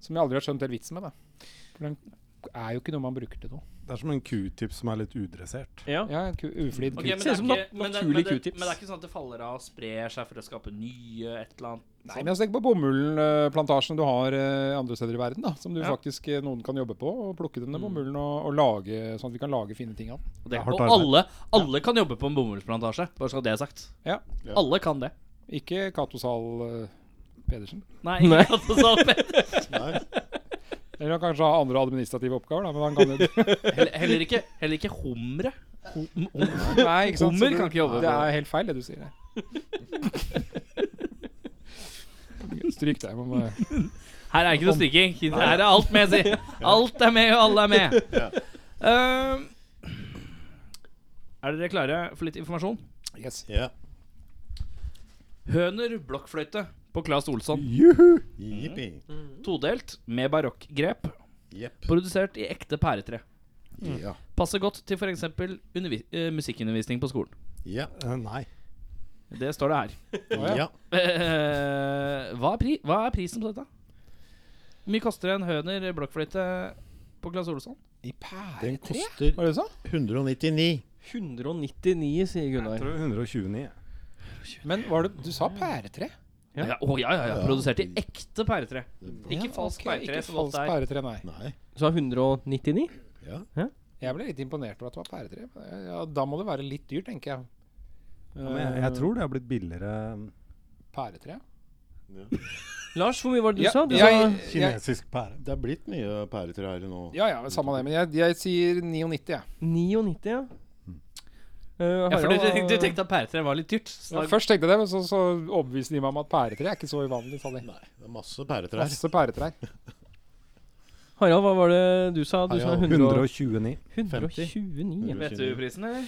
Speaker 7: som jeg aldri har skjønt helt vitsen med. Da. For den er jo ikke noe man bruker til noe.
Speaker 1: Det er som en q-tip som er litt udressert.
Speaker 3: Ja.
Speaker 7: Ja, en ku- Uflidd
Speaker 2: Ok, men,
Speaker 7: kuk.
Speaker 2: det
Speaker 3: Ser
Speaker 2: er
Speaker 3: ut som
Speaker 2: ikke,
Speaker 3: nat-
Speaker 2: men, det, men,
Speaker 3: naturlig
Speaker 2: det,
Speaker 3: Q-tips.
Speaker 2: men det er ikke sånn at det faller av og sprer seg for å skape nye et eller annet?
Speaker 7: Nei, men altså, tenk på bomullplantasjene du har eh, andre steder i verden, da, som du
Speaker 2: Ja. Mm.
Speaker 7: faktisk eh, noen kan jobbe på, og plukke denne bomullen og, og lage, sånn at vi kan lage fine ting av den.
Speaker 2: Og, det,
Speaker 1: hardt
Speaker 2: og
Speaker 1: arbeid.
Speaker 2: alle, alle kan jobbe på en bomullsplantasje, bare så det er sagt.
Speaker 7: Ja.
Speaker 8: Ja.
Speaker 2: Alle kan det.
Speaker 7: Ikke Cato Zahl eh, Pedersen.
Speaker 2: Nei,
Speaker 3: Nei.
Speaker 2: ikke altså, så-
Speaker 8: Nei.
Speaker 7: Eller han kanskje har andre administrative oppgaver, da, men han kan jo
Speaker 2: heller, heller, ikke, heller ikke humre. Hum, hum.
Speaker 7: Nei, ikke sant? så
Speaker 2: Hummer
Speaker 7: du-
Speaker 2: kan ikke jobbe
Speaker 7: Det
Speaker 2: på-
Speaker 7: er helt feil, det du sier. der. Stryk deg. Man må
Speaker 2: Her er ikke noe stryking. Her er alt med, si. Alt er med, og alle er med. Ehm, er dere klare for litt informasjon?
Speaker 7: yes.
Speaker 8: Ja.
Speaker 2: Høner blokkfløyte på Claes Olsson.
Speaker 8: Jippi.
Speaker 2: Todelt med barokkgrep.
Speaker 8: Jepp.
Speaker 2: Produsert i ekte pæretre.
Speaker 8: Ja.
Speaker 2: Passer godt til f.eks. Uh, musikkundervisning på skolen.
Speaker 8: Ja.
Speaker 1: Eh, nei.
Speaker 2: Det står det her.
Speaker 7: ja.
Speaker 8: Ja.
Speaker 2: Eh, hva, er pri hva er prisen på dette? Hvor mye koster en høner blokkfløyte på Claes Olsson?
Speaker 7: I pære
Speaker 8: Den koster
Speaker 7: Var det du sa?
Speaker 8: 199.
Speaker 3: 199, sier
Speaker 1: Jeg
Speaker 3: Gunnar.
Speaker 1: tror 129.
Speaker 7: Men var det, du sa pæretre?
Speaker 2: Ja. Ja, å, ja, ja, ja.
Speaker 8: Ja.
Speaker 2: Produsert i ekte pæretre. Ikke
Speaker 7: Ja,
Speaker 2: falsk
Speaker 7: ok,
Speaker 2: pæretre.
Speaker 7: Ikke
Speaker 2: som alt
Speaker 7: falsk
Speaker 2: er.
Speaker 7: pæretre, nei.
Speaker 8: Nei.
Speaker 3: Så er 199?
Speaker 7: Jeg ble litt imponert over at det var pæretre. men, Ja, da må det være litt dyrt, tenker jeg.
Speaker 1: Ja, men jeg,
Speaker 3: Eh,
Speaker 1: jeg tror det har blitt billigere um,
Speaker 7: Pæretre?
Speaker 3: Lars, hvor mye var det du
Speaker 7: Ja,
Speaker 3: sa? Du
Speaker 7: jeg-
Speaker 3: sa
Speaker 7: jeg-
Speaker 1: kinesisk pære.
Speaker 8: Det er blitt mye pæretrær nå.
Speaker 7: ja, ja, samme det. Men jeg, jeg sier 99, jeg.
Speaker 3: 99, ja. Eh,
Speaker 2: Ja, for
Speaker 3: Harald,
Speaker 2: du, du
Speaker 3: hva-
Speaker 2: tenkte at pæretre var litt dyrt. Så
Speaker 7: Ja,
Speaker 2: da-
Speaker 7: først tenkte jeg det, men så, så overbeviste de meg om at pæretre er ikke så uvanlig. sa de.
Speaker 8: Nei, det er masse pæretrær.
Speaker 7: Masse pæretrær.
Speaker 3: Harald, hva var det du sa? Du sa
Speaker 8: Harald,
Speaker 3: 100 og-
Speaker 1: 129.
Speaker 3: 129. ja.
Speaker 2: Vet du prisen, eller?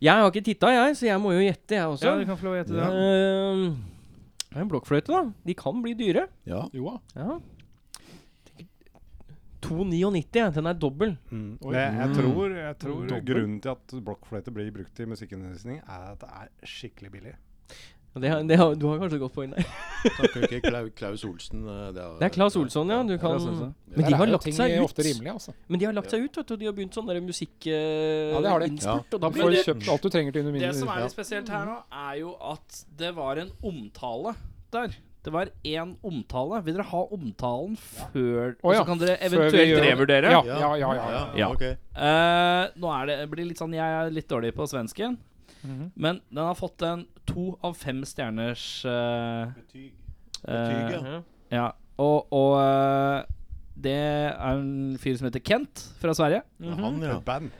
Speaker 3: Jeg har ikke titta, jeg, så jeg må jo gjette, jeg også.
Speaker 2: Ja, du kan få lov å gjette det.
Speaker 3: Eh, det er en blokkfløyte, da. De kan bli dyre.
Speaker 8: Ja.
Speaker 7: Jo da.
Speaker 3: Ja. Tenker- 299, ja. den er dobbel.
Speaker 1: Mm. Det, jeg tror, jeg
Speaker 3: Mm.
Speaker 1: tror grunnen til at blokkfløyte blir brukt i musikkundervisning, er at det er skikkelig billig.
Speaker 3: Og Det, har- det, har- du har kanskje et godt poeng der.
Speaker 8: Snakker du ikke Klau, Klaus Olsen eh,
Speaker 3: Det er Claes Olsson, ja. Du
Speaker 2: Claes Olsson.
Speaker 3: kan Men
Speaker 7: Der
Speaker 3: de
Speaker 7: er
Speaker 3: har
Speaker 7: jo
Speaker 3: lagt
Speaker 7: ting
Speaker 3: seg ut.
Speaker 7: ofte rimelig, altså.
Speaker 3: Men de har lagt seg ut, vet du. og De har begynt sånn der musikk... eh,
Speaker 7: Ja, det har de.
Speaker 3: innspurt, Og da
Speaker 7: Du
Speaker 3: blir
Speaker 7: får
Speaker 3: det
Speaker 7: kjøpt alt du trenger til under
Speaker 2: Det som er
Speaker 7: mindre.
Speaker 2: litt spesielt her nå, er jo at det var en omtale der. Det var én omtale. Vil dere ha omtalen før
Speaker 7: Å ja,
Speaker 2: Og så kan dere
Speaker 7: før vi
Speaker 2: eventuelt
Speaker 7: gjør
Speaker 2: revurdere?
Speaker 7: Ja, ja, ja. ja, ja.
Speaker 2: Ja.
Speaker 8: ok.
Speaker 2: Eh, nå er det, blir det litt sånn Jeg er litt dårlig på svensken. Men den har fått en to av fem stjerners eh,
Speaker 8: Betyg.
Speaker 2: eh,
Speaker 8: Betyg,
Speaker 3: ja.
Speaker 2: Ja, og, og eh, det er en fyr som heter Kent fra Sverige.
Speaker 8: Det er Han, ja.
Speaker 1: Band.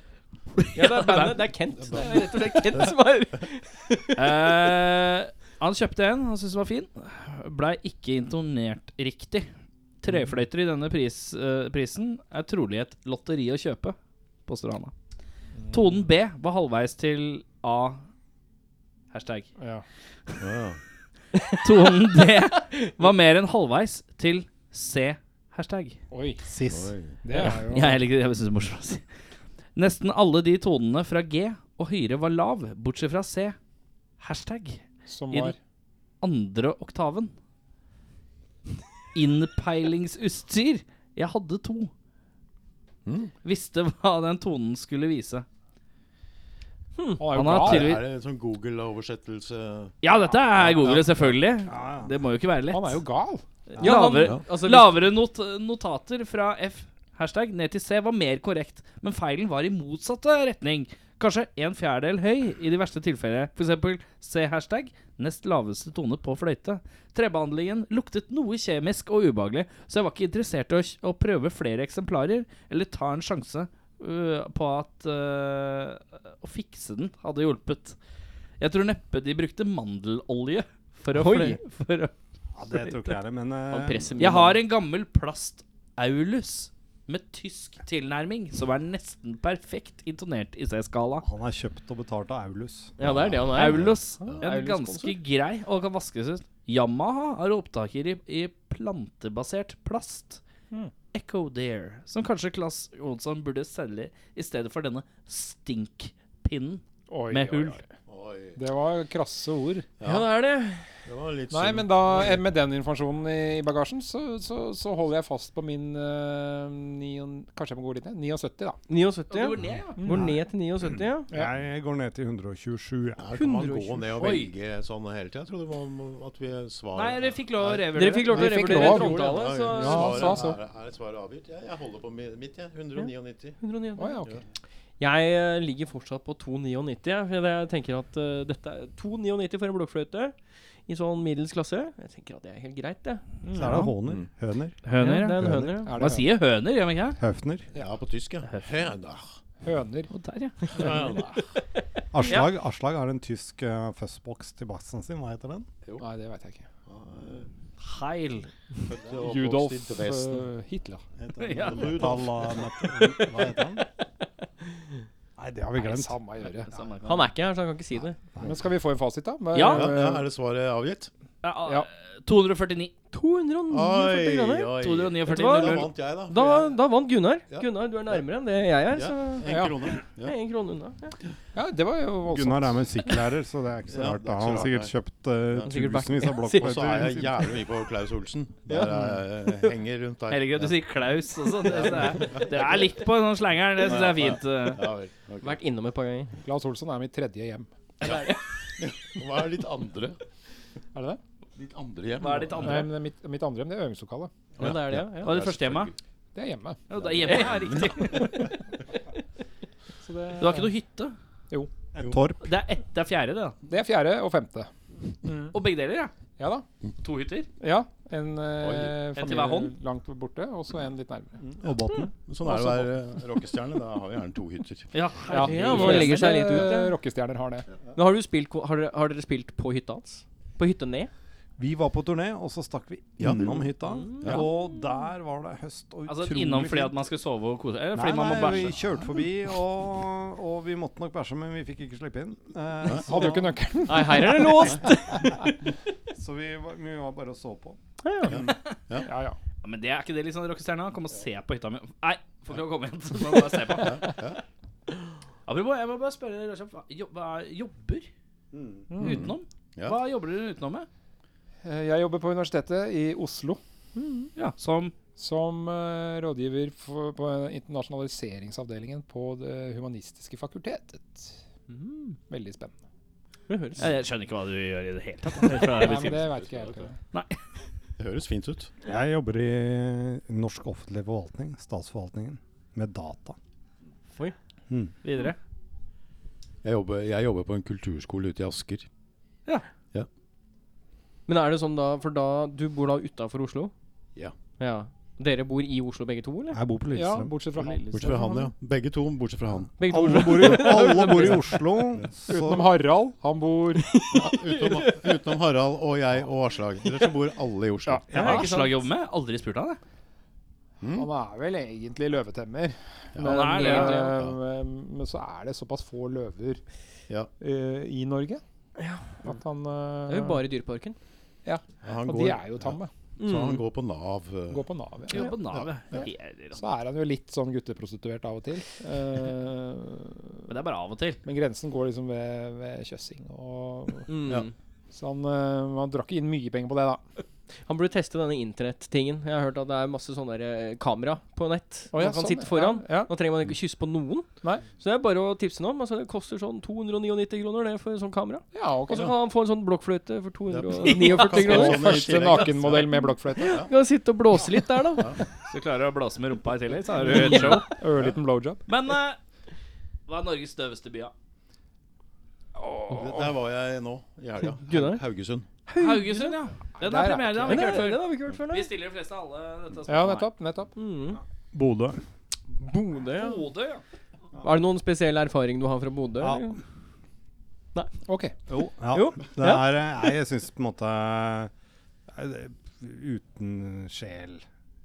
Speaker 3: Ja, det er bandet. Det er Kent. Det er rett og slett Kent som er
Speaker 2: Eh, han kjøpte en, han syntes den var fin. Blei ikke intonert riktig. Trefløyter i denne pris, eh, prisen er trolig et lotteri å kjøpe,
Speaker 3: Mm.
Speaker 2: påstår han. da. Tonen B var halvveis til A Hashtag.
Speaker 7: Ja.
Speaker 2: Tonen D var mer enn halvveis til C. Hashtag.
Speaker 7: Oi.
Speaker 1: Siss.
Speaker 7: Det er jo
Speaker 2: Ja, jeg liker det. Jeg synes det er morsomt å si. Nesten alle de tonene fra G og høyere var lav, bortsett fra C. Hashtag.
Speaker 7: som
Speaker 2: i den-
Speaker 7: var
Speaker 2: Andre oktaven. Innpeilingsutstyr. Jeg hadde to.
Speaker 7: Mm.
Speaker 2: Visste hva den tonen skulle vise.
Speaker 7: Han er jo
Speaker 2: Han har
Speaker 7: gal.
Speaker 2: tydeligvis
Speaker 8: Er det en sånn Google-oversettelse?
Speaker 2: Ja, dette er Google, selvfølgelig. Det må jo ikke være lett.
Speaker 7: Han er jo gal.
Speaker 3: Ja, han-
Speaker 2: Lavere-
Speaker 3: altså,
Speaker 2: Lavere not notater fra F hashtag ned til C var mer korrekt, men feilen var i motsatte retning. Kanskje en fjerdedel høy i de verste tilfellene. F.eks. C hashtag nest laveste tone på fløyte. Trebehandlingen luktet noe kjemisk og ubehagelig, så jeg var ikke interessert i å, å prøve flere eksemplarer eller ta en sjanse øh, på at øh, å fikse den hadde hjulpet. Jeg tror neppe de brukte mandelolje for å, fløy,
Speaker 3: Oi.
Speaker 2: for å
Speaker 1: Ja, det tror ikke jeg det, men
Speaker 3: Han
Speaker 1: eh,
Speaker 3: presser mye.
Speaker 2: jeg har en gammel plast-aulus med tysk tilnærming som er nesten perfekt intonert i C-skala.
Speaker 1: han er kjøpt og betalt av Aulus.
Speaker 3: Ja, det er det han er.
Speaker 2: Aulus. En
Speaker 3: Aulus-konsol.
Speaker 2: ganske grei og kan vaskes ut. Yamaha har opptaker i, i plantebasert plast. Echo Dare, som kanskje Claes Jonsson burde selge i stedet for denne stinkpinnen
Speaker 7: Oi,
Speaker 2: med
Speaker 7: oi,
Speaker 2: hull.
Speaker 7: oi.
Speaker 8: Oi.
Speaker 7: Det var krasse ord.
Speaker 3: Ja, det er det.
Speaker 8: Det var litt
Speaker 7: Nei,
Speaker 8: synd.
Speaker 7: men da, eh, med den informasjonen i i bagasjen, så, så, så holder jeg fast på min eh, ni og- Kanskje jeg må gå litt ned? 79, da.
Speaker 3: 79.
Speaker 2: Og det går ned, ja.
Speaker 3: Går ned til 79, ja.
Speaker 1: Jeg går ned til 127. Ja.
Speaker 8: Her kan man gå
Speaker 3: 120.
Speaker 8: ned og
Speaker 2: Oi.
Speaker 8: velge sånn hele tida. Jeg trodde det var at vi svar
Speaker 2: Nei, dere fikk lov å revurdere.
Speaker 3: Dere fikk lov til å
Speaker 7: Vi fikk
Speaker 3: revurdere
Speaker 7: lov.
Speaker 3: frontale,
Speaker 8: Ja,
Speaker 3: så
Speaker 7: Ja, han sa
Speaker 8: svaret,
Speaker 7: så.
Speaker 8: Er, er svaret avgitt? Ja, jeg holder på mi- mitt, jeg. 199.
Speaker 3: 109.
Speaker 7: Å ja, ok.
Speaker 3: Jeg eh, ligger fortsatt på 2,99. jeg, for Jeg tenker at eh, dette er 2,99 for en blokkfløyte i sånn middels klasse. Jeg tenker at det er helt greit, det.
Speaker 1: Så er det håner.
Speaker 3: Mm.
Speaker 1: Høner.
Speaker 2: Høner,
Speaker 3: Ja, det
Speaker 2: ja.
Speaker 3: er en høner. ja.
Speaker 7: Er
Speaker 2: Man
Speaker 7: det
Speaker 2: sier høner, gjør man ikke? det?
Speaker 1: Høfner.
Speaker 8: Ja, på tysk, ja. Høner.
Speaker 7: høner?
Speaker 2: Å, der, ja.
Speaker 8: Høner.
Speaker 1: Aslag, Aslag har en tysk uh, fuzzbox til baksen sin. Hva heter den?
Speaker 7: Nei, det veit jeg ikke.
Speaker 2: Heil.
Speaker 8: Født og oppvokst
Speaker 7: Judolf
Speaker 8: i Dresden.
Speaker 7: eh, Hitler.
Speaker 8: heter
Speaker 2: ja.
Speaker 8: han. Rudolf.
Speaker 1: Hva heter den? Nei, det har vi
Speaker 7: Nei,
Speaker 1: glemt.
Speaker 7: samme gjøre.
Speaker 3: Han er ikke her, så han kan ikke si det.
Speaker 7: Men skal vi få en fasit, da? Med,
Speaker 2: Ja.
Speaker 8: Ja, ja, er det svaret avgitt?
Speaker 2: Ja,
Speaker 7: Ja.
Speaker 2: 249.
Speaker 3: 249 kroner. Vet du
Speaker 2: 249
Speaker 3: hva?
Speaker 8: Da
Speaker 2: 00.
Speaker 8: vant jeg, da.
Speaker 3: Da, da vant Gunnar.
Speaker 8: Ja.
Speaker 3: Gunnar, du er nærmere enn det jeg er,
Speaker 8: Ja.
Speaker 3: så jeg
Speaker 8: En
Speaker 7: Ja.
Speaker 8: krone. Ja.
Speaker 3: er én krone unna. Ja.
Speaker 7: Ja, det var jo voldsomt.
Speaker 1: Gunnar er musikklærer, så det er ikke så
Speaker 8: Ja,
Speaker 1: rart.
Speaker 8: det er
Speaker 1: Da.
Speaker 8: ikke så
Speaker 1: Han har
Speaker 8: rart,
Speaker 1: sikkert kjøpt eh,
Speaker 3: Han har sikkert vært-
Speaker 1: tusenvis av
Speaker 8: Og så er jeg
Speaker 1: blokkfløyter.
Speaker 8: jævlig mye på Klaus Olsen. Der jeg henger rundt der.
Speaker 2: Herregud, du sier Klaus også. Det, det, er, det er litt på sånn slangeren. Det syns jeg er fint. eh.
Speaker 8: Ja vel. ok.
Speaker 3: Vært innom et par ganger.
Speaker 7: Claes Olsson er mitt tredje hjem.
Speaker 8: Hva er ditt andre?
Speaker 7: Er det det?
Speaker 8: Ditt andre hjem?
Speaker 2: Hva er ditt
Speaker 7: Nei,
Speaker 2: andre?
Speaker 7: men det er mitt, mitt andre hjem det er øvingslokalet.
Speaker 3: Ja, det er det, ja.
Speaker 2: Hva er det første hjemmet?
Speaker 7: Det er hjemme.
Speaker 2: Jo, det er hjemme, ja, riktig.
Speaker 7: Så det,
Speaker 2: Du har ikke noe hytte?
Speaker 1: Et torp.
Speaker 2: Det er, ett, det er fjerde, det. da.
Speaker 7: det er fjerde og femte.
Speaker 2: Og begge deler, ja.
Speaker 7: Ja da.
Speaker 2: To hytter.
Speaker 7: Ja, En eh,
Speaker 2: En til hver
Speaker 7: familie
Speaker 2: hånd?
Speaker 7: langt borte, og så en litt nærmere.
Speaker 1: Og båten.
Speaker 8: Sånn er det å være rockestjerne. Da har vi gjerne to hytter.
Speaker 2: Ja,
Speaker 3: Ja,
Speaker 2: herregud.
Speaker 3: nå legger seg litt ut.
Speaker 7: Eh,
Speaker 3: Ja.
Speaker 7: Rockestjerner har det.
Speaker 3: Men har, du spilt, ko- har, dere, har dere spilt på hytta hans? På hytta ned?
Speaker 1: Vi var på turné, og så stakk vi
Speaker 8: Ja.
Speaker 1: innom hytta. Og der var det høst og
Speaker 2: Altså
Speaker 1: utrolig
Speaker 2: innom fordi
Speaker 1: fint.
Speaker 2: at man skulle sove og kose seg? Eller
Speaker 1: Nei,
Speaker 2: fordi man må
Speaker 1: nei, vi
Speaker 2: bæsje?
Speaker 1: kjørte forbi, og, og vi måtte nok bæsje, men vi fikk ikke slippe inn. Eh, så,
Speaker 7: Hadde jo ikke nøkkelen.
Speaker 3: Nei, her er det låst!
Speaker 1: så vi, var, vi var bare og så på.
Speaker 7: Ja, ja.
Speaker 2: Ja, men det er ikke det litt sånn rockestjerna? Kom og se på hytta mi. Nei, får ikke lov å komme igjen. Så må jeg bare se på. Apropos, jeg må bare spørre dere kjapt. Hva- jo- Hva er jobber utenom?
Speaker 8: Ja.
Speaker 2: Hva jobber dere utenom med?
Speaker 7: Eh, Jeg jobber på universitetet i Oslo
Speaker 2: Ja, som
Speaker 7: som eh, rådgiver for, på internasjonaliseringsavdelingen på Det humanistiske fakultetet. Veldig spennende.
Speaker 3: Det høres
Speaker 2: Jeg skjønner ikke hva du gjør i det hele tatt. Det er
Speaker 7: Nei, men
Speaker 2: beskrivelsen.
Speaker 7: det veit ikke jeg helt.
Speaker 8: Det høres fint ut.
Speaker 1: Jeg jobber i Norsk offentlig forvaltning, statsforvaltningen, med data.
Speaker 2: Videre.
Speaker 8: Jeg jobber, jeg jobber på en kulturskole ute i Asker.
Speaker 3: Men er det sånn da, for da Du bor da utafor Oslo?
Speaker 8: Ja.
Speaker 3: ja. Dere bor i Oslo begge to, eller?
Speaker 1: Jeg bor på
Speaker 7: Ja,
Speaker 1: Lillestrøm.
Speaker 7: bortsett fra han.
Speaker 8: Bortsett fra han, ja. Begge to, bortsett fra han.
Speaker 3: Begge to
Speaker 1: alle, bor i, alle bor i Oslo, så
Speaker 7: Utenom Harald. Han bor
Speaker 8: Utenom, utenom Harald og jeg og Aslag. Ellers så bor alle i Oslo.
Speaker 2: Jeg har Aslag jobber med. Aldri spurt han, jeg.
Speaker 7: Han er vel egentlig løvetemmer.
Speaker 2: han er det,
Speaker 7: eh,
Speaker 2: egentlig,
Speaker 7: men så er det såpass få løver
Speaker 8: Ja.
Speaker 7: eh, i Norge At han
Speaker 3: Det er jo
Speaker 7: eh,
Speaker 3: bare i Dyreparken.
Speaker 8: Han
Speaker 7: Og
Speaker 8: går,
Speaker 7: de er jo tamme.
Speaker 8: Så han
Speaker 3: Mm.
Speaker 8: går på Nav. eh,
Speaker 7: Går på Nav. Ja.
Speaker 2: Ja, på navet.
Speaker 8: Ja.
Speaker 2: Helt rått.
Speaker 7: Så er han jo litt sånn gutteprostituert av og til. Eh,
Speaker 2: Men det er bare av og til.
Speaker 7: men grensen går liksom ved, ved kjøssing. Og,
Speaker 3: Mm.
Speaker 8: Ja.
Speaker 7: så han, eh, han drar ikke inn mye penger på det, da.
Speaker 3: Han burde teste denne internettingen. Jeg har hørt at det er masse sånne der, eh, kamera på nett.
Speaker 7: Å, ja,
Speaker 3: man kan
Speaker 7: sånn,
Speaker 3: sitte foran.
Speaker 7: Ja, ja.
Speaker 3: Nå trenger man ikke kysse på noen.
Speaker 7: Nei.
Speaker 3: Så det er bare å tipse ham om. Altså, det koster sånn 299 kroner det for sånn kamera.
Speaker 7: ja ok.
Speaker 3: Og så kan han få en sånn blokkfløyte for
Speaker 8: Det er
Speaker 3: 249 kroner.
Speaker 8: sånn
Speaker 7: Første
Speaker 8: i tillegg,
Speaker 7: nakenmodell med blokkfløyte.
Speaker 3: Du kan sitte og blåse litt der, da.
Speaker 2: Så klarer du å blåse med rumpa i tillegg, så har du et show.
Speaker 7: Ørliten blowjob.
Speaker 2: Men eh, hva er Norges støveste by, da?
Speaker 8: Der var jeg nå i helga.
Speaker 3: Gunnar?
Speaker 8: Haugesund.
Speaker 2: Haugesund, ja. Den
Speaker 7: Der
Speaker 2: har
Speaker 7: er
Speaker 2: premiere, det har vi
Speaker 3: Men
Speaker 2: ikke
Speaker 3: det,
Speaker 2: hørt før.
Speaker 3: det har vi ikke hørt før,
Speaker 2: Vi
Speaker 3: nei.
Speaker 2: stiller de fleste av alle dette
Speaker 7: Ja,
Speaker 2: spørsmålet.
Speaker 7: nettopp. nettopp
Speaker 3: Mm.
Speaker 1: Bodø.
Speaker 3: Bodø, ja.
Speaker 2: Bodø, ja.
Speaker 3: Er det noen spesiell erfaring du har fra Bodø?
Speaker 1: Ja.
Speaker 3: eller?
Speaker 7: Ok.
Speaker 1: Jo. Ja.
Speaker 3: Jo,
Speaker 1: Det
Speaker 3: ja.
Speaker 1: er eh, Nei, jeg syns på en måte eh, det- Uten sjel.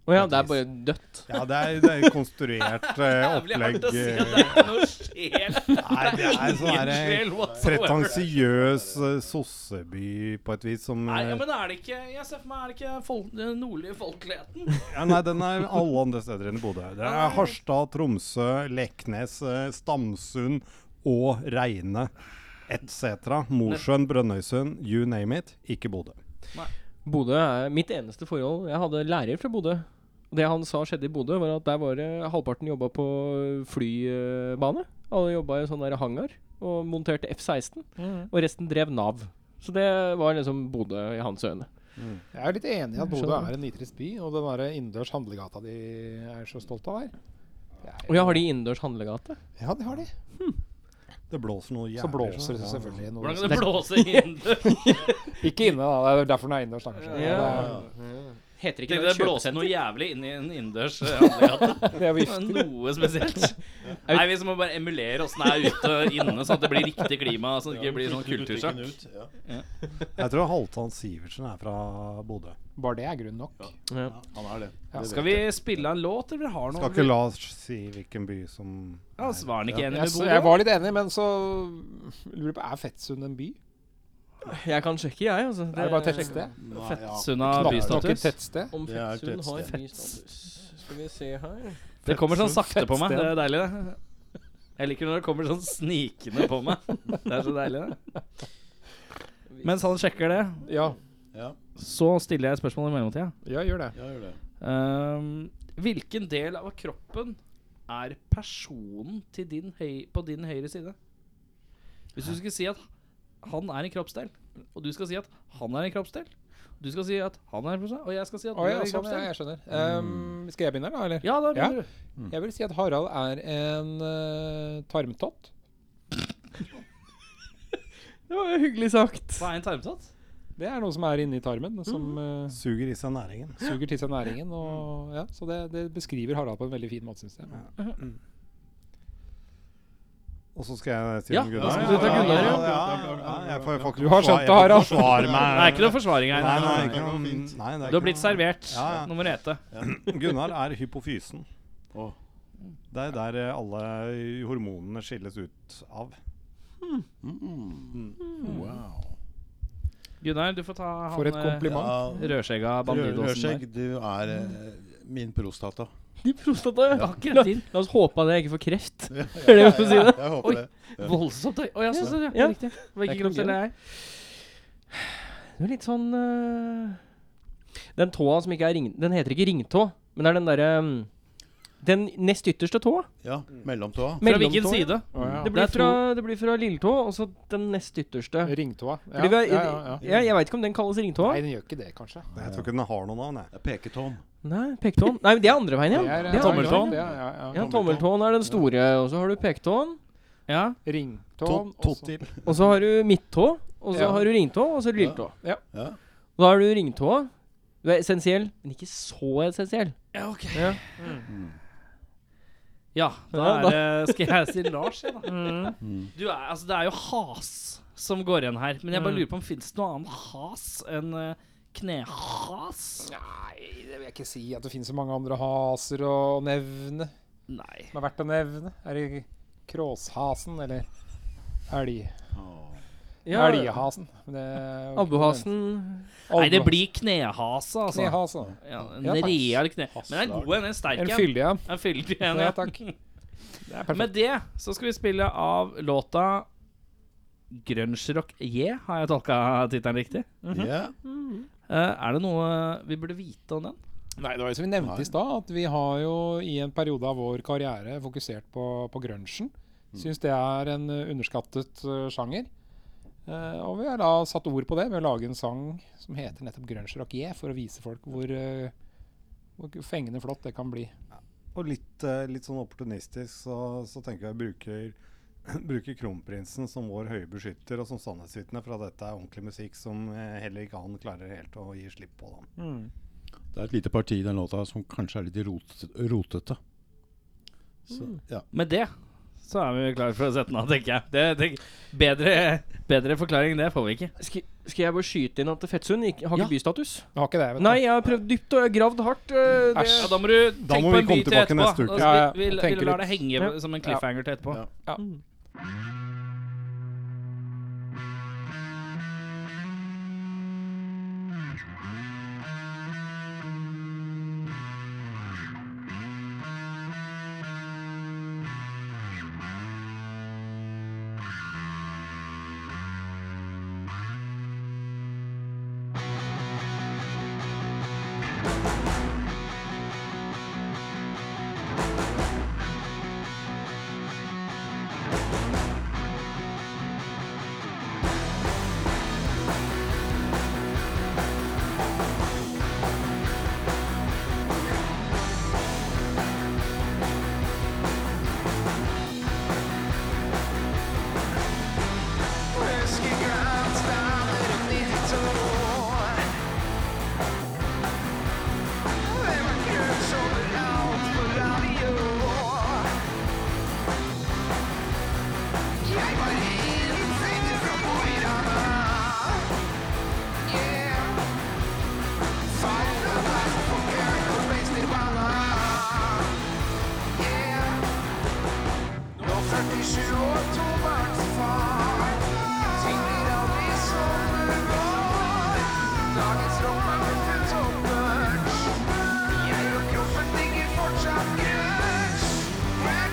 Speaker 3: Å ja, det er bare dødt.
Speaker 1: Ja, det er, det er konstruert eh,
Speaker 2: Jævlig
Speaker 1: opplegg.
Speaker 2: hardt å si
Speaker 1: eh,
Speaker 2: at det er noe sjel.
Speaker 1: Nei, det er sånn
Speaker 2: Ingen
Speaker 1: herre
Speaker 2: sjel whatsoever.
Speaker 1: pretensiøs eh, sosseby på et vis som
Speaker 2: Nei,
Speaker 1: eh,
Speaker 2: ja, men er det ikke Jeg ser for meg, er det ikke fol den nordlige folkeligheten?
Speaker 1: Ja, nei, den er alle andre steder enn i Bodø. Det er Harstad, Tromsø, Leknes, eh, Stamsund og Reine etc. Mosjøen, Brønnøysund, you name it. Ikke Bodø.
Speaker 3: Bodø er mitt eneste forhold. Jeg hadde lærer fra Bodø. Det han sa skjedde i Bodø, var at der var det halvparten jobba på flybane. Alle jobba i sånn der hangar og monterte F-16. Og resten drev Nav. Så det var liksom Bodø i hans øyne.
Speaker 7: Jeg er jo litt enig i at Bodø
Speaker 3: Skjønner.
Speaker 7: er en nitrist by, og den der innendørs handlegata de er så stolt av her. Det er
Speaker 3: Og ja, har de innendørs handlegate?
Speaker 7: jo- Ja, det har de.
Speaker 1: Det blåser noe jævlig.
Speaker 7: Så blåser det
Speaker 1: ja.
Speaker 7: selvfølgelig
Speaker 2: sånn,
Speaker 7: noe.
Speaker 2: Hvordan kan det blåse innendørs?
Speaker 7: Ikke inne, da. Det er derfor den er innendørs. da, kanskje.
Speaker 3: Ja. Heter ikke
Speaker 2: Tenkte
Speaker 3: det
Speaker 2: det blåste noe jævlig inni en innendørs eh, handlegate.
Speaker 7: Det er vift.
Speaker 2: Noe spesielt. Nei, vi må bare emulere åssen det er ute og inne, sånn at det blir riktig klima. Sånn at det ikke blir sånn kultursjokk.
Speaker 8: Ut, ja.
Speaker 1: Jeg tror Halvdan Sivertsen er fra Bodø.
Speaker 7: Bare det er grunn nok.
Speaker 8: Han er det.
Speaker 7: Ja.
Speaker 8: det
Speaker 2: Skal vi spille en låt, eller vi har
Speaker 1: Skal ikke
Speaker 2: noe?
Speaker 1: la oss si hvilken by som
Speaker 2: Ja, så var han ikke enig
Speaker 7: Jeg,
Speaker 2: med
Speaker 7: s- jeg
Speaker 2: Bodø?
Speaker 7: var litt enig, men så lurer jeg på Er Fettsund en by?
Speaker 3: Jeg kan sjekke, jeg. Altså.
Speaker 7: Er det bare et tettsted?
Speaker 8: Nei, ja.
Speaker 2: Fettsunda
Speaker 7: Knapt nok et
Speaker 2: bystatus.
Speaker 7: tettsted.
Speaker 3: Om
Speaker 8: Det er et
Speaker 3: Fettsund har
Speaker 8: tettsted.
Speaker 3: bystatus. Skal vi se her
Speaker 2: Det kommer sånn sakte på meg. Det er deilig, det. Jeg liker når det kommer sånn snikende på meg. Det er så deilig, det. Mens han sjekker det,
Speaker 7: Ja,
Speaker 8: Ja,
Speaker 2: så stiller jeg et spørsmål i mellomtida.
Speaker 7: ja gjør det.
Speaker 8: ja, gjør det.
Speaker 2: Ehm, hvilken del av kroppen er personen til din høy, på din høyre side? Hvis du skal si at han er en kroppsdel, og du skal si at han er en kroppsdel Du skal si at han er en kroppsdel, og jeg skal si at du
Speaker 7: Å
Speaker 2: er
Speaker 7: ja,
Speaker 2: en
Speaker 7: sånn, ja,
Speaker 2: kroppsdel.
Speaker 7: jeg skjønner. Mm. Um, skal jeg begynne, da? Eller?
Speaker 2: Ja, da
Speaker 7: Ja.
Speaker 2: begynner du.
Speaker 7: Jeg vil si at Harald er en eh, tarmtott.
Speaker 3: Det var jo hyggelig sagt.
Speaker 2: Hva er en tarmtott?
Speaker 7: Det er noe som er inni tarmen, som eh,
Speaker 1: suger i seg næringen.
Speaker 7: suger til seg næringen. Og, ja, så det, det beskriver Harald på en veldig fin måte, syns jeg.
Speaker 1: Og så skal jeg si
Speaker 2: Ja,
Speaker 1: om
Speaker 2: da
Speaker 1: Gunnar.
Speaker 2: skal du ta Gunnar,
Speaker 1: ja,
Speaker 2: ja.
Speaker 1: ja, ja, ja, jeg får, jeg får ikke
Speaker 7: Du har skjønt det, Harald.
Speaker 1: forsvare
Speaker 2: Det
Speaker 1: meg.
Speaker 2: er ikke noe forsvaring her.
Speaker 1: Nei, nei,
Speaker 2: nei.
Speaker 1: ikke noe-
Speaker 8: Det går fint.
Speaker 1: nei, det er
Speaker 2: Du har
Speaker 1: ikke
Speaker 2: blitt
Speaker 1: noe-
Speaker 2: servert.
Speaker 1: Ja, ja.
Speaker 2: Nå må du ete.
Speaker 1: Gunnar er hypofysen.
Speaker 8: Åh.
Speaker 1: Det er der eh, alle hormonene skilles ut av.
Speaker 8: Wow.
Speaker 2: Gunnar, du får ta han
Speaker 7: For et
Speaker 2: eh,
Speaker 7: kompliment.
Speaker 2: rødskjegga
Speaker 8: Rø- Rødskjegg,
Speaker 2: bandidåsen der.
Speaker 8: du er eh, min prostata.
Speaker 3: De prostata, ja.
Speaker 2: Akkurat din.
Speaker 3: La oss håpe at jeg ikke får kreft.
Speaker 8: Ja,
Speaker 3: Er det for å si det?
Speaker 8: Jeg håper det.
Speaker 2: Voldsomt høy. Å ja, sånn, sånn, ja.
Speaker 3: Ja.
Speaker 2: Riktig. Var
Speaker 3: Det
Speaker 2: ikke
Speaker 3: er ikke noe
Speaker 2: kroppsdel, jeg.
Speaker 3: Det er litt sånn øh, Den tåa som ikke er ring... Den heter ikke ringtå, men det er den derre øhm, Den nest ytterste tåa.
Speaker 8: Ja, mellomtåa.
Speaker 2: Fra hvilken
Speaker 3: Mellomtåa.
Speaker 2: side?
Speaker 7: Å,
Speaker 3: Det
Speaker 2: Det
Speaker 3: blir,
Speaker 2: er to-
Speaker 3: fra, det blir fra lilletå, og så den nest ytterste.
Speaker 7: ja. Ringtåa. Ja,
Speaker 3: Fordi vi har,
Speaker 7: ja, ja, ja.
Speaker 3: Jeg, jeg veit ikke om den kalles ringtåa.
Speaker 7: Nei, den gjør ikke det, kanskje.
Speaker 1: Jeg tror ikke den har noe navn. jeg.
Speaker 8: Det er Peketåen.
Speaker 3: Nei, peketåen. Nei, men det er andre veien, ja.
Speaker 7: Det er,
Speaker 3: Det
Speaker 7: eh,
Speaker 3: er
Speaker 2: tommeltåen.
Speaker 7: Ja, ja, ja.
Speaker 3: Ja, tommeltåen er den store, og så har du peketåen.
Speaker 2: Ja.
Speaker 7: Ringtåen.
Speaker 1: To-
Speaker 7: også.
Speaker 1: Totti.
Speaker 3: Og så har du midttå, og så
Speaker 7: Ja.
Speaker 3: har du ringtå, og så lilletå.
Speaker 7: Ja.
Speaker 8: Ja.
Speaker 3: Og da har du ringtåa. Du er essensiell, men ikke så essensiell.
Speaker 2: Ja, ok.
Speaker 3: Ja.
Speaker 2: Ja, da,
Speaker 3: Ja, da-
Speaker 2: er det- skal jeg si Lars, jeg, da. Du er, altså, det er jo has som går igjen her. Men jeg bare lurer på om fins det noe annet has enn eh, knehas?
Speaker 7: Nei, det vil jeg ikke si at det finnes så mange andre haser å nevne.
Speaker 2: Nei.
Speaker 7: Som er verdt å nevne. Er det Kråshasen eller elg?
Speaker 8: Åh.
Speaker 3: Ja,
Speaker 7: Elghasen. Men det er jo ikke
Speaker 3: Abbehasen
Speaker 7: den.
Speaker 2: Nei, det blir knehase, altså.
Speaker 7: Knehase.
Speaker 2: Ja, en
Speaker 7: Ja, takk.
Speaker 2: real kne. Men den er god en. En sterk
Speaker 7: En
Speaker 2: en.
Speaker 7: fyldig en.
Speaker 2: En fyldig en,
Speaker 7: Ja,
Speaker 2: ja.
Speaker 7: takk. Det er perfekt.
Speaker 2: Med det så skal vi spille av låta Grungerock J, har jeg tolka tittelen riktig?
Speaker 8: Ja.
Speaker 2: Eh, er det noe vi burde vite om den?
Speaker 7: Nei, det var jo som vi nevnte i stad, at vi har jo i en periode av vår karriere fokusert på, på grunchen. Syns det er en eh, underskattet eh, sjanger. Eh, og vi har da satt ord på det ved å lage en sang som heter nettopp grungerock J, for å vise folk hvor, eh, hvor fengende flott det kan bli.
Speaker 1: Og litt, eh, litt sånn opportunistisk så, så tenker jeg bruker, bruker kronprinsen som vår høye beskytter og som sannhetsvitne, for at dette er ordentlig musikk som eh, heller ikke han klarer helt å gi slipp på. Da.
Speaker 8: Det er et lite parti i den låta som kanskje er litt rotet- rotete. Så, ja.
Speaker 2: Med det så er vi klare for å sette den av, tenker jeg. Det, tenk, bedre, bedre forklaring enn det får vi ikke.
Speaker 3: Skal, skal jeg bare skyte inn at Fettsund ikke, har ikke bystatus?
Speaker 7: Det har ikke det, vet du.
Speaker 3: Nei, jeg har prøvd dypt og jeg har gravd hardt. øh, det-
Speaker 2: Ja, da må du tenke
Speaker 1: må
Speaker 2: på
Speaker 1: vi
Speaker 2: en
Speaker 1: komme
Speaker 2: bit til
Speaker 1: tilbake
Speaker 2: etterpå.
Speaker 1: neste uke.
Speaker 2: Da skal
Speaker 7: Ja, ja,
Speaker 2: vi, vi,
Speaker 7: tenke
Speaker 2: vi lar
Speaker 7: litt.
Speaker 2: det henge
Speaker 7: Ja.
Speaker 2: som en cliffhanger til etterpå.
Speaker 8: Ja.
Speaker 10: Sju år tobakksfar. Tinger av de sommerår. Dagens rock er blitt toppers. Jeg og kroppen digger fortsatt grunge.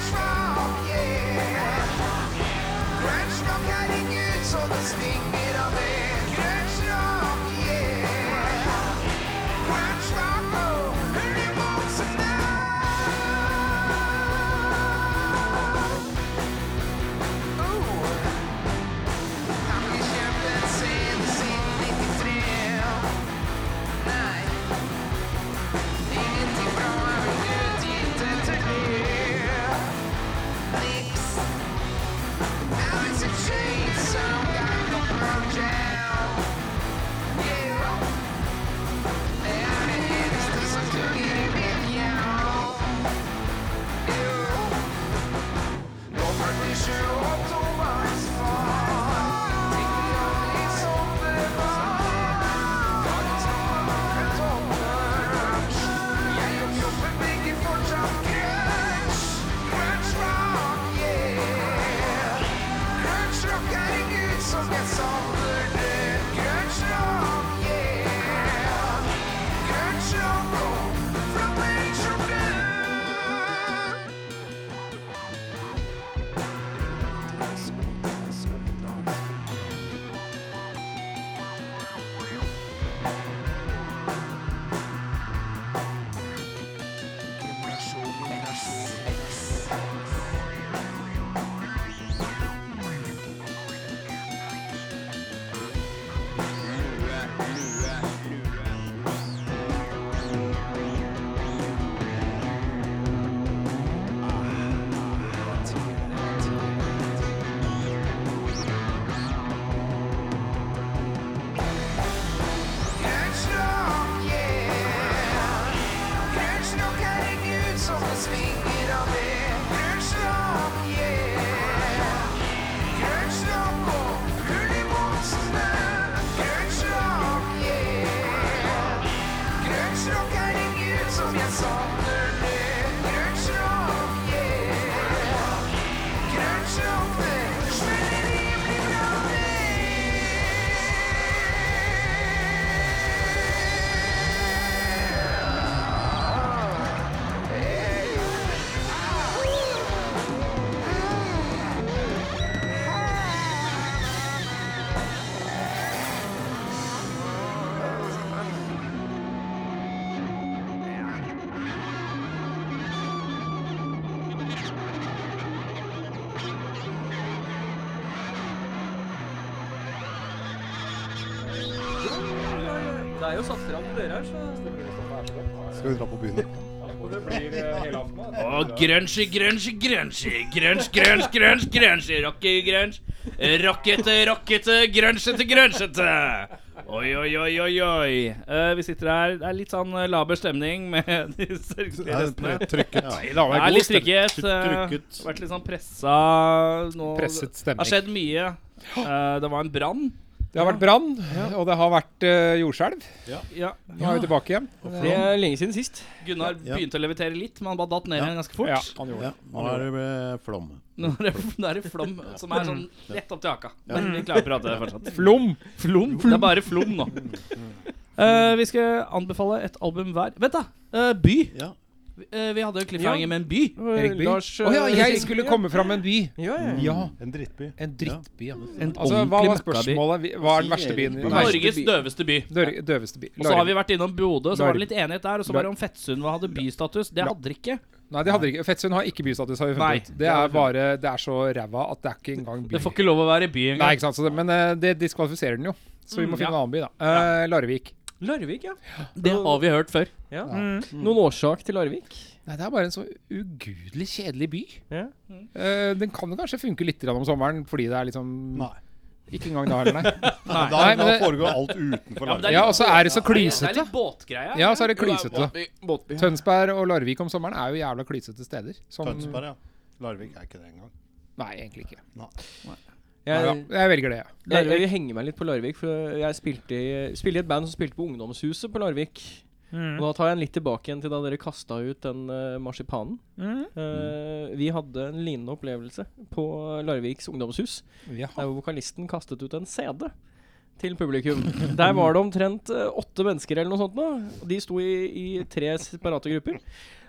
Speaker 10: Grunge rock, yeah. Grunge rock er ikke ut så det svinger av det. Grunge rock, yeah. Grunge rock, oh. Who do you want to know? Ooh. Han blir kjempet siden siden 93. Nei, ingenting bra er vel utgitt etter det. Niks. Alice in Chains, some kind of Pearl Jam. Yeah. Det er det eneste som duger i mitt hjem. Jo. Nå følger sju og tobaksfar. Ting gjør de som det var. Dagens mann er en toppers. Jeg og kroppen ligger fortsatt grunge. Grunge rock, yeah. Grunge rock er en gud som jeg savner det. Grunge rock, yeah. Grunge rock, oh, fra Major Blues. Som jeg savner det Grunge rock, yeah Grunge rock, det Smeller rimelig bra, det
Speaker 3: det er jo satt fram til dere her, så
Speaker 1: Skal vi dra på byen?
Speaker 6: Å, grunge, grunge, grunge. Grunge, grunge, grunge, grunge. Rocke, grunge. Rockete, rockete, grungete, grungete. Oi, oi, oi, oi, oi. Eh, vi sitter her. Det er litt sånn eh, laber stemning med de sørgelige restene.
Speaker 1: Trykket.
Speaker 8: Nei, da,
Speaker 6: Det er litt trykket.
Speaker 8: Trykket.
Speaker 6: eh, Vært litt sånn pressa nå.
Speaker 7: Presset
Speaker 6: Det
Speaker 7: stemning.
Speaker 6: har skjedd mye. Eh, det var en brann.
Speaker 7: Det har vært brann, og det har vært eh, jordskjelv.
Speaker 6: Ja.
Speaker 7: Nå er vi tilbake igjen.
Speaker 3: Det er lenge siden sist.
Speaker 6: Gunnar
Speaker 8: Ja.
Speaker 6: begynte å levitere litt, men han bare datt ned
Speaker 8: Ja.
Speaker 6: igjen ganske fort.
Speaker 7: Ja, han gjorde det.
Speaker 8: Ja, nå er det eh, flom.
Speaker 6: Nå er det, nå er det flom som er sånn rett opp til haka. Men vi klarer å prate fortsatt.
Speaker 7: Flom!
Speaker 6: Flom? Det er bare flom nå. Eh, vi skal anbefale et album hver. Vent, da! eh, by.
Speaker 8: Ja.
Speaker 6: Eh, vi hadde jo cliffhanger
Speaker 3: Ja.
Speaker 6: med en by.
Speaker 7: Erik By.
Speaker 3: Lars,
Speaker 7: Å ja, jeg
Speaker 3: eh,
Speaker 7: skulle komme fram med en by.
Speaker 3: Ja, ja.
Speaker 7: Ja,
Speaker 1: En drittby.
Speaker 7: en drittby. Ja.
Speaker 6: En
Speaker 7: Altså, hva var
Speaker 6: ordentlig møkkaby.
Speaker 7: spørsmålet? Vi- Hva er den verste byen?
Speaker 8: Norge.
Speaker 7: Nei,
Speaker 6: Norges døveste by.
Speaker 7: dør- Døveste by.
Speaker 6: Og så har vi vært innom Bodø, så var det
Speaker 7: Larvik.
Speaker 6: litt enighet der. Og så var det om Fettsund hva hadde bystatus. Det
Speaker 7: La-
Speaker 6: hadde det ikke.
Speaker 7: Nei, det hadde de ikke. Fettsund har ikke bystatus, har vi
Speaker 6: Nei,
Speaker 7: funnet ut.
Speaker 6: det
Speaker 7: Det
Speaker 6: har
Speaker 7: er
Speaker 6: vi
Speaker 7: bare Det er så ræva at det er ikke engang by.
Speaker 6: Det får ikke lov å være by
Speaker 7: Nei,
Speaker 6: engang.
Speaker 7: ikke sant. Så det, men eh, det diskvalifiserer den jo. Så vi må
Speaker 6: Mm,
Speaker 7: finne
Speaker 6: ja.
Speaker 7: en annen by, da. Eh, Larvik.
Speaker 3: Larvik, ja.
Speaker 6: Det har vi hørt før.
Speaker 3: ja. Noen årsak til Larvik?
Speaker 7: Nei, det er bare en så ugudelig kjedelig by.
Speaker 3: Ja.
Speaker 7: Eh, den kan jo kanskje funke litt grann om sommeren fordi det er liksom
Speaker 1: Nei.
Speaker 7: Ikke engang da heller, nei.
Speaker 1: Nei, da,
Speaker 7: Nei, men
Speaker 1: da
Speaker 7: det-
Speaker 1: foregår alt utenfor
Speaker 6: men
Speaker 1: landet.
Speaker 6: det er
Speaker 7: Ja,
Speaker 6: litt-
Speaker 7: og så er det så
Speaker 6: Det er
Speaker 7: klysete.
Speaker 6: litt båtgreie.
Speaker 7: Ja, så er det klysete.
Speaker 3: Båtby.
Speaker 7: Tønsberg og Larvik om sommeren er jo jævla klysete steder. Som,
Speaker 1: Tønsberg, ja. Larvik er ikke det engang.
Speaker 7: Nei, egentlig ikke. Nei, ja.
Speaker 3: Jeg,
Speaker 7: Jeg velger det, ja.
Speaker 3: jeg, jeg henger meg litt på Larvik, for jeg spilte i, spilte i et band som spilte på Ungdomshuset på Larvik. Og da tar jeg en litt tilbake igjen til da dere kasta ut den eh, marsipanen. Eh, vi hadde en lignende opplevelse på Larviks ungdomshus.
Speaker 7: Ja.
Speaker 3: Der hvor vokalisten kastet ut en CD til publikum. Der var det omtrent eh, åtte mennesker eller noe sånt nå. Og de sto i, i tre separate grupper.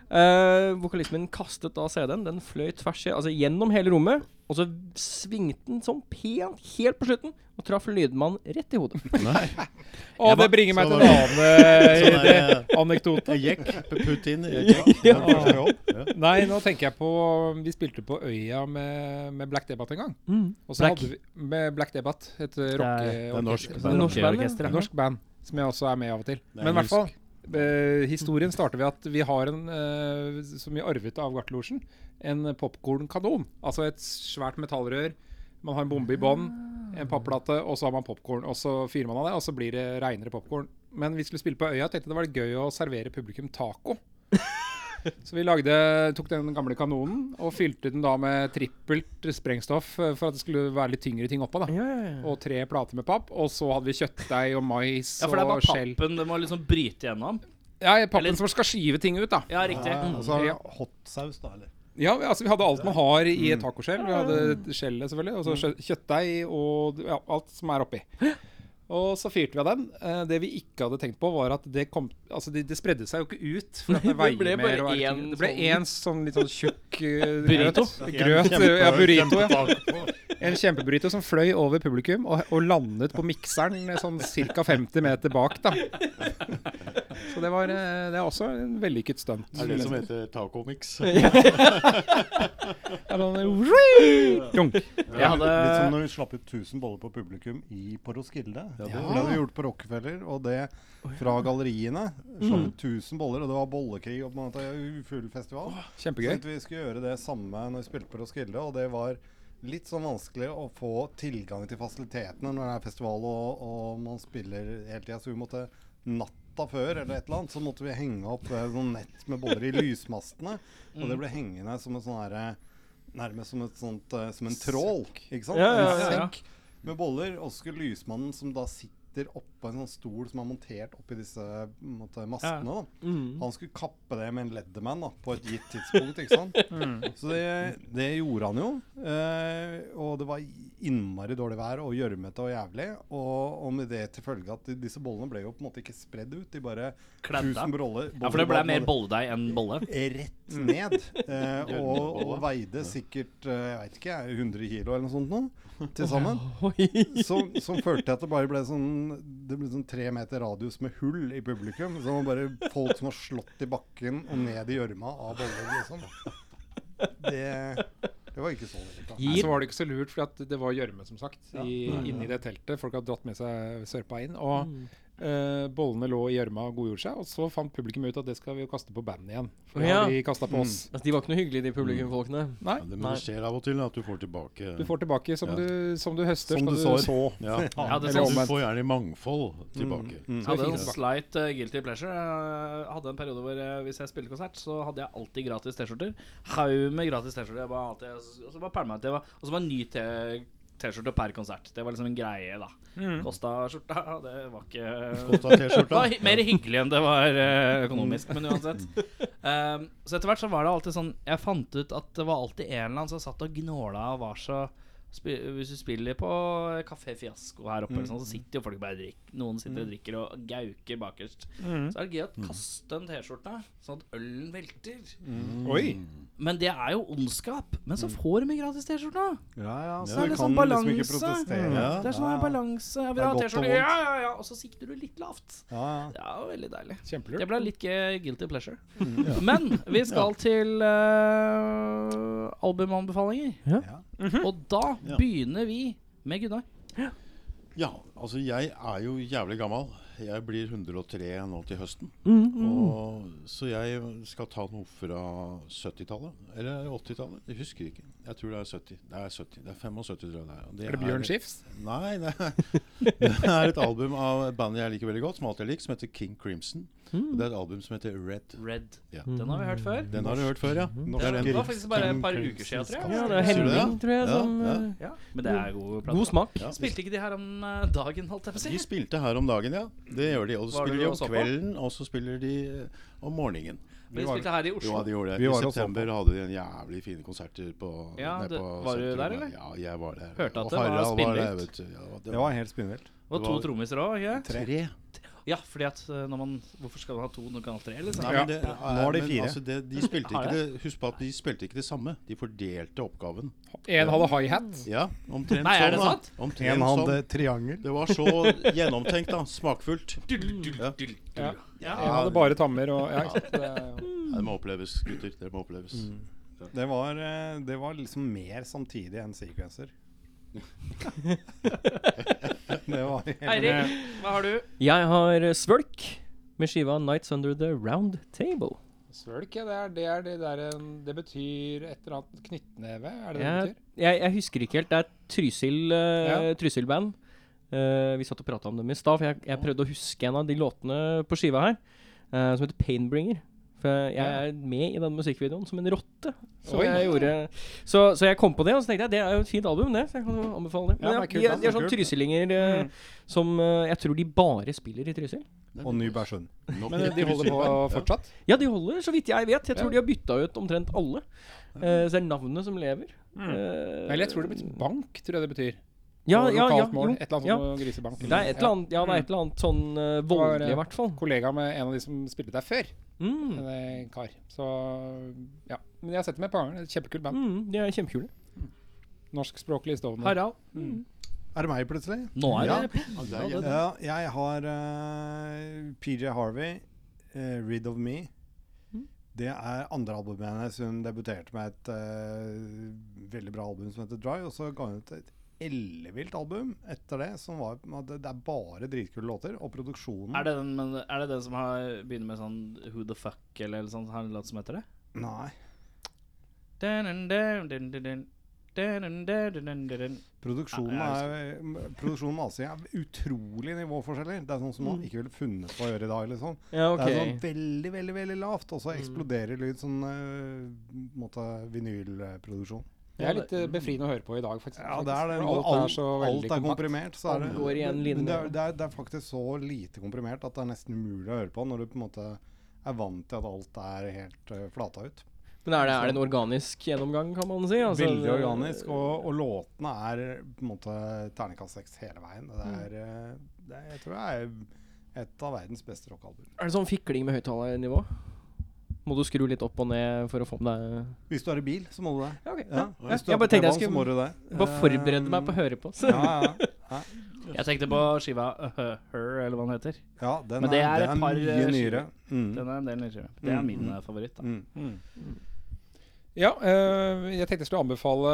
Speaker 3: Eh, vokalisten min kastet da CD-en. Den fløy tvers i, altså gjennom hele rommet. Og så svingte den sånn pent helt på slutten og traff lydmannen rett i hodet.
Speaker 7: Og det bringer meg
Speaker 8: Så
Speaker 7: til en annen
Speaker 8: Sånn er
Speaker 7: eh, anekdote.
Speaker 8: eh, jekk. Putin. Jekk. Ja, første jobb. Ja.
Speaker 7: Nei, nå tenker jeg på Vi spilte på Øya med, med Black Debate en gang. Og så
Speaker 6: Black.
Speaker 7: hadde vi med Black Debate, et eh,
Speaker 8: Mm. Det er
Speaker 7: rocke...
Speaker 8: norsk.
Speaker 6: Det er
Speaker 3: Norsk band,
Speaker 6: norske
Speaker 3: ja.
Speaker 6: orkesteret.
Speaker 7: et norsk band, som jeg også er med av og til.
Speaker 8: er
Speaker 7: Men i hvert fall, eh, historien starter ved at vi har en, eh, som vi arvet av Gartlosjen, en popkornkanon. Altså et svært metallrør. Man har en bombe i bånn, en papplate, og så har man popkorn. Og så fyrer man av det, og så blir det reinere popkorn. Men vi skulle spille på Øya, tenkte jeg det var gøy å servere publikum taco. Så vi lagde, tok den gamle kanonen og fylte den da med trippelt sprengstoff eh, for at det skulle være litt tyngre ting oppå. da Og tre plater med papp. Og så hadde vi kjøttdeig og mais
Speaker 6: Ja, for det er
Speaker 7: og
Speaker 6: bare
Speaker 7: skjell.
Speaker 6: pappen det må liksom bryte gjennom.
Speaker 7: Ja, pappen
Speaker 6: Eller-
Speaker 7: som skal skive ting ut, da.
Speaker 6: Ja, riktig.
Speaker 2: Mm.
Speaker 1: Og så
Speaker 7: Ja.
Speaker 1: hotsaus, da, eller?
Speaker 7: Ja, vi- altså Vi hadde alt man har
Speaker 3: Mm.
Speaker 7: i et tacoskjell. Vi hadde skjellet, selvfølgelig, og så skjø- kjøttdeig og ja, alt som er oppi. Og så fyrte vi av den. Eh, Det vi ikke hadde tenkt på, var at det kom Altså, det, det spredde seg jo ikke ut. For at det,
Speaker 3: Nei, det
Speaker 7: veier
Speaker 3: ble
Speaker 7: mer
Speaker 3: bare
Speaker 7: og er
Speaker 3: én
Speaker 7: tyngre. Det ble
Speaker 3: sånn-
Speaker 7: én sånn litt sånn tjukk eh,
Speaker 6: Burrito?
Speaker 7: grøt. grøt eh, ja, burrito, ja. En kjempeburrito som fløy over publikum og, og landet på mikseren eh, sånn ca. 50 meter bak, da. Så det var eh, Det er også en vellykket stunt.
Speaker 8: Det er det som heter tacomix.
Speaker 7: Ja, sånn- Dunk.
Speaker 6: Jeg hadde
Speaker 1: Litt som når vi slapp ut 1000 boller på publikum i på Roskilde. det hadde vi gjort på Rockefeller, og det fra galleriene. Slapp ut 1000 boller, og det var bollekrig og på en måte full festival. Så
Speaker 7: Kjempegøy.
Speaker 1: tenkte vi skulle gjøre det samme når vi spilte på Roskilde, og det var litt sånn vanskelig å få tilgang til fasilitetene når det er festival og, og man spiller hele tida, så vi måtte natta før eller et eller annet, så måtte vi henge opp eh, sånn nett med boller i lysmastene, og det
Speaker 3: Mm.
Speaker 1: ble hengende som en sånn herre Nærmest som, et sånt, eh, som en trål. Ikke sant?
Speaker 3: Ja, ja, ja,
Speaker 1: En
Speaker 3: ja.
Speaker 1: sekk med boller. Og så skulle lysmannen, som da sitter oppå en sånn stol som er montert oppi disse på en måte, maskene, da.
Speaker 6: Mm.
Speaker 1: Han skulle kappe det med en Leatherman da, på et gitt tidspunkt. ikke sant?
Speaker 6: Mm.
Speaker 1: Så det, det gjorde han jo. Eh, og det var innmari dårlig vær og gjørmete og jævlig. Og, og med det til følge at de, disse bollene ble jo på en måte ikke spredd ut. De bare
Speaker 6: Kledd av.
Speaker 1: 1000 boller,
Speaker 6: Ja, for det ble mer bolledeig enn bolle.
Speaker 1: rett ned. Eh, og, og veide sikkert eh, jeg vet ikke, 100 kilo eller noe sånt nå til sammen. Som, som førte til at det bare ble sånn Det ble sånn tre meter radius med hull i publikum. Så det var bare folk som var slått i bakken og ned i gjørma av boller, liksom. Det, det var ikke så veldig bra.
Speaker 7: Nei, så var det ikke så
Speaker 3: Mm.
Speaker 7: lurt, for det var gjørme, som sagt, i, inni det teltet. Folk hadde dratt med seg sørpa inn. Og Eh, bollene lå i gjørma og godgjorde seg, og så fant publikum ut at det skal vi jo kaste på bandet igjen. For det
Speaker 3: Ja.
Speaker 7: har de kastet på oss.
Speaker 3: Altså, de var ikke noe hyggelige, de publikumfolkene.
Speaker 7: Nei,
Speaker 8: Ja, det, men
Speaker 3: Nei.
Speaker 8: det skjer av og til at du får tilbake
Speaker 3: Mm.
Speaker 7: du får tilbake som,
Speaker 8: Ja.
Speaker 7: du, som du høster,
Speaker 1: Som
Speaker 7: skal
Speaker 1: du
Speaker 7: du,
Speaker 1: sår.
Speaker 7: så.
Speaker 8: ja.
Speaker 2: Ja, det er
Speaker 8: Eller
Speaker 2: sant.
Speaker 8: du får gjerne i mangfold tilbake.
Speaker 2: Jeg hadde en slight eh, guilty pleasure. Jeg hadde en periode hvor eh, hvis jeg spilte konsert, så hadde jeg alltid gratis T-skjorter. Haug med gratis T-skjorter. Jeg bare alltid- Og så bare pælma jeg til. Og så var en ny T- T-skjorte per konsert. Det var liksom en greie, da. Kosta skjorta. Det var ikke
Speaker 8: Kosta
Speaker 2: det var
Speaker 8: T-skjorta.
Speaker 2: hy- mer hyggelig enn det var eh, økonomisk, men uansett. Um, så etter hvert så var det alltid sånn Jeg fant ut at det var alltid en eller annen som satt og gnåla og var så spi, Hvis du spiller på Kafé Fiasko her oppe, eller sånn,
Speaker 1: Mm.
Speaker 2: så sitter jo folk bare og drikker. Noen sitter og drikker og gauker bakerst. Så er det gøy
Speaker 1: Mm.
Speaker 2: å kaste en T-skjorte, sånn at ølen velter.
Speaker 1: Mm.
Speaker 7: Oi!
Speaker 2: Men det er jo ondskap. Men så får de gratis T-skjorta.
Speaker 1: Ja, Mm. ja,
Speaker 2: Så
Speaker 1: så
Speaker 2: er det
Speaker 1: du kan
Speaker 2: sånn
Speaker 1: liksom ikke
Speaker 2: balanse.
Speaker 1: protestere.
Speaker 8: Ja.
Speaker 2: Det er sånn her balanse. Jeg vil ha
Speaker 1: Det er godt og
Speaker 2: T-skjorte,
Speaker 1: vondt.
Speaker 2: ja, ja, ja. Og så sikter du litt lavt.
Speaker 1: Ja, ja.
Speaker 2: Det er jo veldig deilig.
Speaker 7: Kjempelurt.
Speaker 2: Det ble litt ge- guilty pleasure.
Speaker 3: Mm.
Speaker 2: Men vi skal til eh, albumanbefalinger.
Speaker 1: Ja.
Speaker 6: Mm-hmm.
Speaker 2: Og da
Speaker 8: Ja.
Speaker 2: begynner vi med Gunnar.
Speaker 8: Ja, altså jeg er jo jævlig gammel. Jeg blir 103 nå til høsten.
Speaker 7: Mm,
Speaker 8: Og, så jeg skal ta noe fra 70-tallet. Eller 80-tallet? Jeg husker ikke. Jeg tror det er 70. Det er 70, det er 75, tror jeg det er. Og
Speaker 7: Er det Bjørn Skifs?
Speaker 8: Nei, det er, det er et album av et band jeg liker veldig godt, som alltid jeg liker, som heter King Crimson.
Speaker 2: Mm.
Speaker 8: Og det er et album som heter Red.
Speaker 2: Red.
Speaker 8: Ja.
Speaker 2: Den har vi hørt før.
Speaker 8: Den har du hørt før, ja?
Speaker 2: Det
Speaker 8: Det er
Speaker 2: er-
Speaker 8: den.
Speaker 2: det var faktisk bare et par
Speaker 1: King
Speaker 2: uker siden, tror
Speaker 3: Ja,
Speaker 2: jeg.
Speaker 3: det er
Speaker 8: Sier du det?
Speaker 3: Henning, tror jeg,
Speaker 8: Ja,
Speaker 3: som
Speaker 8: ja.
Speaker 3: eh,
Speaker 2: Ja, men det er gode plater.
Speaker 3: God smak.
Speaker 8: Ja, vi
Speaker 2: Spilte ikke de her om eh, dagen, holdt jeg på å si?
Speaker 8: De spilte her om dagen, ja. Det gjør de. Og så
Speaker 2: Var du
Speaker 8: spiller de
Speaker 2: og så
Speaker 8: om
Speaker 2: på?
Speaker 8: kvelden, og så spiller de eh, om morgenen.
Speaker 2: Men de spilte her i
Speaker 8: Jo,
Speaker 2: Oslo.
Speaker 8: de
Speaker 1: Vi
Speaker 8: gjorde det.
Speaker 1: var og
Speaker 8: I
Speaker 1: så
Speaker 8: september hadde de en jævlig fine konserter på
Speaker 2: Ja,
Speaker 8: nede
Speaker 2: det-
Speaker 8: på
Speaker 2: var du
Speaker 8: sentrum
Speaker 2: der, eller?
Speaker 8: Ja, jeg var der.
Speaker 2: Hørte at
Speaker 8: Og
Speaker 2: det var
Speaker 8: Harald der,
Speaker 2: spinnvilt.
Speaker 8: vet du. Ja, det
Speaker 1: Det var helt spinnvilt.
Speaker 2: Og to
Speaker 8: det var-
Speaker 2: trommiser òg. Ja.
Speaker 8: tre.
Speaker 2: ja, fordi at eh, når man Hvorfor skal man ha to når man kan ha tre? Liksom?
Speaker 8: Nei, men det,
Speaker 1: Nå er de
Speaker 8: men
Speaker 1: fire.
Speaker 8: Altså det, de spilte
Speaker 2: Har
Speaker 8: ikke det, husk på at de spilte ikke det samme. De fordelte oppgaven.
Speaker 7: En hadde high-hat.
Speaker 8: Ja, omtrent
Speaker 2: Nei, er det
Speaker 8: sånn. da.
Speaker 2: sant?
Speaker 1: En
Speaker 8: Omtrent
Speaker 1: hand
Speaker 8: sånn.
Speaker 1: triangel.
Speaker 8: Det var så gjennomtenkt, da. Smakfullt. Ja.
Speaker 7: Ja.
Speaker 2: Ja.
Speaker 7: En hadde bare tammer og ja, ikke sant? Det er jo-
Speaker 8: Ja, Det må oppleves, gutter. Det må oppleves.
Speaker 1: Mm. Det var, eh, det var liksom mer samtidig enn sequencer. det var
Speaker 2: Eirik, hva har du?
Speaker 3: Jeg har eh, Svølk med skiva 'Nights Under The Round Table'.
Speaker 7: Svølk, ja. Det, er, det, er, det, der en- det betyr et eller annet knyttneve? Er det det det
Speaker 3: Jeg,
Speaker 7: betyr?
Speaker 3: jeg, jeg husker ikke helt. Det er Trysil eh, Trysil-band. Eh, vi satt og prata om dem i stad, for jeg, jeg prøvde å huske en av de låtene på skiva her, eh, som heter 'Painbringer'. For jeg, jeg er med i den musikkvideoen som en rotte. Som
Speaker 7: Oi.
Speaker 3: jeg gjorde så, så jeg kom på det, og så tenkte jeg det er jo et fint album, det. Så jeg kan jo anbefale det.
Speaker 7: Ja,
Speaker 3: Men ja,
Speaker 7: det er kult, Mm.
Speaker 3: de,
Speaker 7: da.
Speaker 3: er- de er sånn trysillinger eh, som eh, Jeg tror de bare spiller i Trysil.
Speaker 1: Og Nybergsund.
Speaker 8: Nok
Speaker 7: Men
Speaker 8: et
Speaker 7: de holder på
Speaker 8: kryssilband. Ja.
Speaker 7: fortsatt?
Speaker 3: Ja, de holder, så vidt jeg vet. Jeg tror
Speaker 7: Ja.
Speaker 3: de har bytta ut omtrent alle. Eh, så det er navnet som lever. Eh,
Speaker 7: Eller Mm. jeg tror det betyr bank, tror jeg det betyr.
Speaker 3: ja,
Speaker 7: Og
Speaker 3: ja, ja,
Speaker 7: lokalt mål.
Speaker 3: jo,
Speaker 7: Et eller annet
Speaker 3: ja.
Speaker 7: som å grisebank.
Speaker 3: Det er et eller annet, ja, det er et eller annet sånn eh,
Speaker 7: Det var,
Speaker 3: voldelig,
Speaker 7: eh,
Speaker 3: i hvert fall.
Speaker 7: kollega med en av de som spilte der før.
Speaker 3: Mm.
Speaker 7: En eh, kar. Så ja. Men jeg har sett dem et par ganger. Et Kjempekult band.
Speaker 3: Mm, de er kjempekule.
Speaker 7: Norskspråklig stående.
Speaker 3: Harald.
Speaker 1: Er det meg plutselig?
Speaker 2: Nå er det
Speaker 8: Ja, det er
Speaker 1: Ja, jeg har eh, PJ Harvey, eh, 'Rid of Me'. Det er andre albumet hennes. Hun debuterte med et eh, veldig bra album som heter 'Dry', og så ga hun ut et ellevilt album etter det. Som var, det er bare dritkule låter. Og produksjonen
Speaker 2: Er det den, men, er det den som har, begynner med sånn Who the fuck eller noe sånt? Har en låt som heter det?
Speaker 1: Nei.
Speaker 2: Dun, dun, dun, dun, dun. Dun, dun, dun, dun, dun, dun.
Speaker 1: Produksjonen,
Speaker 2: Ja,
Speaker 1: er, m- produksjonen med Asia er utrolig nivåforskjeller. Det er sånn som man ikke ville funnet på å gjøre i dag. liksom.
Speaker 3: Ja,
Speaker 1: Det er
Speaker 3: ok.
Speaker 1: sånn veldig, veldig veldig lavt, og så eksploderer lyd sånn øh, måte vinylproduksjon.
Speaker 7: Det er litt eh, befriende å høre på i dag, faktisk.
Speaker 1: Ja, det er det.
Speaker 7: For
Speaker 1: Når
Speaker 7: Alt er så
Speaker 1: alt
Speaker 7: veldig
Speaker 1: er
Speaker 7: kompakt.
Speaker 1: komprimert, så er det
Speaker 3: Alt går i en
Speaker 1: men-
Speaker 3: linje.
Speaker 1: men Det er, det, er, det er faktisk så lite komprimert at det er nesten umulig å høre på når du på en måte er vant til at alt er helt øh, flata ut.
Speaker 3: Men er det, er det en organisk gjennomgang, kan man si? Altså,
Speaker 1: Veldig organisk, og, og låtene er på en måte terningkast seks hele veien. Det er, øh, det er, jeg tror det er et av verdens beste rockealbum.
Speaker 3: Er det sånn fikling med høyttalernivå? Må du skru litt opp og ned for å få med deg
Speaker 1: Hvis du er i bil, så må du det.
Speaker 3: Ja, ok.
Speaker 1: Ja.
Speaker 3: Ja,
Speaker 1: Hvis du
Speaker 3: jeg
Speaker 1: er
Speaker 3: bare
Speaker 1: på
Speaker 3: tenkte jeg
Speaker 1: T-banen, så
Speaker 3: skulle-
Speaker 1: må du det. Eh,
Speaker 3: Bare forberede
Speaker 7: Eh,
Speaker 3: meg på å høre på. Så.
Speaker 1: Ja, ja, ja.
Speaker 2: Jeg tenkte på skiva uh, Her, Her, eller hva den heter.
Speaker 1: Ja, den
Speaker 2: Men det er
Speaker 1: er,
Speaker 2: et
Speaker 1: den
Speaker 2: par,
Speaker 1: er mye
Speaker 2: eh,
Speaker 1: nyere. Mm.
Speaker 2: Den er en del nyere. Det er min eh, favoritt. da
Speaker 1: Mm.
Speaker 7: Ja, eh, jeg tenkte jeg skulle anbefale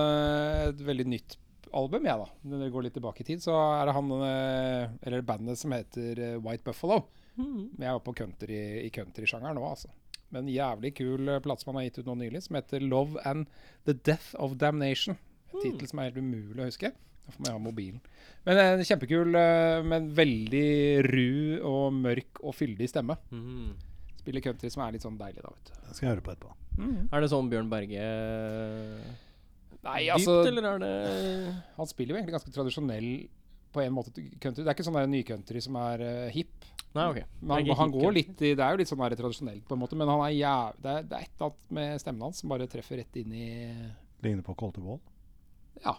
Speaker 7: et veldig nytt album, jeg, da. Når det går litt tilbake i tid, så er det han eh, Eller bandet som heter eh, White Buffalo.
Speaker 3: Mm.
Speaker 7: Men jeg er på country, i countrysjangeren nå, altså. Men jævlig kul eh, plate som han har gitt ut nå nylig, som heter 'Love and the Death of Damnation'.
Speaker 3: Mm.
Speaker 7: En tittel som er helt umulig å huske. Da får man ha mobilen. Men eh, kjempekul, eh, men veldig ru og mørk og fyldig stemme. Spiller country som er litt sånn deilig, da, vet du.
Speaker 1: Den skal jeg høre på etterpå.
Speaker 3: Er det sånn Bjørn Berge
Speaker 7: Nei, altså,
Speaker 3: Dypt, eller er det
Speaker 7: Han spiller jo egentlig ganske tradisjonell på en måte country. Det er ikke sånn der ny-country som er eh, hip.
Speaker 3: Nei, ok.
Speaker 7: Men han,
Speaker 3: Det er
Speaker 7: han
Speaker 3: ikke
Speaker 7: går
Speaker 3: country.
Speaker 7: litt i, Det er jo litt sånn der tradisjonelt, på en måte, men han er jæv... Det er, det er et eller annet med stemmen hans som bare treffer rett inn i
Speaker 1: Ligner på Colt Wall.
Speaker 7: Ja.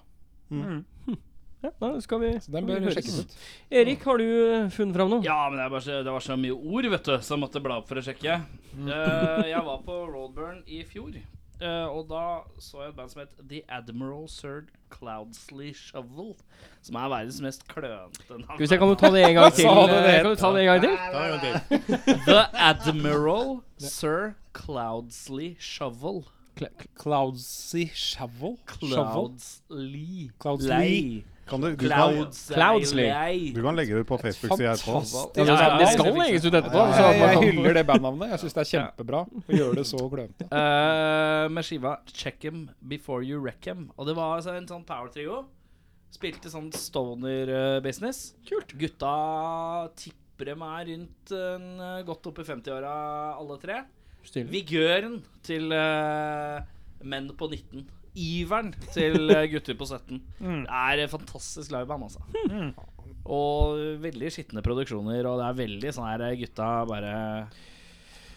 Speaker 3: Ja, da skal vi
Speaker 7: Så
Speaker 3: skal
Speaker 7: den
Speaker 3: vi
Speaker 7: bør
Speaker 3: høres.
Speaker 7: sjekkes ut.
Speaker 3: Erik, har du eh, funnet fram noe?
Speaker 6: Ja, men det, er bare så, det var så mye ord, vet du, så jeg måtte bla opp for å sjekke. Eh, jeg var på Roadburn i fjor, eh, og da så jeg et band som het The Admiral Sir Cloudsley Shovel. Som er verdens mest klønete navn.
Speaker 3: Skal vi se, kan du ta det en gang til?
Speaker 7: Sa du
Speaker 3: eh,
Speaker 7: det?
Speaker 3: Kan du ta det en gang til?
Speaker 8: Ta en gang til.
Speaker 6: The Admiral Sir Cloudsley Shovel.
Speaker 7: Cloudsy Shovel?
Speaker 6: Cloudsley
Speaker 7: Cloudsley.
Speaker 6: Lei.
Speaker 1: Kan du, du, kan,
Speaker 6: Clouds-
Speaker 3: Cloudsley.
Speaker 6: Lei.
Speaker 1: du kan legge det ut på Facebook-sida etterpå.
Speaker 7: Ja,
Speaker 6: Ja,
Speaker 3: Det
Speaker 6: ja,
Speaker 3: skal legges ut etterpå.
Speaker 7: Jeg,
Speaker 3: så at man
Speaker 7: jeg
Speaker 3: kan-
Speaker 7: hyller det bandnavnet. Jeg syns det er kjempebra å gjøre det så glømte.
Speaker 6: Eh, med skiva 'Check 'em Before You Wreck 'em. Og det var altså en sånn power trio. Spilte sånn stoner-business. Kult eh, Gutta tipper dem er rundt en, eh, godt opp i 50-åra, alle tre. Vigøren til eh, menn på 19. Iveren til eh, gutter på 17. Det er et fantastisk liveband, altså. Og veldig skitne produksjoner, og det er veldig sånn her eh, gutta bare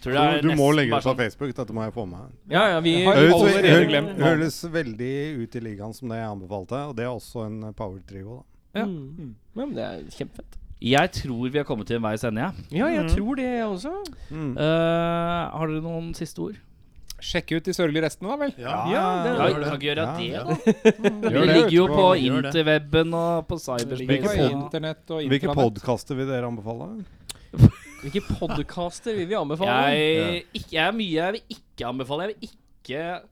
Speaker 6: Tror det er
Speaker 1: Du, du må
Speaker 6: nesten
Speaker 1: legge det
Speaker 6: bare
Speaker 1: ut på
Speaker 6: sånn-
Speaker 1: Facebook, dette må jeg få med.
Speaker 3: Ja, ja, vi
Speaker 7: Har
Speaker 1: Høres,
Speaker 7: allerede
Speaker 1: hø-
Speaker 7: glemt navnet.
Speaker 1: høres veldig ut i ligaen som det jeg anbefalte, og det er også en power trio. da.
Speaker 3: Mm. Ja, men det er kjempefett.
Speaker 6: Jeg tror vi har kommet til en veis ende, jeg.
Speaker 3: Ja, jeg tror det, jeg også.
Speaker 1: Mm.
Speaker 6: Eh, har dere noen siste ord?
Speaker 7: Sjekk ut de sørgelige restene, da vel. Ah,
Speaker 8: Ja.
Speaker 3: Ja, det
Speaker 6: Ja,
Speaker 8: gjør
Speaker 6: kan
Speaker 8: det.
Speaker 6: ikke gjøre
Speaker 1: Ja.
Speaker 6: det, da. Det
Speaker 7: det
Speaker 6: ligger jo
Speaker 8: Gjør
Speaker 6: på
Speaker 8: det.
Speaker 6: interweben og på
Speaker 7: Det ligger
Speaker 6: cyberspace.
Speaker 7: på
Speaker 6: og-
Speaker 7: internett og
Speaker 1: Hvilke
Speaker 7: intranett.
Speaker 1: podkaster vil dere anbefale?
Speaker 3: Hvilke podkaster vil vi anbefale?
Speaker 6: Jeg, Eh, ikke, jeg er mye jeg vil ikke anbefale. Jeg vil ikke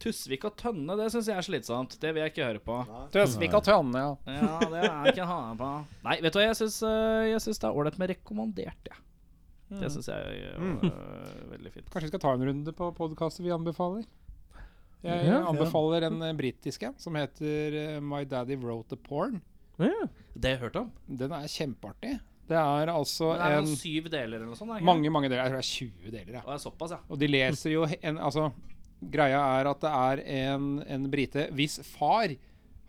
Speaker 6: Tusvik og Tønne, det syns jeg er slitsomt. Det vil jeg ikke høre på.
Speaker 7: Tøsvik og Tønne, ja.
Speaker 6: Ja, det er ikke ha på. Nei, vet du hva, jeg syns, eh, jeg syns det er ålreit med rekommandert, jeg. Det syns jeg er eh, veldig fint.
Speaker 7: Kanskje vi skal ta en runde på podkaster vi anbefaler? Jeg anbefaler en eh, britisk en som heter eh, My Daddy Wrote a Porn.
Speaker 6: Det har jeg hørt om.
Speaker 7: Den er kjempeartig. Det er altså
Speaker 6: Det er
Speaker 7: en
Speaker 6: sånn syv deler eller noe sånt. er det ikke?
Speaker 7: Mange, mange deler. Jeg tror det er 20 deler. Ja.
Speaker 6: Og det er såpass, ja.
Speaker 7: Og de leser jo he- en Altså, greia er at det er en, en brite hvis far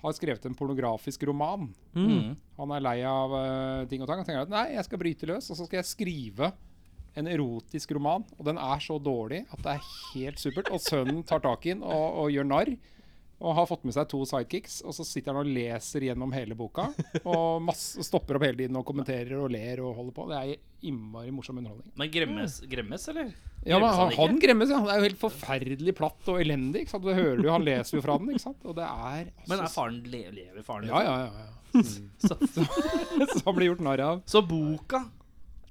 Speaker 7: har skrevet en pornografisk roman.
Speaker 6: Mm.
Speaker 7: Han er lei av eh, ting og tang. Han tenker at nei, jeg skal bryte løs, og så skal jeg skrive en erotisk roman. Og den er så dårlig at det er helt supert. Og sønnen tar tak i den og, og gjør narr. Og har fått med seg to sidekicks, og så sitter han og leser gjennom hele boka. Og masse, stopper opp hele tiden og kommenterer og ler og holder på. Det er innmari morsom underholdning.
Speaker 6: Men gremmes, gremmes eller?
Speaker 7: Ja, men
Speaker 6: Gremmes
Speaker 7: han,
Speaker 6: ikke?
Speaker 7: han gremmes, ja. Det er jo helt forferdelig platt og elendig. Ikke sant? Det hører du, han leser jo fra den, ikke sant. Og det er altså,
Speaker 6: Men er faren le lever faren?
Speaker 7: Ja, ja, ja. ja.
Speaker 6: Så,
Speaker 7: Så han blir gjort narr av.
Speaker 6: så boka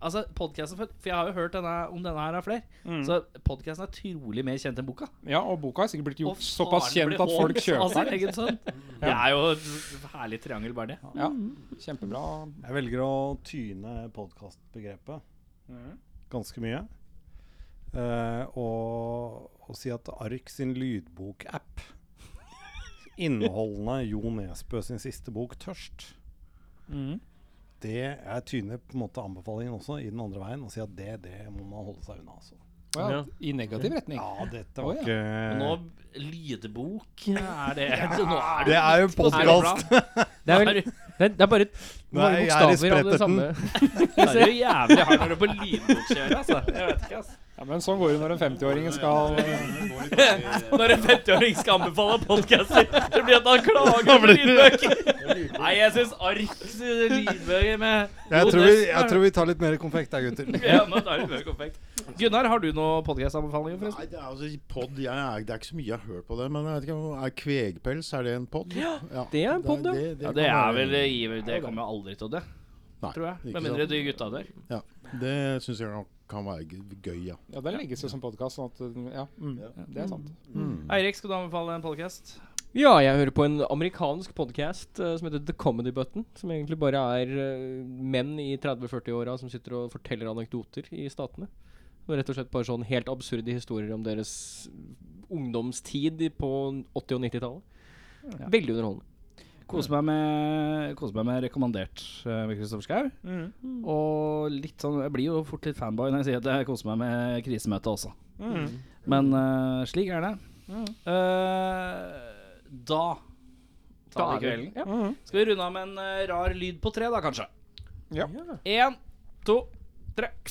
Speaker 6: Altså podcasten, For for jeg har jo hørt denne, om denne her av flere. Så podkasten er trolig mer kjent enn boka.
Speaker 7: Ja, og boka har sikkert blitt
Speaker 6: Og
Speaker 7: gjort såpass
Speaker 6: faren
Speaker 7: kjent
Speaker 6: blir altså.
Speaker 7: at folk
Speaker 6: hånt av sin
Speaker 7: kjøper den.
Speaker 6: egen sønn. Det er jo et herlig triangel, bare det.
Speaker 7: Ja, kjempebra.
Speaker 1: Jeg velger å tyne podkastbegrepet Mm. ganske mye. Eh, og, og si at Ark sin lydbokapp inneholdende Jo Nesbø sin siste bok, 'Tørst', Mm. det er tyner på en måte anbefalingen også i den andre veien. Og si at det, det må man holde seg unna. Altså.
Speaker 7: Å ja, I negativ retning.
Speaker 1: Ja, dette
Speaker 7: Å,
Speaker 1: var
Speaker 7: ja.
Speaker 1: ikke
Speaker 6: Nå lydbok er det Nå er
Speaker 1: Det er jo
Speaker 6: er det bra.
Speaker 1: podkast!
Speaker 3: Det er, vel, det er, det er bare
Speaker 1: Nei,
Speaker 3: mange
Speaker 1: jeg er i
Speaker 3: bokstaver av det samme.
Speaker 6: Det er jo jævlig hardt når du er på lydbokkjøret, altså. Jeg vet ikke, altså.
Speaker 7: Ja, men sånn går det når en 50-åring skal
Speaker 6: Når en 50-åring skal anbefale podcaster, så blir det at han klager på lydbøker. Nei, jeg syns arks lydbøker med
Speaker 1: Jeg tror, vi, jeg tror vi tar litt mer konfekt der, gutter.
Speaker 6: ja, men da er det mer konfekt. Gunnar, har du noen podcastanbefalinger, forresten?
Speaker 8: Nei, det er altså pod, jeg er, Det er ikke så mye jeg har hørt på det, men jeg vet ikke, om- er kvegpels er det en pod? Ja,
Speaker 3: det er en pod, ja.
Speaker 6: Ja, det er vel giver. Det kommer jo aldri til å dø,
Speaker 8: Nei,
Speaker 6: tror jeg.
Speaker 8: ikke
Speaker 6: Med mindre
Speaker 8: sant.
Speaker 6: de gutta dør.
Speaker 8: Ja, det syns jeg kan, kan være g- gøy, ja.
Speaker 7: Ja, den legges jo som podkast, sånn at Ja, mm, det er sant.
Speaker 6: Eirik, skal du anbefale en podcast?
Speaker 3: Ja, jeg hører på en amerikansk podkast som heter The Comedy Button. Som egentlig bare er eh, menn i 30-40-åra som sitter og forteller anekdoter i statene. Og rett og slett bare sånn helt absurde historier om deres ungdomstid i- på 80- og 90-tallet. Veldig underholdende.
Speaker 2: Kose meg med, kose meg med rekommendert eh, med Kristoffer Schau. Og litt sånn Jeg blir jo fort litt fanboy når jeg sier at jeg koser meg med krisemøtet også. Men eh, slik er det. Eh, da tar vi kvelden.
Speaker 3: Ja.
Speaker 2: Skal vi runde av med en eh, rar lyd på tre, da, kanskje?
Speaker 7: Ja.
Speaker 2: Én, to, tre.